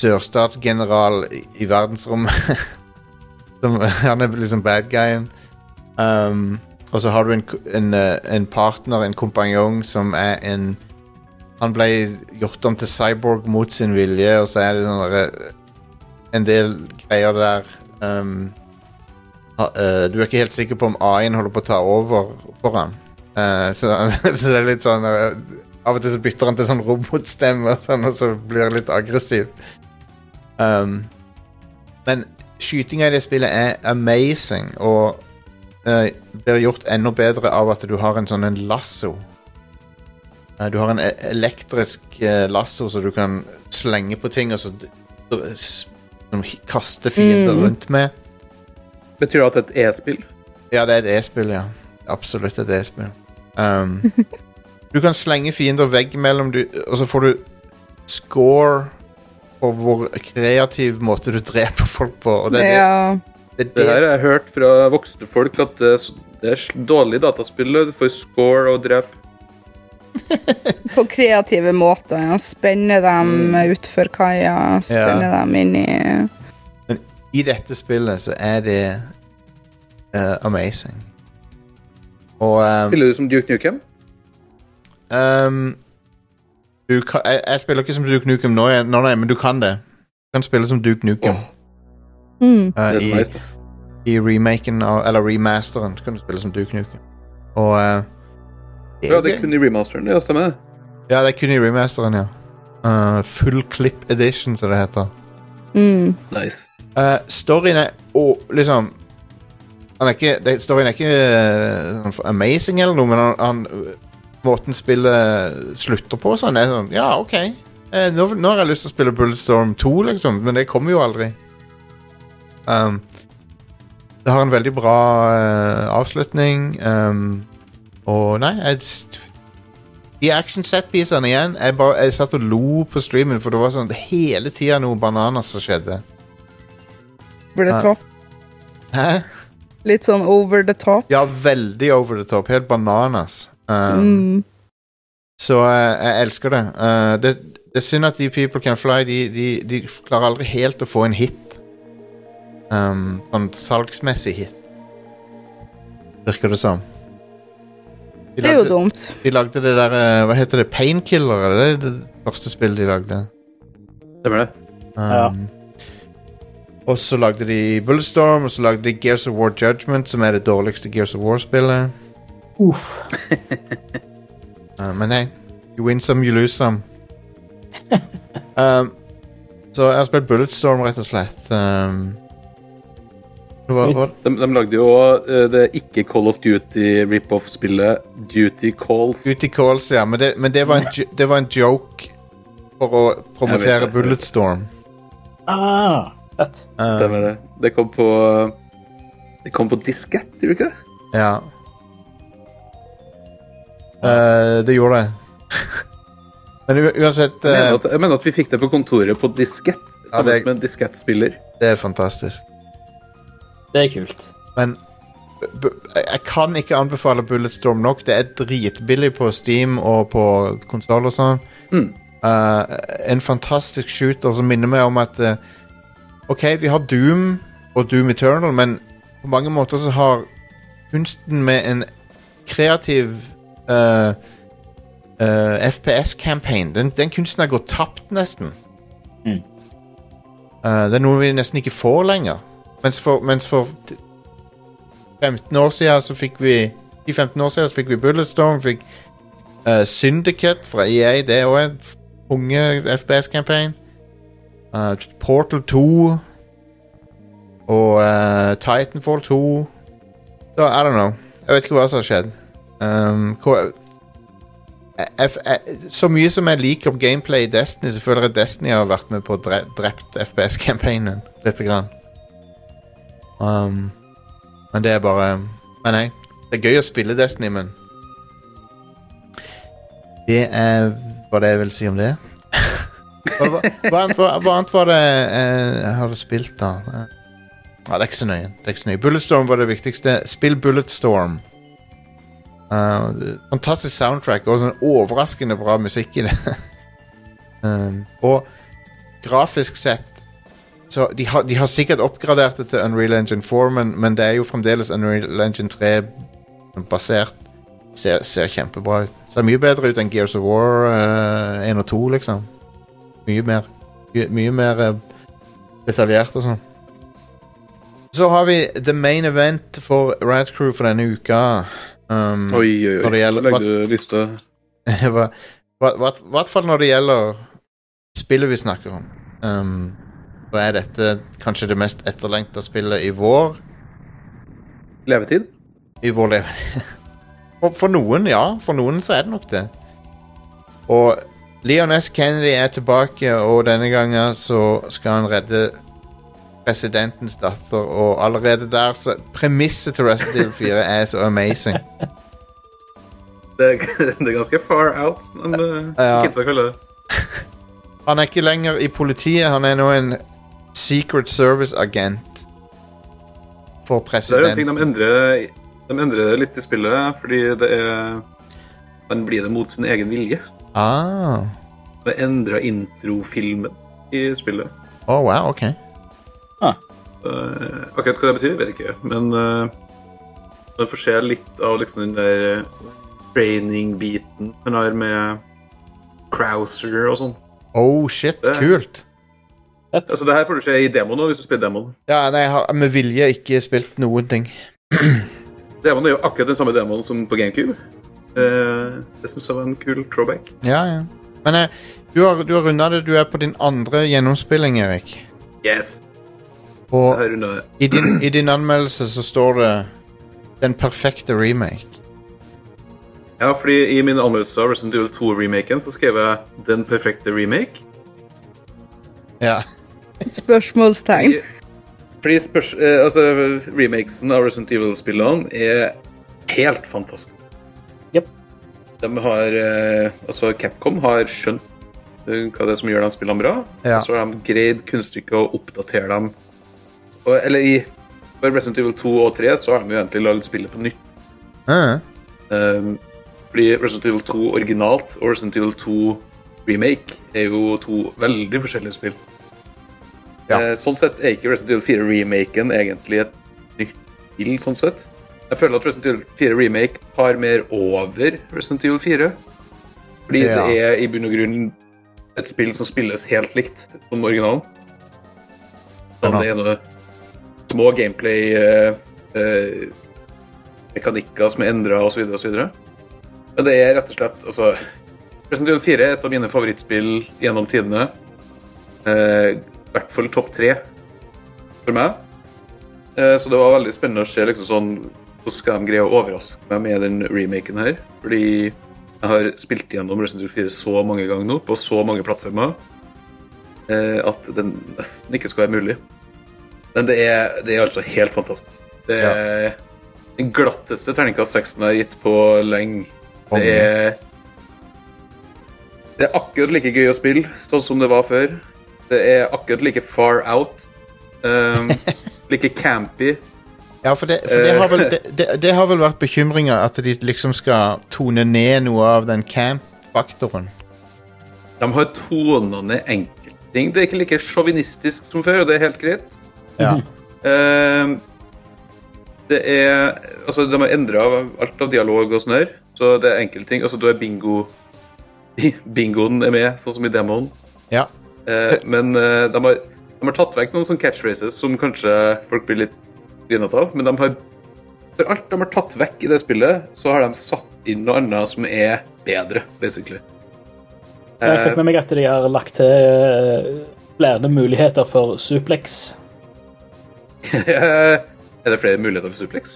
[SPEAKER 3] sørstatsgeneral i, i verdensrommet. <laughs> Som, han er liksom bad guyen. Um, og så har du en, k- en, eh, en partner, en kompanjong, som er en Han ble gjort om til cyborg mot sin vilje, og så er det sånn derre En del greier der. Um, ha- eh, Du er ikke helt <laughs> sikker på om A-en holder på å ta over for han. Eh, så, så det er litt sånn eh, Av og til så bytter han til sånn robotstemme og sånn, og så blir han litt aggressiv. Um, men skytinga i det spillet er amazing, og eh, blir gjort enda bedre av at du har en sånn en lasso. Eh, du har en e- elektrisk eh, lasso som du kan slenge på ting, og så d- dr- s- sånn hi- kaste fiender rundt med.
[SPEAKER 6] Betyr det at det er et e-spill?
[SPEAKER 3] Ja, det er et e-spill, ja. Absolutt et e-spill. Um, du kan slenge fiender veggimellom, du- og så får du score på hvor kreativ måte du dreper folk på. Og det, er det,
[SPEAKER 4] Ja.
[SPEAKER 3] det, er
[SPEAKER 6] Det her
[SPEAKER 3] det,
[SPEAKER 6] har jeg hørt fra voksne folk, at det er s- det er sl- dårlig dataspill. og Du får score og drep.
[SPEAKER 4] På kreative måter. Ja. Spenne dem
[SPEAKER 3] Mm.
[SPEAKER 4] utfor kaia, spenne dem inn i
[SPEAKER 3] I dette spillet så er det eh, amazing. Og um,
[SPEAKER 6] Spiller du som Duke Nukem?
[SPEAKER 3] um, du kan, jeg, jeg spiller ikke som Duke Nukem nå, jeg- nå, nei, men du kan det. Du kan spille som Duke Nukem
[SPEAKER 4] mm.
[SPEAKER 3] eh,
[SPEAKER 6] Det er så
[SPEAKER 3] i,
[SPEAKER 6] nice, da.
[SPEAKER 3] i remaken av, eller remasteren. Så kan du spille som Duke Nukem. Og eh,
[SPEAKER 6] Ja, det
[SPEAKER 3] gøy.
[SPEAKER 6] er kun i remasteren. Ja, stemmer det.
[SPEAKER 3] Ja, det er kun i remasteren, ja. Eh, full clip edition, som det heter.
[SPEAKER 4] Mm.
[SPEAKER 6] Nice.
[SPEAKER 3] Eh, storyen er å, liksom han er ikke, det, Storyen er ikke eh, sånn amazing eller noe, men han, han Måten spillet slutter på, sånn er sånn Ja, OK. Eh, nå, nå har jeg lyst til å spille Bulletstorm 2, liksom, men det kommer jo aldri. Um, det har en veldig bra eh, avslutning. Um, og nei, jeg s- De action set-piecene igjen jeg, bare, jeg satt og lo på streamen, for det var sånn hele tida noe bananer som skjedde.
[SPEAKER 4] Over the
[SPEAKER 3] Ja.
[SPEAKER 4] top.
[SPEAKER 3] Hæ?
[SPEAKER 4] Litt sånn over the top.
[SPEAKER 3] Ja, veldig over the top. Helt bananas. Um,
[SPEAKER 4] Mm.
[SPEAKER 3] Så eh, jeg elsker det. Eh, det. Det er synd at de People Can Fly De, de, de klarer aldri helt å få en hit. Um, sånn salgsmessig hit. Virker det som. De
[SPEAKER 4] Det er jo
[SPEAKER 3] lagde,
[SPEAKER 4] dumt.
[SPEAKER 3] de lagde det der eh, Hva heter det? Painkiller? er Det er det første spillet de lagde.
[SPEAKER 6] Stemmer det.
[SPEAKER 3] Um,
[SPEAKER 5] Ja.
[SPEAKER 3] Og så lagde de Bulletstorm, og så lagde de Gears of War Judgment, som er det dårligste Gears of War-spillet.
[SPEAKER 5] Uff.
[SPEAKER 3] Uh, men nei, you win some, you lose
[SPEAKER 6] <laughs>
[SPEAKER 3] some. um, så jeg har spilt Bulletstorm, rett og slett. Um, hva, hva,
[SPEAKER 6] De, de lagde jo eh, det ikke Call of Duty rip-off-spillet Duty Calls.
[SPEAKER 3] ut i calls, ja. Men, det, men det, var en, jo-
[SPEAKER 6] <laughs>
[SPEAKER 3] det var en joke for å
[SPEAKER 6] Jeg vet
[SPEAKER 3] promotere
[SPEAKER 6] det.
[SPEAKER 3] Bulletstorm.
[SPEAKER 5] Ah, fett.
[SPEAKER 3] Uh,
[SPEAKER 6] Stemmer det. Det kom på Det kom på diskett, gjorde det ikke det?
[SPEAKER 3] Ja. Uh, det gjorde
[SPEAKER 6] <laughs>
[SPEAKER 3] det. men u uansett
[SPEAKER 6] Jeg
[SPEAKER 3] uh,
[SPEAKER 6] mener, at, jeg mener at vi fikk det på kontoret på diskett.
[SPEAKER 3] Ja,
[SPEAKER 6] Sammen
[SPEAKER 3] det-
[SPEAKER 6] med en diskettspiller.
[SPEAKER 3] Det er fantastisk.
[SPEAKER 5] Det er kult.
[SPEAKER 3] Men bu- jeg jeg kan ikke anbefale Bulletstorm nok. Det er dritbillig på Steam og på konsoll og sånn.
[SPEAKER 6] Mm.
[SPEAKER 3] Eh, en fantastisk shooter som minner meg om at eh, OK, vi har Doom og Doom Eternal, men på mange måter så har kunsten med en kreativ eh, eh, FPS-campaign den, den kunsten har gått tapt, nesten.
[SPEAKER 5] Mm.
[SPEAKER 3] Eh, det er noe vi nesten ikke får lenger. Mens for, mens for t- 15 år siden så fikk vi I 15 år siden så fikk vi Bulletstorm, fikk eh, Syndicate fra EA, det er også en f- tunge FPS-campaign. Eh, Portal 2 og eh, Titanfall 2 Så I don't know. Jeg vet ikke hva som har skjedd. Um, hvor, jeg, jeg, jeg, så mye som jeg liker om gameplay i Destiny, så føler jeg Destiny har vært med på å dre, drept FPS-campaignen lite grann. Um, men det er bare Men nei. Det er gøy å spille Destiny, men Det er hva det jeg vil si om det. hva, hva, hva, annet, hva, hva annet var det eh, jeg hadde spilt, da? Eh, Ja, det er ikke så nøye. Det er ikke så nøye. Bulletstorm var det viktigste. Spill Bulletstorm. Eh, det- fantastisk soundtrack og sånn overraskende bra musikk i det. um, og grafisk sett så de har, de har sikkert oppgradert det til Unreal Engine 4, men, men det er jo fremdeles Unreal Engine 3 basert. Ser, ser kjempebra ut. Ser mye bedre ut enn Gears of War eh, 1 og 2, liksom. Mye mer, mye, mye mer eh, detaljert og sånn. Så har vi the main event for Rad Crew for denne uka. Um,
[SPEAKER 6] Oi, oi,
[SPEAKER 3] Når
[SPEAKER 6] oi.
[SPEAKER 3] det gjelder-
[SPEAKER 6] Lagde du liste?
[SPEAKER 3] <laughs> hva, I hvert fall når det gjelder spillet vi snakker om. Um, så er dette kanskje det mest etterlengta spillet i vår.
[SPEAKER 6] Levetid?
[SPEAKER 3] I vår levetid. <laughs> For, for noen, ja. For noen så er det nok det. Og Leon S. Kennedy er tilbake, og denne gangen så skal han redde presidentens datter, og allerede der så Premisset til Resident Evil 4 er så amazing.
[SPEAKER 6] Det, er- <laughs> det er ganske far out, men uh,
[SPEAKER 3] Ja.
[SPEAKER 6] kidsa kaller det
[SPEAKER 3] Han er ikke lenger i politiet, han er nå en Secret Service-agent for
[SPEAKER 6] Det er jo en ting
[SPEAKER 3] presidenten.
[SPEAKER 6] de endrer, de endrer det litt i spillet, fordi det er Man blir det mot sin egen vilje.
[SPEAKER 3] Ah.
[SPEAKER 6] Det endra introfilmen i spillet.
[SPEAKER 3] Å, Oh, wow, ok.
[SPEAKER 6] Eh, akkurat hva det betyr, vet jeg ikke. Men eh, man får se litt av liksom den der eh, training-biten man har med Crowser og sånn.
[SPEAKER 3] Oh, shit,
[SPEAKER 6] Det-
[SPEAKER 3] kult.
[SPEAKER 6] Altså, det her får du se i demoen òg, hvis du spiller demoen.
[SPEAKER 3] Ja, nei, jeg har med vilje ikke spilt noen ting.
[SPEAKER 6] Demoen er jo akkurat den samme demoen som på GameCube. Eh, det syns jeg var en kul throwback.
[SPEAKER 3] Ja, ja. Men eh, du har, du har runda det. Du er på din andre gjennomspilling, Erik.
[SPEAKER 6] Yes! Jeg
[SPEAKER 3] Og
[SPEAKER 6] har runda det.
[SPEAKER 3] i din, i din anmeldelse så står det 'Den perfekte remake'.
[SPEAKER 6] Ja, fordi i min anmeldelse av Resident Evil 2-remaken så skrev jeg 'Den perfekte remake'.
[SPEAKER 3] Ja.
[SPEAKER 4] Spørsmålstegn.
[SPEAKER 6] Fordi spørs, eh, altså, remakesen av Resident Evil-spillene er helt fantastisk.
[SPEAKER 5] Jep.
[SPEAKER 6] De har, eh, altså Capcom har skjønt eh, hva det er som gjør de spillene bra.
[SPEAKER 3] Ja.
[SPEAKER 6] Så har de greid kunststykket å oppdatere dem. Og, eller i for Resident Evil 2 og 3 så har de jo egentlig lagd spillet på nytt.
[SPEAKER 3] Ah,
[SPEAKER 6] Um, fordi Resident Evil 2 originalt og Resident Evil 2 remake er jo to veldig forskjellige spill.
[SPEAKER 3] Ja.
[SPEAKER 6] Eh, sånn sett er ikke Resident Evil 4-remaken egentlig et nytt spill. sånn sett. Jeg føler at Resident Evil 4-remake tar mer over Resident Evil 4. Fordi
[SPEAKER 3] Ja.
[SPEAKER 6] det er i bunn og grunn et spill som spilles helt likt som originalen. Sånn, det er noe små gameplay eh, eh, mekanikker som er endra osv. osv. Men det er rett og slett altså, Resident Evil 4 er et av mine favorittspill gjennom tidene. Eh, I hvert fall topp tre for meg. Eh, så det var veldig spennende å se liksom sånn hvordan skal de greie å overraske meg med den remaken her. Fordi jeg har spilt gjennom Resident Evil 4 så mange ganger nå, på så mange plattformer, eh, at den nesten ikke skal være mulig. Men det er, det er altså helt fantastisk. Det er den glatteste terningkast 6-en jeg har gitt på lenge. Det er, det er akkurat like gøy å spille sånn som det var før. Det er akkurat like far out. Um, like campy.
[SPEAKER 3] ja, for, det, for det, har vel,
[SPEAKER 6] Eh.
[SPEAKER 3] det, det, det har vel vært bekymringa at de liksom skal tone ned noe av den camp-faktoren.
[SPEAKER 6] De har tonende enkeltting. Det er ikke like sjåvinistisk som før, og det er helt greit.
[SPEAKER 3] Ja.
[SPEAKER 6] Mhm. Ehm, det er Altså, de har endra alt av dialog og sånn her, så det er enkelte ting. Altså, du er bingo <laughs> Bingoen er med, sånn som i demoen.
[SPEAKER 3] ja.
[SPEAKER 6] Eh, men eh, de, har, de har tatt vekk noen sånne catchphrases som kanskje folk blir litt grinete av. Men de har, for alt de har tatt vekk i det spillet, så har de satt inn noe annet som er bedre, basically.
[SPEAKER 5] Jeg fikk med meg at de har lagt til eh, flere muligheter for suplex.
[SPEAKER 6] Eh, er det flere muligheter for suplex?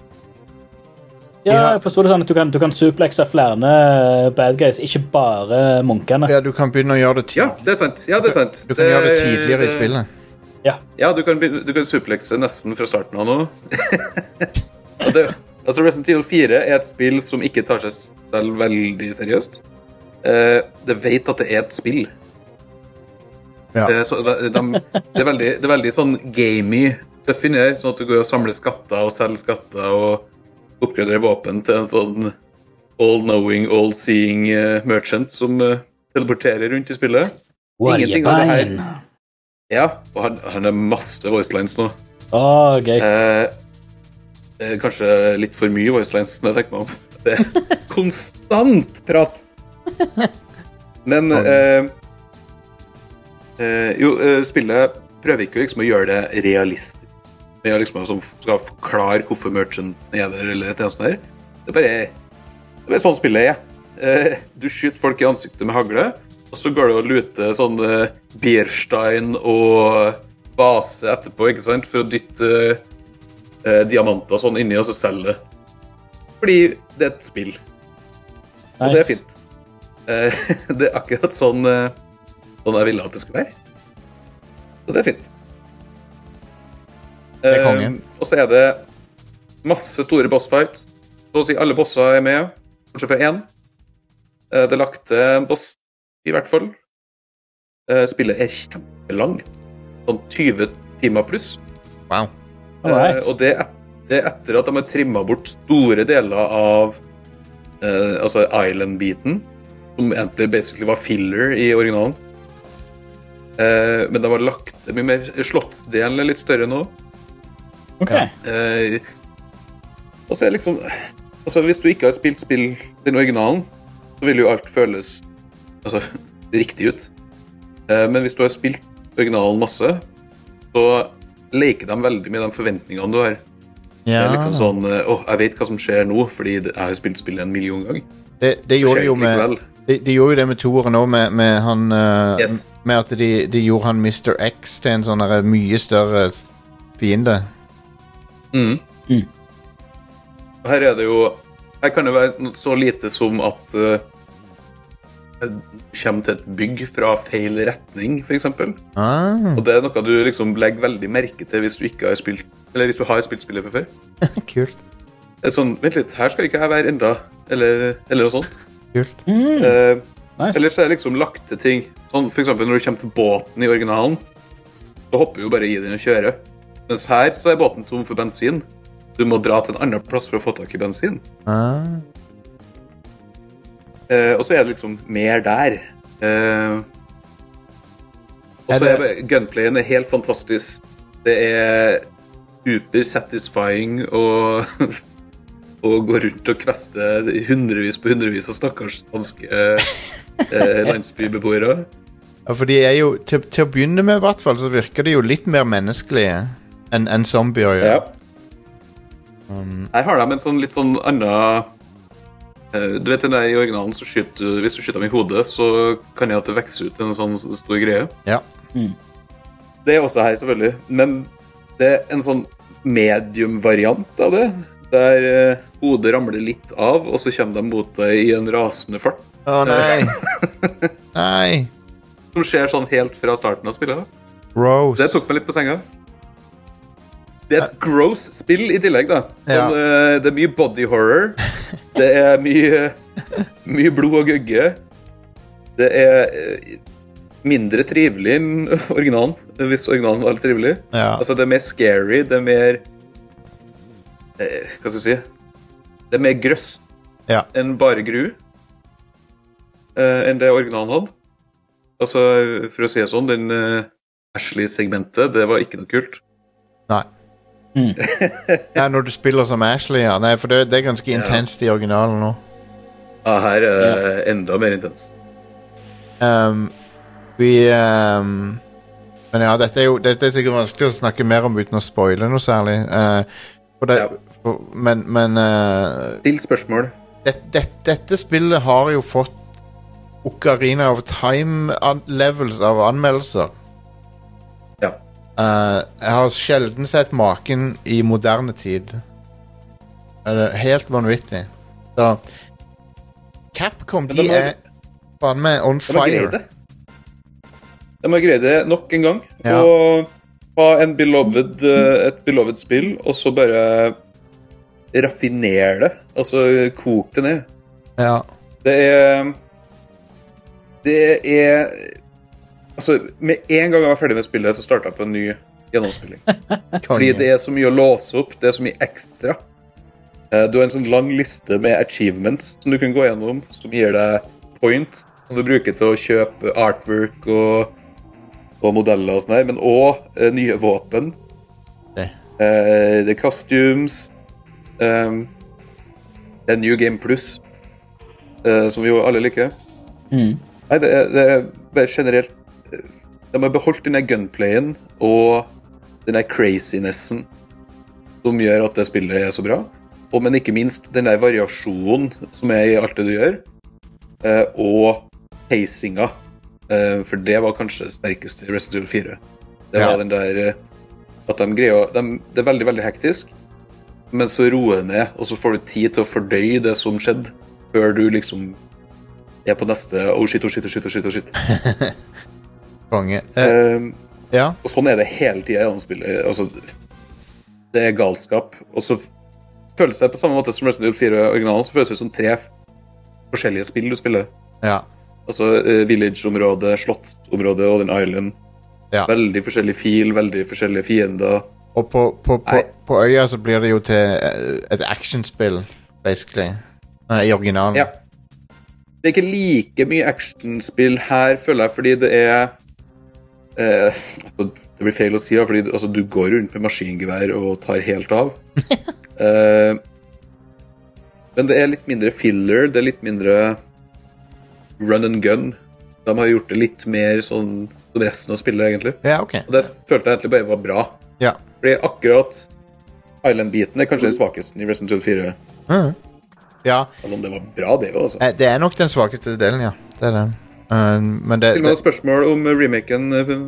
[SPEAKER 5] Ja, jeg forstod det sånn at du kan, du kan suplexe flere eh, bad guys, ikke bare munkene.
[SPEAKER 3] ja, du kan begynne å gjøre det, ti
[SPEAKER 6] Ja, Eh, det er sant. Ja, det er sant.
[SPEAKER 3] du kan gjøre det tidligere i spillet.
[SPEAKER 6] Ja, du kan, begynne- du kan suplexe nesten fra starten av nå. <laughs> Og det, altså Resident Evil 4 er et spill som ikke tar seg selv veldig seriøst. Eh, det vet at det er et spill.
[SPEAKER 3] Ja.
[SPEAKER 6] Eh, så de, de, det, er veldig, det er veldig sånn gamey tøff inni her, sånn at du går og samler skatter og selger skatter og oppgraderer våpen til en sånn all-knowing, all-seeing eh, merchant som eh, teleporterer rundt i spillet.
[SPEAKER 5] What are you
[SPEAKER 6] Ingenting av det her.
[SPEAKER 5] buying?
[SPEAKER 6] Ja, og han, han er masse voicelines nå.
[SPEAKER 5] Å, gøy.
[SPEAKER 6] Eh, eh, kanskje litt for mye voicelines når jeg tenker meg om. <laughs> Det er konstant prat. Men eh, eh, Jo, eh, spillet prøver ikke liksom å gjøre det realistisk. Det er liksom som skal forklare hvorfor merchant er der, eller et eller annet sånt. der. Det er bare, det er bare sånn spillet er. Eh, du skyter folk i ansiktet med hagle, og så går det og luter sånn eh, Bierstein og base etterpå, ikke sant, for å dytte eh, eh, diamanter sånn inni og så selge det. Fordi det er et spill, og det er
[SPEAKER 5] Nice.
[SPEAKER 6] fint. Eh, <laughs> det er akkurat sånn, eh, sånn jeg ville at det skulle være. Så det er fint.
[SPEAKER 3] er konge.
[SPEAKER 6] Eh, og så er det masse store bossfights. Så å si alle bosser er med, bortsett fra én. Eh, Det er lagt til en boss, i hvert fall. Eh, Spillet er kjempelangt. Sånn 20 timer pluss.
[SPEAKER 3] Wow.
[SPEAKER 5] All right.
[SPEAKER 6] Eh, Og det er, det er etter at de har trimma bort store deler av eh, altså Island-biten, som egentlig basically var filler i originalen. Eh, men de har lagt det mye mer Slottsdelen er litt større nå.
[SPEAKER 5] Ok.
[SPEAKER 3] Ja.
[SPEAKER 6] Eh, og så er liksom Altså, hvis du ikke har spilt spill den originalen, så vil jo alt føles altså, <laughs> riktig ut. Eh, men hvis du har spilt originalen masse, så leker de veldig med de forventningene du har. Det
[SPEAKER 3] Ja.
[SPEAKER 6] er liksom sånn eh, Åh, jeg vet hva som skjer nå, fordi det- jeg har spilt spillet en million ganger.
[SPEAKER 3] Det, det gjorde de jo
[SPEAKER 6] Skjer
[SPEAKER 3] med
[SPEAKER 6] likevel.
[SPEAKER 3] de, de gjorde jo det med toeren òg, med, med han eh,
[SPEAKER 6] Yes.
[SPEAKER 3] Med at de, de gjorde han Mr. X til en sånn der mye større fiende.
[SPEAKER 6] Mm.
[SPEAKER 5] Mm.
[SPEAKER 6] Og her er det jo Her kan det være noe så lite som at eh, du kommer til et bygg fra feil retning, f.eks. Og
[SPEAKER 3] Ah,
[SPEAKER 6] det er noe du liksom legger veldig merke til hvis du ikke har spilt Eller hvis du har spilt spillet fra før.
[SPEAKER 3] <laughs> kult.
[SPEAKER 6] Det er sånn, Vent litt, her skal ikke jeg være enda, eller, eller noe sånt.
[SPEAKER 3] Kult.
[SPEAKER 6] Eh,
[SPEAKER 5] Nice.
[SPEAKER 6] Ellers er det liksom lagt til ting. Sånn, for eksempel når du kommer til båten i originalen, så hopper du jo bare i den og kjører. Mens her så er båten tom for bensin. Du må dra til en annen plass for å få tak i bensin.
[SPEAKER 3] Ah,
[SPEAKER 6] Eh, og så er det liksom mer der. Eh, og
[SPEAKER 3] Er
[SPEAKER 6] så
[SPEAKER 3] det-
[SPEAKER 6] er bare- gunplayen er helt fantastisk. Det er super satisfying å <laughs> å gå rundt og kveste hundrevis på hundrevis av stakkars danske eh, eh,
[SPEAKER 3] <laughs>
[SPEAKER 6] landsbybeboere.
[SPEAKER 3] Ja, for de er jo til, til å begynne med, i hvert fall, så virker de jo litt mer menneskelige enn enn zombier. gjør.
[SPEAKER 6] Her har de en sånn litt sånn annen eh, Du vet den der i originalen, så skyter du Hvis du skyter dem i hodet, så kan det at det vokser ut en sånn stor greie.
[SPEAKER 3] Ja.
[SPEAKER 6] Det er også her, selvfølgelig. Men det er en sånn medium-variant av det. Der eh, hodet ramler litt av, og så kommer de mot deg i en rasende fart.
[SPEAKER 3] Å nei. <laughs> nei.
[SPEAKER 6] Som skjer sånn helt fra starten av spillet. da.
[SPEAKER 3] Rose.
[SPEAKER 6] Det tok meg litt på senga. Det er et gross spill i tillegg, da.
[SPEAKER 3] Ja.
[SPEAKER 6] Sånn, eh, det er mye body horror. Det er mye, mye blod og gugge. Det er eh, mindre trivelig enn originalen, hvis originalen var litt trivelig.
[SPEAKER 3] Ja.
[SPEAKER 6] Altså, det er mer scary, det er mer eh, Hva skal jeg si Det er mer grøss
[SPEAKER 3] Ja.
[SPEAKER 6] enn bare gru eh, enn det originalen hadde. Altså, for å si det sånn, den eh, Ashley-segmentet, det var ikke noe kult.
[SPEAKER 3] Nei.
[SPEAKER 5] Mm.
[SPEAKER 3] <laughs> nei. Når du spiller som Ashley, ja. Nei, for det, det er ganske intenst i originalen nå.
[SPEAKER 6] Ja, Ah, her er det enda mer intenst.
[SPEAKER 3] Um, vi um, Men ja, dette er jo dette er sikkert vanskelig å snakke mer om uten å spoile noe særlig. Uh, for det,
[SPEAKER 6] Ja.
[SPEAKER 3] for, men men uh,
[SPEAKER 6] Still spørsmål.
[SPEAKER 3] det, det, dette spillet har jo fått Ocarina of Time-levels av anmeldelser.
[SPEAKER 6] Ja.
[SPEAKER 3] Eh, jeg har sjelden sett maken i moderne tid. Eh, Det er helt vanvittig. Så Capcom,
[SPEAKER 6] Men
[SPEAKER 3] de
[SPEAKER 6] de har-
[SPEAKER 3] er faen meg on
[SPEAKER 6] De har greid
[SPEAKER 3] fire.
[SPEAKER 6] det. De har greid det nok en gang.
[SPEAKER 3] Ja.
[SPEAKER 6] Og ha en beloved, eh, et beloved spill, og så bare raffinere det. Altså koke det ned.
[SPEAKER 3] Ja.
[SPEAKER 6] Det er Det er Altså, med en gang jeg var ferdig med spillet, så starta jeg på en ny gjennomspilling. Fordi det er så mye å låse opp, det er så mye ekstra. Eh, Du har en sånn lang liste med achievements som du kan gå gjennom, som gir deg point, som du bruker til å kjøpe artwork og, og modeller og sånn her, men òg eh, nye våpen.
[SPEAKER 3] Det.
[SPEAKER 6] Eh, det er costumes. ehm, det er New Game Plus, eh, som vi jo alle liker.
[SPEAKER 5] Mm.
[SPEAKER 6] Nei, det er, det er bare generelt eh, De har beholdt den der gunplayen og den der crazinessen som gjør at det spillet er så bra. Og men ikke minst den der variasjonen som er i alt det du gjør. eh, og pacinga. Eh, for det var kanskje det sterkeste i Resident Evil 4. Det var
[SPEAKER 3] Ja.
[SPEAKER 6] den der eh, at de greier å- de, Det er veldig, veldig hektisk, men så roer det ned, og så får du tid til å fordøye det som skjedde, før du liksom er på neste Oh shit, oh shit, oh shit, oh shit. Oh shit.
[SPEAKER 3] Konge. Eh,
[SPEAKER 6] Eh,
[SPEAKER 3] ja.
[SPEAKER 6] og sånn er det hele tida i andre spill. Eh, Altså, det er galskap. Og så føles det på samme måte som Resident Evil 4 originalen, så føles det som tre forskjellige spill du spiller.
[SPEAKER 3] Ja.
[SPEAKER 6] Altså eh, Village-området, Slottsområdet og den island.
[SPEAKER 3] Ja.
[SPEAKER 6] Veldig forskjellig fil, veldig forskjellige fiender.
[SPEAKER 3] Og på, på, på,
[SPEAKER 6] Nei.
[SPEAKER 3] på øya så blir det jo til eh, et actionspill, basically. Nei, I originalen.
[SPEAKER 6] Ja. Det er ikke like mye actionspill her, føler jeg, fordi det er eh, altså, Det blir feil å si, da, fordi altså, du går rundt med maskingevær og tar helt av. Eh, men det er litt mindre filler, det er litt mindre run and gun. De har gjort det litt mer sånn som resten av spillet, egentlig.
[SPEAKER 3] Ja, ok.
[SPEAKER 6] Og det følte jeg egentlig bare var bra.
[SPEAKER 3] Ja.
[SPEAKER 6] Fordi akkurat Island-biten er kanskje den svakeste i Resident Evil 4.
[SPEAKER 3] ja.
[SPEAKER 6] Selv om det var bra, det òg, altså.
[SPEAKER 3] eh, Det er nok den svakeste delen, ja. Det er det. Eh, men det,
[SPEAKER 6] Til og
[SPEAKER 3] det
[SPEAKER 6] med noen spørsmål om remaken. eh,
[SPEAKER 3] ja.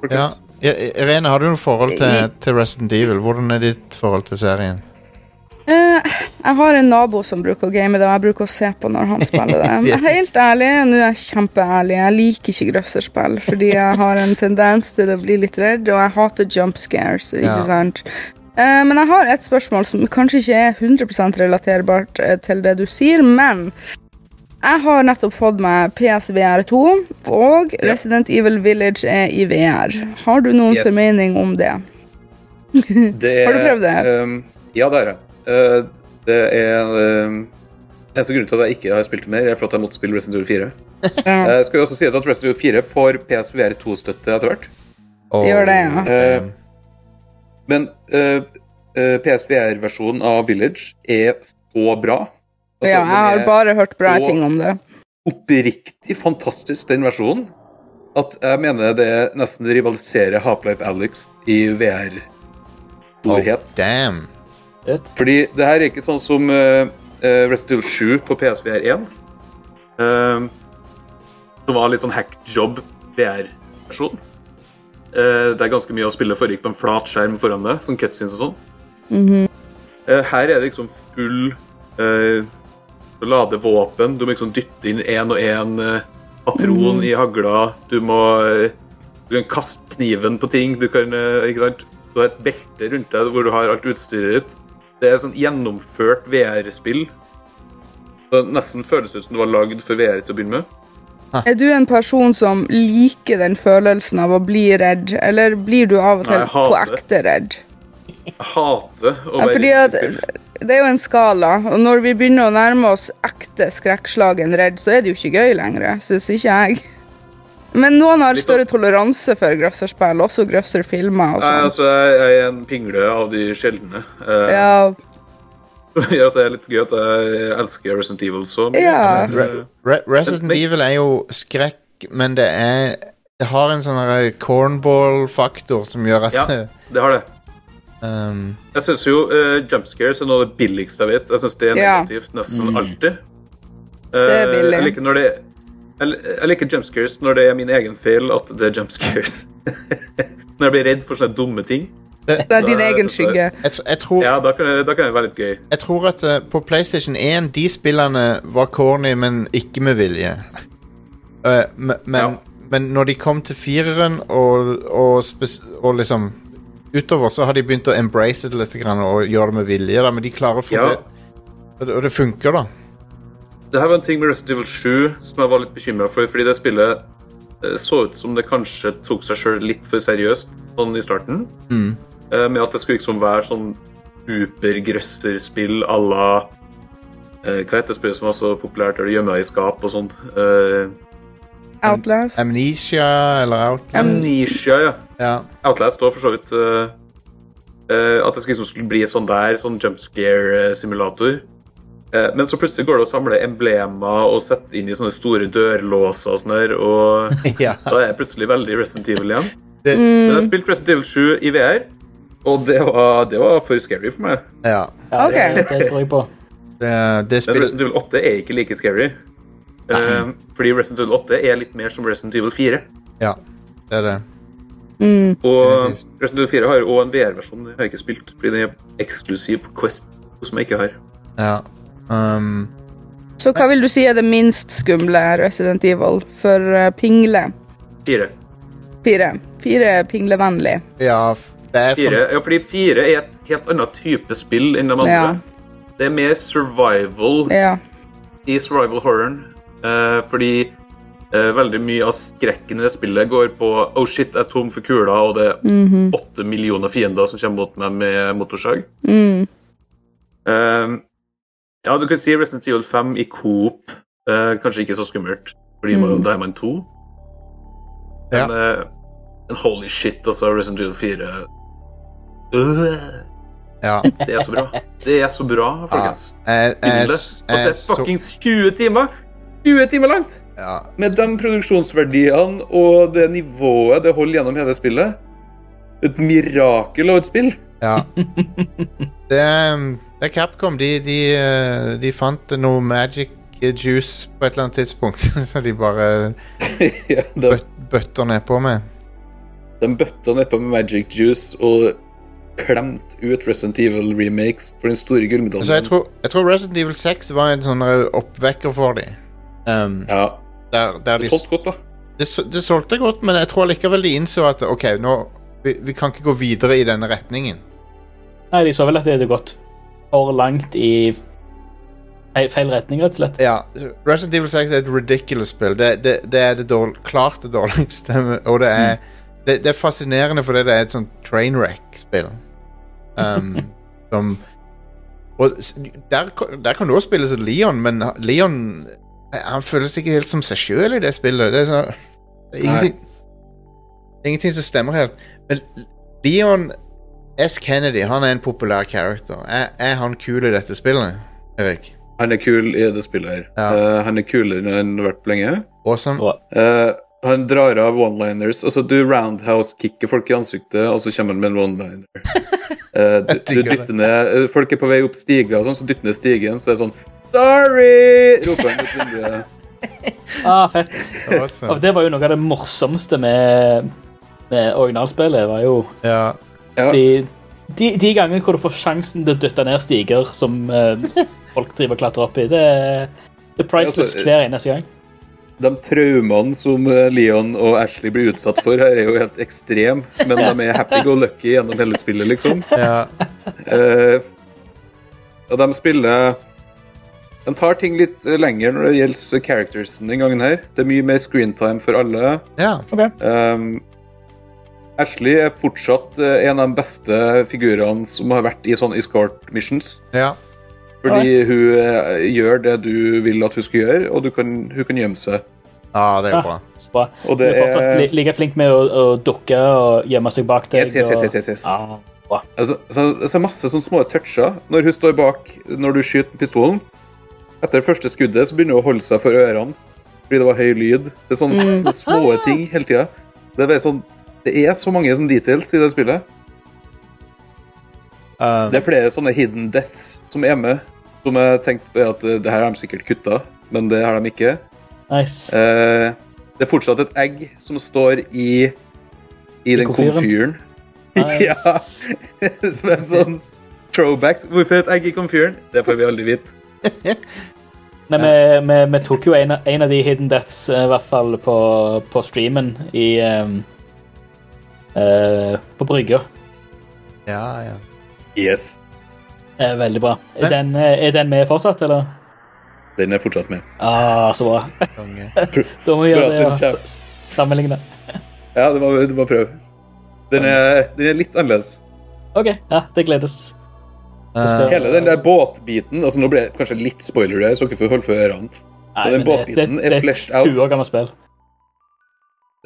[SPEAKER 6] folkens.
[SPEAKER 3] I- I- Irene, har du noe forhold til, til Resident Evil? Hvordan er ditt forhold til serien?
[SPEAKER 4] Eh, jeg har en nabo som bruker å game det, og jeg bruker å se på når han spiller
[SPEAKER 6] <laughs>
[SPEAKER 4] det. Men Helt ærlig, nå er jeg kjempeærlig, jeg liker ikke grøsserspill, fordi jeg har en tendens til å bli litt redd, og jeg hater jump scares, ikke
[SPEAKER 3] Ja.
[SPEAKER 4] sant? Eh, men jeg har et spørsmål som kanskje ikke er 100 relaterbart eh, til det du sier, men jeg har nettopp fått meg PSVR 2, og
[SPEAKER 6] Ja.
[SPEAKER 4] Resident Evil Village er i VR. Har du noen
[SPEAKER 6] Yes.
[SPEAKER 4] formening om det?
[SPEAKER 6] Det er-
[SPEAKER 4] Har du prøvd det?
[SPEAKER 6] ehm, ja, det har jeg. Eh, det er ehm, Eneste grunnen til at jeg ikke har spilt det mer, er for at jeg måtte spille Resident Evil 4.
[SPEAKER 4] <laughs> Ja.
[SPEAKER 6] Eh, skal jo også sies at Resident Evil 4 får PSVR 2-støtte etter hvert.
[SPEAKER 3] Og-
[SPEAKER 4] Gjør det,
[SPEAKER 6] ja. Eh, Men eh, eh, PSVR-versjonen av Village er så bra. Altså,
[SPEAKER 4] ja,
[SPEAKER 6] den
[SPEAKER 4] jeg har
[SPEAKER 6] er-
[SPEAKER 4] bare hørt bra
[SPEAKER 6] og-
[SPEAKER 4] ting om det.
[SPEAKER 6] oppriktig fantastisk, den versjonen. At jeg mener det nesten rivaliserer Half-Life Alex i VR-storhet.
[SPEAKER 3] Oh, damn.
[SPEAKER 5] Ut.
[SPEAKER 6] Fordi det her er ikke sånn som uh, Rest 7 på PSVR 1. eh, som var litt sånn hackjob VR-versjon. Eh, det er ganske mye å spille foregikk på en flat skjerm foran deg, som cutscenes og sånn. Eh, her er det liksom full eh, Du lader våpen, du må liksom dytte inn én og én patron i hagla. Du må eh, du kan kaste kniven på ting. Du kan, eh, ikke sant? Du har et belte rundt deg hvor du har alt utstyret ditt. Det er sånn gjennomført VR-spill. Det nesten føles ut som det var lagd for VR til å begynne med.
[SPEAKER 4] Er du en person som liker den følelsen av å bli redd, eller blir du av og
[SPEAKER 6] Nei,
[SPEAKER 4] til
[SPEAKER 6] jeg
[SPEAKER 4] på
[SPEAKER 6] hater det.
[SPEAKER 4] ekte redd?
[SPEAKER 6] Jeg hater å
[SPEAKER 4] Ja,
[SPEAKER 6] være
[SPEAKER 4] fordi
[SPEAKER 6] redd
[SPEAKER 4] at
[SPEAKER 6] i spill.
[SPEAKER 4] det er jo en skala, og når vi begynner å nærme oss ekte skrekkslagen redd, så er det jo ikke gøy lenger, syns ikke jeg. Men noen har
[SPEAKER 6] Litt
[SPEAKER 4] større toleranse for grøsserspill, også grøsserfilmer og
[SPEAKER 6] Nei,
[SPEAKER 4] sånn.
[SPEAKER 6] altså, jeg jeg er en pingle av de sjeldne. eh, <laughs>
[SPEAKER 4] Ja,
[SPEAKER 6] Som gjør at det er litt gøy at jeg elsker Resident Evil så mye.
[SPEAKER 4] Ja.
[SPEAKER 6] Eh,
[SPEAKER 3] Re Resident
[SPEAKER 6] Men-
[SPEAKER 3] Evil er jo skrekk, men det er Det har en sånn her cornball-faktor som gjør at
[SPEAKER 6] ja, det har det.
[SPEAKER 3] <laughs> um,
[SPEAKER 6] Jeg syns jo uh, jump scares er noe av det billigste jeg vet. Jeg synes det er
[SPEAKER 4] Ja.
[SPEAKER 6] negativt nesten alltid. Eh,
[SPEAKER 4] Det er billig.
[SPEAKER 6] Jeg liker, når det, jeg, jeg liker jump scares når det er min egen feil at det er jump scares. <laughs> når jeg blir redd for sånne dumme ting.
[SPEAKER 4] det er din
[SPEAKER 6] Nei,
[SPEAKER 4] egen
[SPEAKER 6] jeg synes det-
[SPEAKER 4] skygge.
[SPEAKER 3] jeg, tr- jeg, tror,
[SPEAKER 6] Ja, da kan, det- da kan det være litt gøy.
[SPEAKER 3] jeg tror at eh, på PlayStation 1 de spillene var corny, men ikke med vilje. Eh, me- men,
[SPEAKER 6] Ja.
[SPEAKER 3] men når de kom til fireren og, og, spes og liksom utover, så har de begynt å embrace det litt grann, og gjøre det med vilje, da, men de klarer å få
[SPEAKER 6] Ja.
[SPEAKER 3] det. Og det. Og det funker, da.
[SPEAKER 6] Det her var en ting med Resident Evil 7 som jeg var litt bekymra for, fordi det spillet eh, så ut som det kanskje tok seg sjøl litt for seriøst sånn i starten. Eh, Med at det skulle liksom være sånn supergrøsserspill à la eh, Hva heter det spillet som var så populært, der du gjemmer deg i skap og sånn? Eh,
[SPEAKER 4] Outlast.
[SPEAKER 3] Mm. Amnesia eller Outland.
[SPEAKER 6] Amnesia, ja.
[SPEAKER 3] Ja.
[SPEAKER 6] <laughs> Outlast òg, for så vidt. eh, eh, at det skulle- liksom skulle bli sånn der, sånn jump scare-simulator. Eh, men så plutselig går det å samle emblemer og sette inn i sånne store dørlåser og sånn der, og
[SPEAKER 3] ja.
[SPEAKER 6] da er jeg plutselig veldig Resident Evil igjen.
[SPEAKER 3] Det-
[SPEAKER 6] Men jeg har spilt Resident Evil 7 i VR, og det var, det var for scary for meg.
[SPEAKER 3] ja.
[SPEAKER 5] Ja,
[SPEAKER 4] Ok.
[SPEAKER 5] det, det tror jeg på.
[SPEAKER 3] Det, det
[SPEAKER 6] Men
[SPEAKER 3] spillet
[SPEAKER 6] Resident Evil 8 er ikke like scary. Eh, fordi Resident Evil 8 er litt mer som Resident Evil 4.
[SPEAKER 3] Ja, det er det.
[SPEAKER 6] Og Resident Evil 4 har jo også en VR-versjon jeg har ikke spilt, fordi den er eksklusiv på Quest, som jeg ikke har.
[SPEAKER 3] Ja. Um,
[SPEAKER 4] Så hva vil du si er det minst skumle Resident Evil for eh, pingle?
[SPEAKER 6] 4.
[SPEAKER 4] Fire. Fire er pinglevennlig.
[SPEAKER 3] ja, f- det er for,
[SPEAKER 6] 4. Ja, fordi 4 er et helt annet type spill enn de andre.
[SPEAKER 4] Ja.
[SPEAKER 6] Det er mer survival
[SPEAKER 4] Ja.
[SPEAKER 6] i survival horroren, eh, fordi eh, veldig mye av skrekken i det spillet går på oh shit, jeg er tom for kula, og det er
[SPEAKER 4] Mhm.
[SPEAKER 6] åtte millioner fiender som kommer mot meg med motorsag.
[SPEAKER 4] Mm.
[SPEAKER 6] Eh, ja, du kan si Resident Evil 5 i Coop. eh, kanskje ikke så skummelt, fordi man,
[SPEAKER 4] Mm.
[SPEAKER 6] da er man to.
[SPEAKER 3] Ja.
[SPEAKER 6] Men, eh, men holy shit, altså, Resident Evil 4 Øh,
[SPEAKER 3] ja.
[SPEAKER 6] Det er så bra. Det er så bra, folkens.
[SPEAKER 3] Jeg, jeg,
[SPEAKER 6] Bildet. Og så er
[SPEAKER 3] jeg,
[SPEAKER 6] det
[SPEAKER 3] så,
[SPEAKER 6] fuckings 20 timer! 20 timer langt!
[SPEAKER 3] ja,
[SPEAKER 6] Med de produksjonsverdiene og det nivået det holder gjennom hele spillet Et mirakel av et spill. <laughs>
[SPEAKER 3] Ja. Det, er- det er Capcom. De, de, eh, de fant noe magic juice på et eller annet tidspunkt, <laughs> så de bare
[SPEAKER 6] ja, de,
[SPEAKER 3] bøt, bøtter nedpå med.
[SPEAKER 6] de bøtta nedpå med Magic Juice og klemt ut Resident Evil remakes for den store gullmedaljen.
[SPEAKER 3] Så jeg tror, jeg tror Resident Evil 6 var en sånn eh, oppvekker for dem. Um,
[SPEAKER 6] Ja,
[SPEAKER 3] der, der
[SPEAKER 6] det
[SPEAKER 3] de,
[SPEAKER 6] er solgt godt, da.
[SPEAKER 3] det, sol- det solgte godt, men jeg tror likevel de innså at ok, nå, vi, vi kan ikke gå videre i denne retningen.
[SPEAKER 5] Nei, de så vel at det hadde gått for langt i feil, feil retning, rett og slett.
[SPEAKER 3] Ja, Resident Evil 6 er et ridiculous spill. Det, det, det er det dårl klart det dårligste, <laughs> og det er, det, det er fascinerende fordi det er et sånt trainwreck-spill. Um, som Og s- der, ko- der kan du også spille som Leon, men ha- Leon eh, Han føles ikke helt som seg sjøl i det spillet. Det er, så, det er ingenting Ingenting som stemmer helt. Men Leon S. Kennedy, han er en populær character. Er, er han kul i dette spillet, Erik?
[SPEAKER 6] Han er kul i det spillet her.
[SPEAKER 3] Ja.
[SPEAKER 6] Eh, han er kulere enn han har vært på lenge.
[SPEAKER 3] Awesome.
[SPEAKER 6] Eh, han drar av one-liners. Altså, du roundhouse-kicker folk i ansiktet, og så kommer han med en
[SPEAKER 3] <laughs>
[SPEAKER 6] one-liner. Eh, du, du
[SPEAKER 3] digger det.
[SPEAKER 6] dytter ned eh, Folk er på vei opp stiga, og sånn, så dytter ned stigen, så er det sånn Sorry! roper han ut vinduet.
[SPEAKER 5] Ah, fett.
[SPEAKER 3] Awesome.
[SPEAKER 5] Og det var jo noe av det morsomste med, med originalspillet. var jo
[SPEAKER 3] Ja.
[SPEAKER 6] Ja,
[SPEAKER 5] de, de, de gangene hvor du får sjansen til å dytte ned stiger som
[SPEAKER 6] <laughs>
[SPEAKER 5] eh, folk driver og klatrer opp i. Det er det er priceless
[SPEAKER 6] Ja, altså,
[SPEAKER 5] hver eneste gang.
[SPEAKER 6] de traumene som eh, Leon og Ashley blir utsatt for her, er jo helt ekstrem, men de er happy-go-lucky gjennom hele spillet, liksom.
[SPEAKER 3] ja.
[SPEAKER 6] Eh, og de spiller De tar ting litt eh, lenger når det gjelder charactersen den gangen her. Det er mye mer screentime for alle.
[SPEAKER 3] Ja.
[SPEAKER 6] Um, Ashley er fortsatt eh, en av de beste figurene som har vært i sånn escort missions.
[SPEAKER 3] ja.
[SPEAKER 6] Fordi
[SPEAKER 5] Alright.
[SPEAKER 6] hun eh, gjør det du vil at hun skal gjøre, og du kan, hun kan gjemme seg.
[SPEAKER 3] Ja, det er jo
[SPEAKER 5] <laughs>
[SPEAKER 3] bra.
[SPEAKER 5] Så bra.
[SPEAKER 6] Og
[SPEAKER 5] Du
[SPEAKER 6] det
[SPEAKER 5] er fortsatt li,
[SPEAKER 6] er
[SPEAKER 5] like flink med å, å dukke og gjemme seg bak deg.
[SPEAKER 6] Yes, yes, yes, yes, yes, yes.
[SPEAKER 5] Og, ja, bra.
[SPEAKER 6] altså, så, så er masse sånne små toucher når hun står bak når du skyter pistolen. Etter det første skuddet så begynner hun å holde seg for ørene fordi det var høy lyd. Det er sånne, sånne små ting hele tida. Det, er bare sånn, det er så mange sånne details i det spillet.
[SPEAKER 3] Um,
[SPEAKER 6] Det er flere sånne hidden deaths som er med. Som jeg tenkte at eh, det her har de sikkert kutta, men det har de ikke.
[SPEAKER 5] Nice.
[SPEAKER 6] Eh, det er fortsatt et egg som står i, i den komfyren. <laughs>
[SPEAKER 5] komfyren. nice.
[SPEAKER 6] som er sånn throwbacks. Hvorfor et egg i komfyren? Det får vi aldri vite.
[SPEAKER 5] Nei, vi, vi, vi tok jo en, av- en av de hidden deaths, eh, i hvert fall på, på streamen, i ehm, eh, På brygga.
[SPEAKER 3] ja, ja.
[SPEAKER 6] Yes.
[SPEAKER 5] Eh, veldig bra.
[SPEAKER 3] Men-
[SPEAKER 5] Er den, eh, er den med fortsatt, eller?
[SPEAKER 6] Den er fortsatt med.
[SPEAKER 5] Ah, så bra.
[SPEAKER 3] Konge.
[SPEAKER 5] Da må vi
[SPEAKER 6] Bra
[SPEAKER 5] gjøre
[SPEAKER 6] at
[SPEAKER 5] det.
[SPEAKER 6] den
[SPEAKER 5] Ja.
[SPEAKER 6] kommer.
[SPEAKER 5] S- s- Sammenligne.
[SPEAKER 6] Ja, du må, du må prøve. Den er, den er litt annerledes.
[SPEAKER 5] OK, ja, det gledes. <laughs> Det
[SPEAKER 3] Eh,
[SPEAKER 5] skal-
[SPEAKER 6] Hele den der båtbiten altså Nå ble det kanskje litt spoiler, her, så dere får holde for ørene.
[SPEAKER 5] Nei,
[SPEAKER 6] Og den
[SPEAKER 5] men det-
[SPEAKER 6] båtbiten
[SPEAKER 5] det-
[SPEAKER 6] er
[SPEAKER 5] det et
[SPEAKER 6] fleshed out.
[SPEAKER 5] 20 år gammelt spill.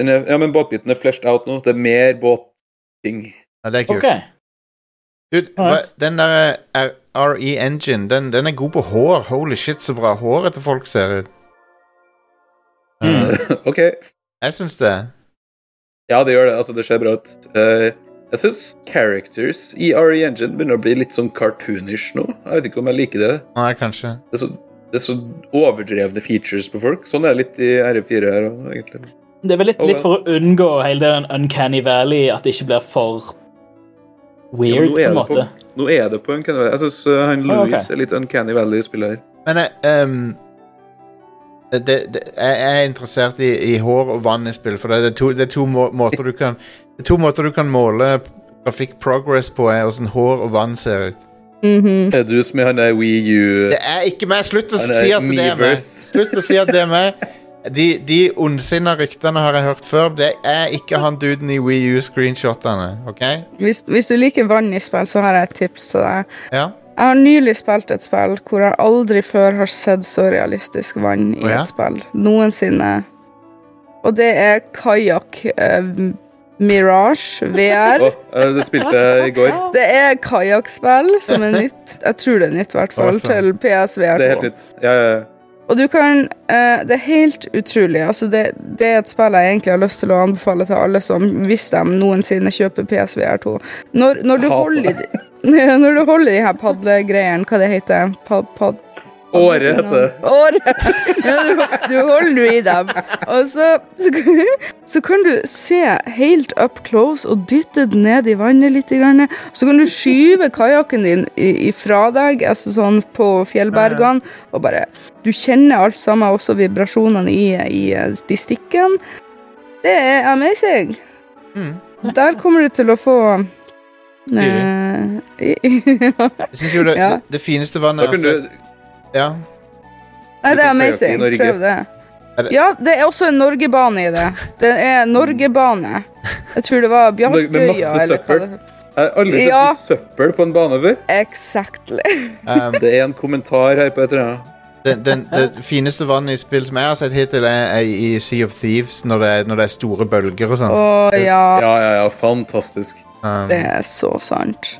[SPEAKER 6] Den er, ja, men båtbiten er fleshed out nå. Det er mer båtting.
[SPEAKER 3] ja, det er kult.
[SPEAKER 5] OK.
[SPEAKER 3] Dude, hva, den der eh, R- RE Engine, den, den er god på hår. Holy shit, så bra håret til folk ser ut. Eh,
[SPEAKER 6] <laughs> OK.
[SPEAKER 3] Jeg syns det.
[SPEAKER 6] Ja, det gjør det. Altså, det ser bra ut. Eh, jeg syns characters E i RE Engine begynner å bli litt sånn cartoonish nå. Jeg vet ikke om jeg liker det.
[SPEAKER 3] Nei, kanskje.
[SPEAKER 6] Det er, så, Det er så overdrevne features på folk. Sånn er det litt i R4 her òg, egentlig.
[SPEAKER 5] Det er vel litt, litt for å unngå hele den Uncanny Valley, at det ikke blir for
[SPEAKER 6] Ja, men
[SPEAKER 5] weird,
[SPEAKER 6] nå
[SPEAKER 5] på
[SPEAKER 6] er
[SPEAKER 5] en
[SPEAKER 6] det
[SPEAKER 5] måte.
[SPEAKER 6] På, nå er det på Uncanny Valley. Jeg syns han
[SPEAKER 5] Ah, ok.
[SPEAKER 6] Louis er litt Uncanny Valley-spiller her.
[SPEAKER 3] Men eh, ehm, det, det, det, jeg er interessert i, i hår og vann i spillet, for det, det, er to, det, er to må, måter du kan, det er to måter du kan måle grafikk progress på, er hvordan hår og vann ser ut.
[SPEAKER 5] Mm.
[SPEAKER 4] Mhm.
[SPEAKER 6] Er du som er han der Wii U
[SPEAKER 3] Det er ikke meg! Slutt å
[SPEAKER 6] Han er
[SPEAKER 3] si at det er meg!
[SPEAKER 6] Miiverse.
[SPEAKER 3] Slutt
[SPEAKER 6] <laughs>
[SPEAKER 3] å si at det er meg! De, de ondsinna ryktene har jeg hørt før. Det er ikke han duden i Wii U-screenshotene, OK?
[SPEAKER 4] Hvis, hvis du liker vann i spill, så har jeg et tips til deg.
[SPEAKER 3] Ja.
[SPEAKER 4] Jeg har nylig spilt et spill hvor jeg aldri før har sett så realistisk vann i
[SPEAKER 3] Å ja?
[SPEAKER 4] et spill. Noensinne. Og det er kajakk eh, Mirage VR.
[SPEAKER 6] Å, eh, det spilte jeg i går.
[SPEAKER 4] Det er kajakkspill som er nytt. Jeg tror det er nytt, i hvert fall.
[SPEAKER 3] Awesome.
[SPEAKER 4] Til PSVR2.
[SPEAKER 6] Det er helt nytt. Ja, ja, ja.
[SPEAKER 4] Og du kan eh, Det er helt utrolig. Altså, det, det er et spill jeg egentlig har lyst til å anbefale til alle som hvis de noensinne kjøper PSVR2. Når, når, du
[SPEAKER 6] Hater
[SPEAKER 4] holder, i de- <laughs> når du holder i de her padlegreiene, hva det heter pad, pad,
[SPEAKER 6] Åre heter det.
[SPEAKER 4] Åre! <laughs> Ja, du, du holder jo i dem. Og så, så, kan- så kan du se helt up close og dytte den ned i vannet litt. Grann. Så kan du skyve kajakken din i- ifra deg altså sånn på fjellbergene og bare Du kjenner alt sammen, også vibrasjonene i, i eh, de stikkene. Det er amazing.
[SPEAKER 3] Mm.
[SPEAKER 4] Der kommer du til å få eh, i- <laughs>
[SPEAKER 3] Jeg syns jo det,
[SPEAKER 4] Ja.
[SPEAKER 3] det, det fineste vannet
[SPEAKER 6] Da
[SPEAKER 3] jeg
[SPEAKER 6] kunne
[SPEAKER 3] har sett
[SPEAKER 6] du
[SPEAKER 3] ja.
[SPEAKER 4] Nei, det er
[SPEAKER 6] Du kan kajakke i
[SPEAKER 4] amazing.
[SPEAKER 6] Norge.
[SPEAKER 4] Prøv det.
[SPEAKER 3] Er det-
[SPEAKER 4] Ja, det er også en Norgebane i det. Det er Norgebane. Jeg tror det
[SPEAKER 3] <laughs>
[SPEAKER 4] var
[SPEAKER 6] Med masse
[SPEAKER 4] Bjarkøya eller hva
[SPEAKER 6] søppel.
[SPEAKER 4] det
[SPEAKER 6] Jeg har aldri sett
[SPEAKER 4] Ja.
[SPEAKER 6] så mye søppel på en bane før.
[SPEAKER 4] Exactly.
[SPEAKER 3] ehm,
[SPEAKER 6] Det er en kommentar her på et eller annet.
[SPEAKER 3] den, den, det fineste vannet i spill som jeg har sett hittil, er, er i Sea of Thieves, når det er, når det er store bølger og sånn.
[SPEAKER 4] Å ja,
[SPEAKER 6] Ja, ja, ja. Fantastisk.
[SPEAKER 3] Um,
[SPEAKER 4] det er så sant.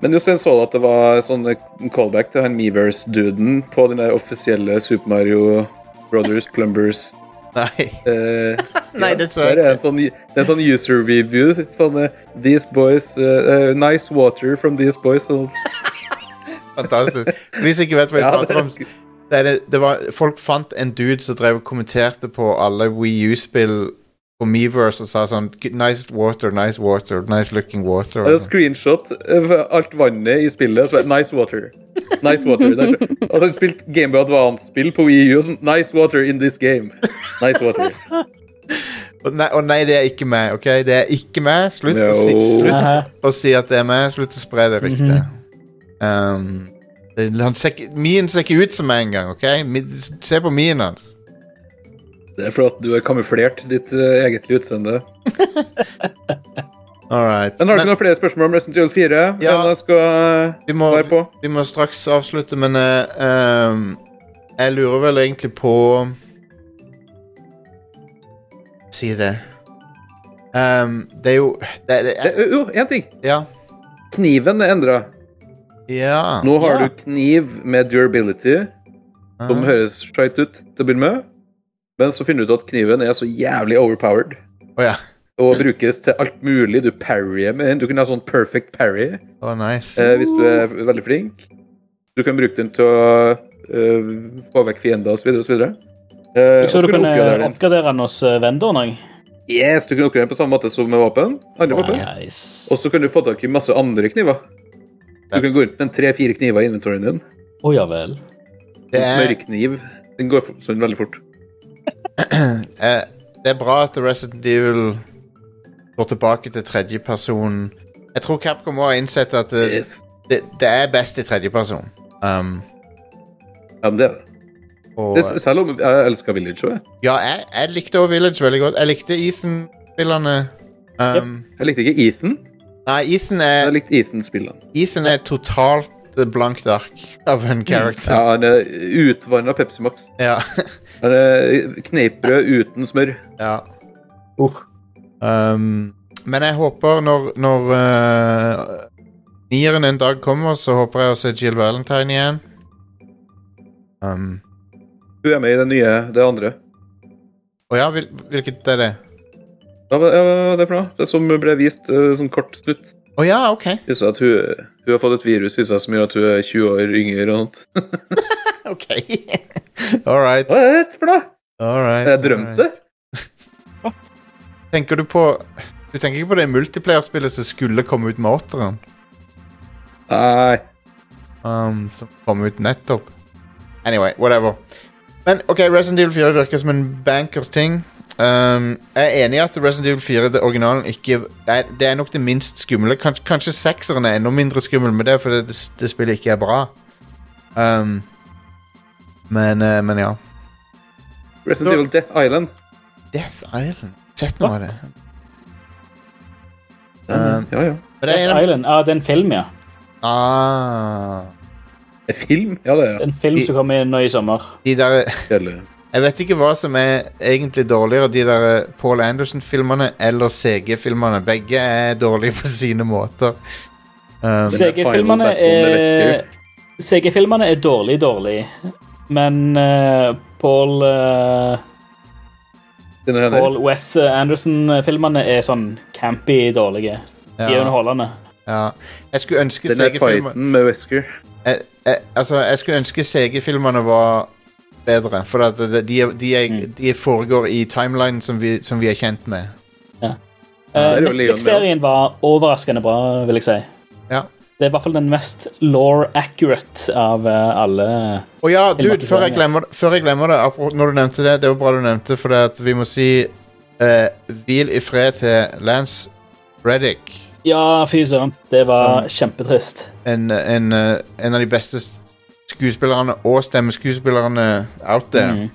[SPEAKER 6] Men just jeg så at det var sånn callback til han Meverse-duden på den der offisielle Super Mario Brothers Plumbers
[SPEAKER 3] nei.
[SPEAKER 6] <laughs> eh,
[SPEAKER 3] Nei, det så jeg
[SPEAKER 6] der er en sånn, det er en sånn user review. Sånn eh, These boys eh, eh, Nice water from these boys. Sånn.
[SPEAKER 3] Fantastisk. For de som ikke vet hva jeg
[SPEAKER 6] <laughs> Ja,
[SPEAKER 3] prater om,
[SPEAKER 6] det-
[SPEAKER 3] så er det, det var, folk fant en dude som drev og kommenterte på alle Wii U-spill på Meverse og sa sånn Nice water, nice water, nice looking water.
[SPEAKER 6] det er
[SPEAKER 3] Og
[SPEAKER 6] en screenshot av alt vannet i spillet. Så er det nice water. Nice water. Det er Altså, så, og så spilt Gameboy Advance-spill på Wii U. og Sånn, nice water in this game. Nice water.
[SPEAKER 3] Og nei, og nei, det er ikke meg. ok? Det er ikke meg. Slutt, å, si,
[SPEAKER 6] No.
[SPEAKER 5] Aha.
[SPEAKER 3] slutt å si at det er meg. Slutt å spre det ryktet. um, det- han ser ikke- min ser ikke ut som meg engang. ok? Min- Se på min hans.
[SPEAKER 6] Det er for at du har kamuflert ditt eh, egentlige utseende.
[SPEAKER 3] All right.
[SPEAKER 6] Men har du
[SPEAKER 3] Men
[SPEAKER 6] noen flere spørsmål om Resident Evil 4?
[SPEAKER 3] Ja.
[SPEAKER 6] Hvem jeg skal
[SPEAKER 3] vi, må,
[SPEAKER 6] være på?
[SPEAKER 3] vi må straks avslutte, men eh, um, jeg lurer vel egentlig på Si det. Um, det er jo det, det,
[SPEAKER 6] Det- Eh, Jo, én ting.
[SPEAKER 3] Ja.
[SPEAKER 6] Kniven er endra.
[SPEAKER 3] ja.
[SPEAKER 6] Nå har
[SPEAKER 5] Ja.
[SPEAKER 6] du kniv med durability, som høres streit ut til å begynne med. Men så finner du ut at kniven er så jævlig overpowered
[SPEAKER 3] Å ja.
[SPEAKER 6] og brukes til alt mulig. Du parryer med den. Du kan ha sånn perfect parry
[SPEAKER 3] Å, nice.
[SPEAKER 6] eh, hvis du er veldig flink. Du kan bruke den til å eh, få vekk fiender osv. osv. Eh,
[SPEAKER 5] Jeg så du kunne oppgradere den hos eh, vendoren òg.
[SPEAKER 6] Yes, du kan oppgradere den på samme måte som med våpen. Andre våpen.
[SPEAKER 5] Nice.
[SPEAKER 6] Og så kan du få tak i masse andre kniver. Du
[SPEAKER 3] Fett.
[SPEAKER 6] kan gå rundt med en tre-fire kniver i inventoryen din.
[SPEAKER 5] Å ja vel.
[SPEAKER 3] Det
[SPEAKER 6] En
[SPEAKER 3] er-
[SPEAKER 6] smørkniv. Den går for- sånn veldig fort.
[SPEAKER 3] Eh, det er bra at Resident Evil går tilbake til tredjeperson. Jeg tror Capcom må ha innsett at det,
[SPEAKER 6] Yes.
[SPEAKER 3] det, det er best i tredjeperson. Um,
[SPEAKER 6] Ja, men det er det.
[SPEAKER 3] og
[SPEAKER 6] det. Selv om jeg elsker Village òg.
[SPEAKER 3] ja, jeg, jeg likte også Village veldig godt. Jeg likte Ethan-spillene. Um,
[SPEAKER 6] Jeg likte ikke Ethan.
[SPEAKER 3] Nei, Ethan
[SPEAKER 6] Jeg
[SPEAKER 3] er,
[SPEAKER 6] likte Ethan-spillene.
[SPEAKER 3] Ethan er totalt blankt ark av en character.
[SPEAKER 6] Ja, han er utvanna Pepsi Max.
[SPEAKER 3] Ja. <laughs>
[SPEAKER 6] Han er kneippbrød uten smør.
[SPEAKER 3] ja.
[SPEAKER 5] Uh.
[SPEAKER 3] Um, men jeg håper når, når uh, nieren en dag kommer, så håper jeg å se Jill Valentine igjen. Um,
[SPEAKER 6] Hun er med i det nye, det andre.
[SPEAKER 3] Å ja, hvil, hvilket er det?
[SPEAKER 6] Ja, hva ja, hva er det for noe? Det som ble vist eh, sånn kort snutt.
[SPEAKER 3] Å ja, ok. <laughs>
[SPEAKER 6] Viser at hun, hun har fått et virus i seg som gjør at hun er 20 år yngre. og sånt.
[SPEAKER 3] OK. All right.
[SPEAKER 7] Hva er det for noe?
[SPEAKER 3] All right.
[SPEAKER 7] Jeg drømte.
[SPEAKER 3] Tenker du på Du tenker ikke på det multiplayerspillet som skulle komme ut med åtteren?
[SPEAKER 7] Nei.
[SPEAKER 3] um, som kom ut nettopp. Anyway, whatever. Men ok, Resident Evil 4 virker som en bankers ting. Um, jeg er enig i at Resident Evil 4, det originalen, ikke det er, det er nok det minst skumle. Kanskje, kanskje sekseren er enda mindre skummel, men det er fordi det, det spillet ikke er bra. Um, men, eh, men ja.
[SPEAKER 7] Resident Evil Death Island.
[SPEAKER 3] Death Island. Sett noe av det.
[SPEAKER 5] Eh.
[SPEAKER 3] Um,
[SPEAKER 7] Ja, ja.
[SPEAKER 3] men det er en
[SPEAKER 5] Death
[SPEAKER 3] av
[SPEAKER 5] Island. Ja, det er en film, ja.
[SPEAKER 3] ah,
[SPEAKER 7] En film? Ja, det
[SPEAKER 5] Det
[SPEAKER 7] er
[SPEAKER 5] er En film som kommer nå i sommer.
[SPEAKER 3] De der
[SPEAKER 7] kjedelig.
[SPEAKER 3] Jeg vet ikke hva som er egentlig dårligere, de der eh, Paul Anderson-filmerne eller CG-filmerne. Begge er dårlige på sine måter. Um,
[SPEAKER 7] Se-
[SPEAKER 5] CG-filmene
[SPEAKER 7] Final Battle
[SPEAKER 5] er CG-filmene er dårlig, dårlig. Men eh, Paul eh,
[SPEAKER 7] Dine hender.
[SPEAKER 5] Paul Wes eh, Anderson-filmene er sånn campy dårlige. De er
[SPEAKER 3] Ja.
[SPEAKER 5] underholdende.
[SPEAKER 3] ja. Jeg skulle ønske
[SPEAKER 7] Den der
[SPEAKER 3] CG-filmerne
[SPEAKER 7] fighten med Wesker.
[SPEAKER 3] jeg, jeg, altså, jeg skulle ønske CG-filmerne var bedre, for at det- de, er- de, er- de foregår i timelinen som, vi- som vi er kjent med.
[SPEAKER 5] Eh,
[SPEAKER 7] det er jo Leon,
[SPEAKER 5] Netflix-serien var overraskende bra, vil jeg si.
[SPEAKER 3] Ja.
[SPEAKER 5] Det er i hvert fall den mest law accurate av eh, alle.
[SPEAKER 3] Og ja, dude, før jeg
[SPEAKER 5] Filmatisering, ja.
[SPEAKER 3] glemmer, før jeg glemmer det, apro- når du nevnte det, det var bra du nevnte, for det at vi må si eh, hvil i fred til Lance Reddick.
[SPEAKER 5] Ja, fy søren. Det var kjempetrist.
[SPEAKER 3] en, en, eh, en av de beste skuespillerne og stemmeskuespillerne out there.
[SPEAKER 5] Mhm.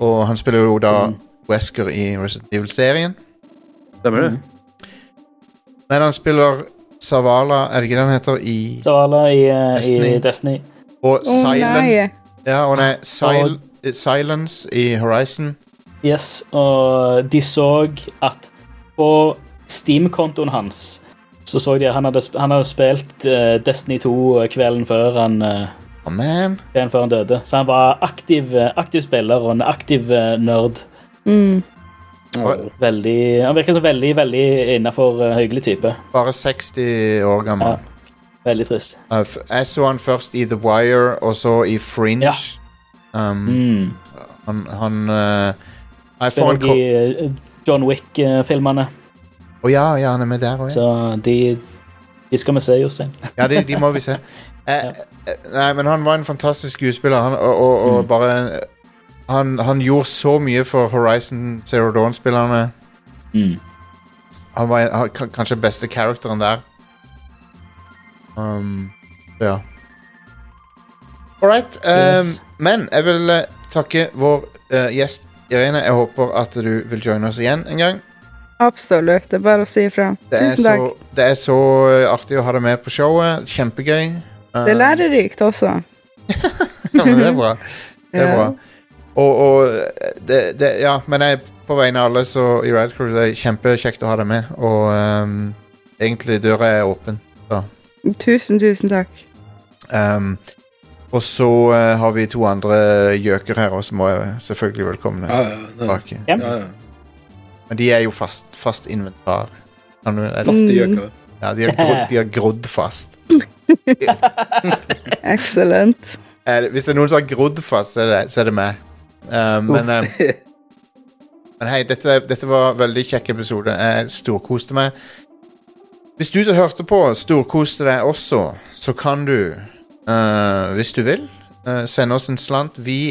[SPEAKER 3] Og han spiller jo da
[SPEAKER 5] Mm.
[SPEAKER 3] Wesker i Resident Evil-serien.
[SPEAKER 7] Stemmer det?
[SPEAKER 5] Mm.
[SPEAKER 3] Men han spiller Savala, er det ikke det han heter, i
[SPEAKER 5] Så alle i, eh,
[SPEAKER 3] Destiny.
[SPEAKER 5] i Destiny.
[SPEAKER 3] Og
[SPEAKER 4] Å
[SPEAKER 3] Silent,
[SPEAKER 4] nei.
[SPEAKER 3] ja, og nei, Sil eh, Silence i Horizon.
[SPEAKER 5] Yes, og de så at på Steam-kontoen hans så så de at han hadde, sp- han hadde spilt eh, Destiny 2 kvelden før han, eh,
[SPEAKER 3] Oh, man.
[SPEAKER 5] kvelden før han døde. Så han var aktiv, eh, aktiv spiller og en aktiv eh, nerd.
[SPEAKER 4] Mm.
[SPEAKER 5] Veldig, han virker som veldig, veldig innafor hyggelig type.
[SPEAKER 3] Bare 60 år gammel.
[SPEAKER 5] Ja. Veldig trist.
[SPEAKER 3] Eh, f- jeg så han først i The Wire, og så i Fringe.
[SPEAKER 5] Ja.
[SPEAKER 3] Um,
[SPEAKER 5] Mm.
[SPEAKER 3] Han, han eh, Nei,
[SPEAKER 5] Det er
[SPEAKER 3] for han
[SPEAKER 5] noe
[SPEAKER 3] kom
[SPEAKER 5] i eh, John Wick-filmene.
[SPEAKER 3] Å ja, ja, han er med der òg, ja.
[SPEAKER 5] Så de, de skal vi se, Jostein.
[SPEAKER 3] Ja, de, de må vi se. Eh, eh, nei, men han var en fantastisk skuespiller, han, og, og,
[SPEAKER 4] Mm.
[SPEAKER 3] og bare han, han gjorde så mye for Horizon Zero Dawn-spillerne.
[SPEAKER 5] <laughs> Mm.
[SPEAKER 3] Han var en- han, kan- kanskje beste characteren der. Um, ja. All right. Um,
[SPEAKER 5] Yes.
[SPEAKER 3] Men jeg vil eh, takke vår eh, gjest Irene. Jeg håper at du vil joine oss igjen en gang.
[SPEAKER 4] Absolutt. Det er bare å si ifra.
[SPEAKER 3] Det er,
[SPEAKER 4] Tusen takk.
[SPEAKER 3] så, det er så eh, artig å ha deg med på showet. Kjempegøy. Um,
[SPEAKER 4] Det er lærerikt også.
[SPEAKER 3] <laughs> Ja, men det er bra. Det er
[SPEAKER 4] Ja.
[SPEAKER 3] bra. Og, og eh, det, det, Ja, men jeg, på vegne av alle så i Rad Crew, det er kjempekjekt å ha deg med. Og ehm, egentlig døra er åpen.
[SPEAKER 4] Tusen, tusen takk.
[SPEAKER 3] Ehm, og så eh, har vi to andre gjøker her også, som er selvfølgelig velkomne
[SPEAKER 7] Ja, ja, ja.
[SPEAKER 3] tilbake.
[SPEAKER 5] Ja.
[SPEAKER 7] ja, ja.
[SPEAKER 3] Men de er jo fast, fast inventar. Kan du- er det-
[SPEAKER 7] Faste gjøker.
[SPEAKER 5] Mm.
[SPEAKER 3] Ja, de har grodd, de har grodd fast.
[SPEAKER 4] Excellent.
[SPEAKER 3] Er det- Hvis det er noen som har grodd fast, så er det, så er det meg. Ehm, men ehm, Men hei, dette, dette var en veldig kjekk episode. Jeg storkoste meg. Hvis du som hørte på, storkoste deg også, så kan du, eh, hvis du vil, eh, sende oss en slant. Vi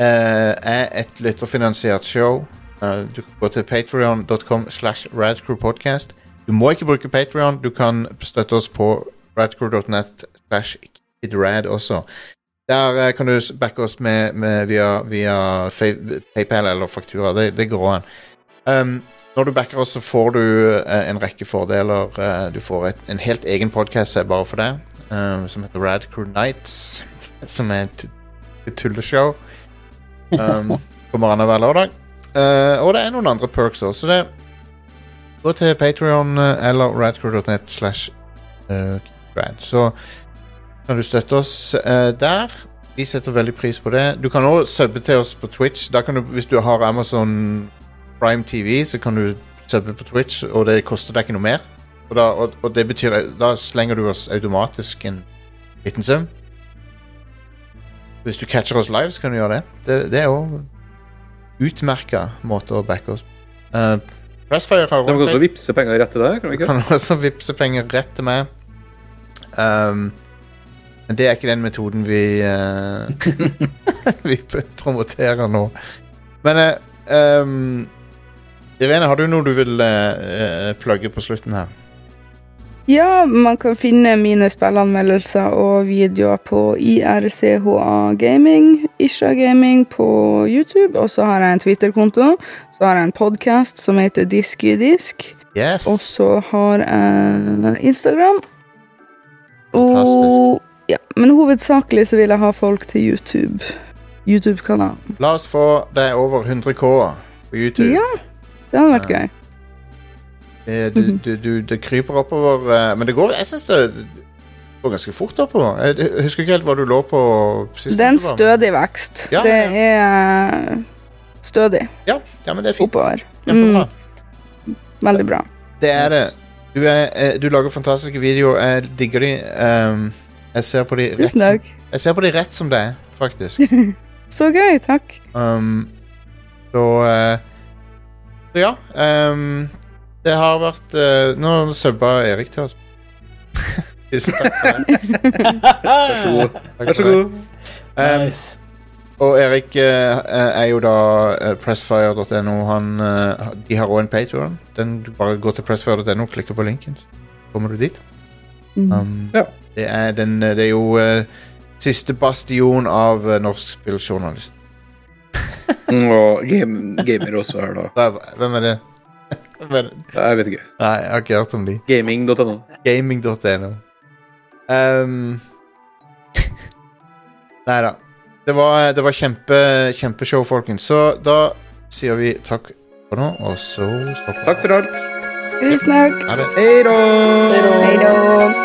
[SPEAKER 3] eh, er et lytterfinansiert show. Eh, du kan gå til patreon.com slash radcrewpodcast. Du må ikke bruke Patreon. Du kan støtte oss på radcrew.net slash kidrad også. Der eh, kan du s- backe oss med, med via, via fa- PayPal eller faktura. Det, det går an. Um, når du backer oss, så får du eh, en rekke fordeler. Eh, du får et, en helt egen podkast bare for deg, eh, som heter Rad Crew Nights. <laughs> Som er et, et tulleshow. Um, kommer annenhver lørdag. Eh, og det er noen andre perks også, så det Gå til Patrion eller radcrew.net slash eh, rad. Så kan du støtte oss eh, der. Vi setter veldig pris på det. Du kan òg subbe til oss på Twitch. Da kan du, hvis du har Amazon Prime TV, så kan du subbe på Twitch, og det koster deg ikke noe mer. Og da, og, og det betyr, da slenger du oss automatisk en liten sum. Hvis du catcher oss live, så kan du gjøre det. Det, det er jo utmerka måte å backe oss på. Eh, Pressfire har
[SPEAKER 7] De kan også vippse penger rett til deg, kan de ikke?
[SPEAKER 3] kan også vippse penger rett til meg. Ehm, men det er ikke den metoden vi eh, <laughs> Vi p- promoterer nå. Men eh, ehm, Irene, har du noe du vil eh, eh, plugge på slutten her?
[SPEAKER 4] Ja, man kan finne mine spillanmeldelser og videoer på IRCHA Gaming, Isha Gaming på YouTube, og så har jeg en Twitter-konto. Så har jeg en podkast som heter Disk i disk,
[SPEAKER 3] Yes!
[SPEAKER 4] og så har jeg Instagram.
[SPEAKER 3] Fantastisk.
[SPEAKER 4] Og ja, men hovedsakelig så vil jeg ha folk til YouTube. YouTube-kanal.
[SPEAKER 3] La oss få deg over 100K på YouTube.
[SPEAKER 4] Ja, det hadde vært
[SPEAKER 3] Ja.
[SPEAKER 4] gøy.
[SPEAKER 3] Eh,
[SPEAKER 4] Mhm.
[SPEAKER 3] du, du, du, det kryper oppover, eh, men det går Jeg syns det det går ganske fort oppover. Jeg husker ikke helt hva du lå på sist.
[SPEAKER 4] Det er en
[SPEAKER 3] gang du var med.
[SPEAKER 4] stødig vekst.
[SPEAKER 3] Ja,
[SPEAKER 4] Det
[SPEAKER 3] ja,
[SPEAKER 4] er eh, stødig
[SPEAKER 3] Ja, ja, men det er fint.
[SPEAKER 4] oppover.
[SPEAKER 3] Kjempebra.
[SPEAKER 4] Mm, veldig bra.
[SPEAKER 3] Det er det. Du, er, eh, du lager fantastiske videoer. Jeg digger de. ehm, jeg, ser på de rett
[SPEAKER 4] Tusen
[SPEAKER 3] som,
[SPEAKER 4] takk.
[SPEAKER 3] jeg ser på de rett som det er,
[SPEAKER 7] <laughs>
[SPEAKER 3] faktisk.
[SPEAKER 4] Så gøy, takk.
[SPEAKER 3] Um, så eh, Så ja. ehm, det har vært eh, Nå subba Erik til
[SPEAKER 7] <laughs>
[SPEAKER 3] oss. Tusen takk for det.
[SPEAKER 7] Vær så god.
[SPEAKER 3] Takk
[SPEAKER 7] Vær
[SPEAKER 3] for
[SPEAKER 7] så
[SPEAKER 3] det.
[SPEAKER 7] god. Um,
[SPEAKER 3] Ehm,
[SPEAKER 5] Ah! Nice.
[SPEAKER 3] Og Erik eh, er jo da eh, pressfire.no. Han, eh, de har òg en Patreon. Den- Du bare går til pressfire.no, klikker på linken, så kommer du dit. Um,
[SPEAKER 7] Ja.
[SPEAKER 3] det, er den, eh, det er jo eh, siste bastion av eh, norsk spilljournalist.
[SPEAKER 7] Mm, Og game, gamer også her, da.
[SPEAKER 3] Hva- Hvem er det? Hvem er det?
[SPEAKER 7] Jeg vet ikke.
[SPEAKER 3] Nei, jeg har ikke hørt om de.
[SPEAKER 7] Gaming.no.
[SPEAKER 3] Gaming.no. Um, <laughs> Nei da. Det var, det var kjempe, kjempeshow, folkens. Så da sier vi takk for nå, og så stopper
[SPEAKER 7] Takk for alt.
[SPEAKER 4] Tusen takk.
[SPEAKER 3] Ha det.
[SPEAKER 7] Hei da!
[SPEAKER 4] Hei da.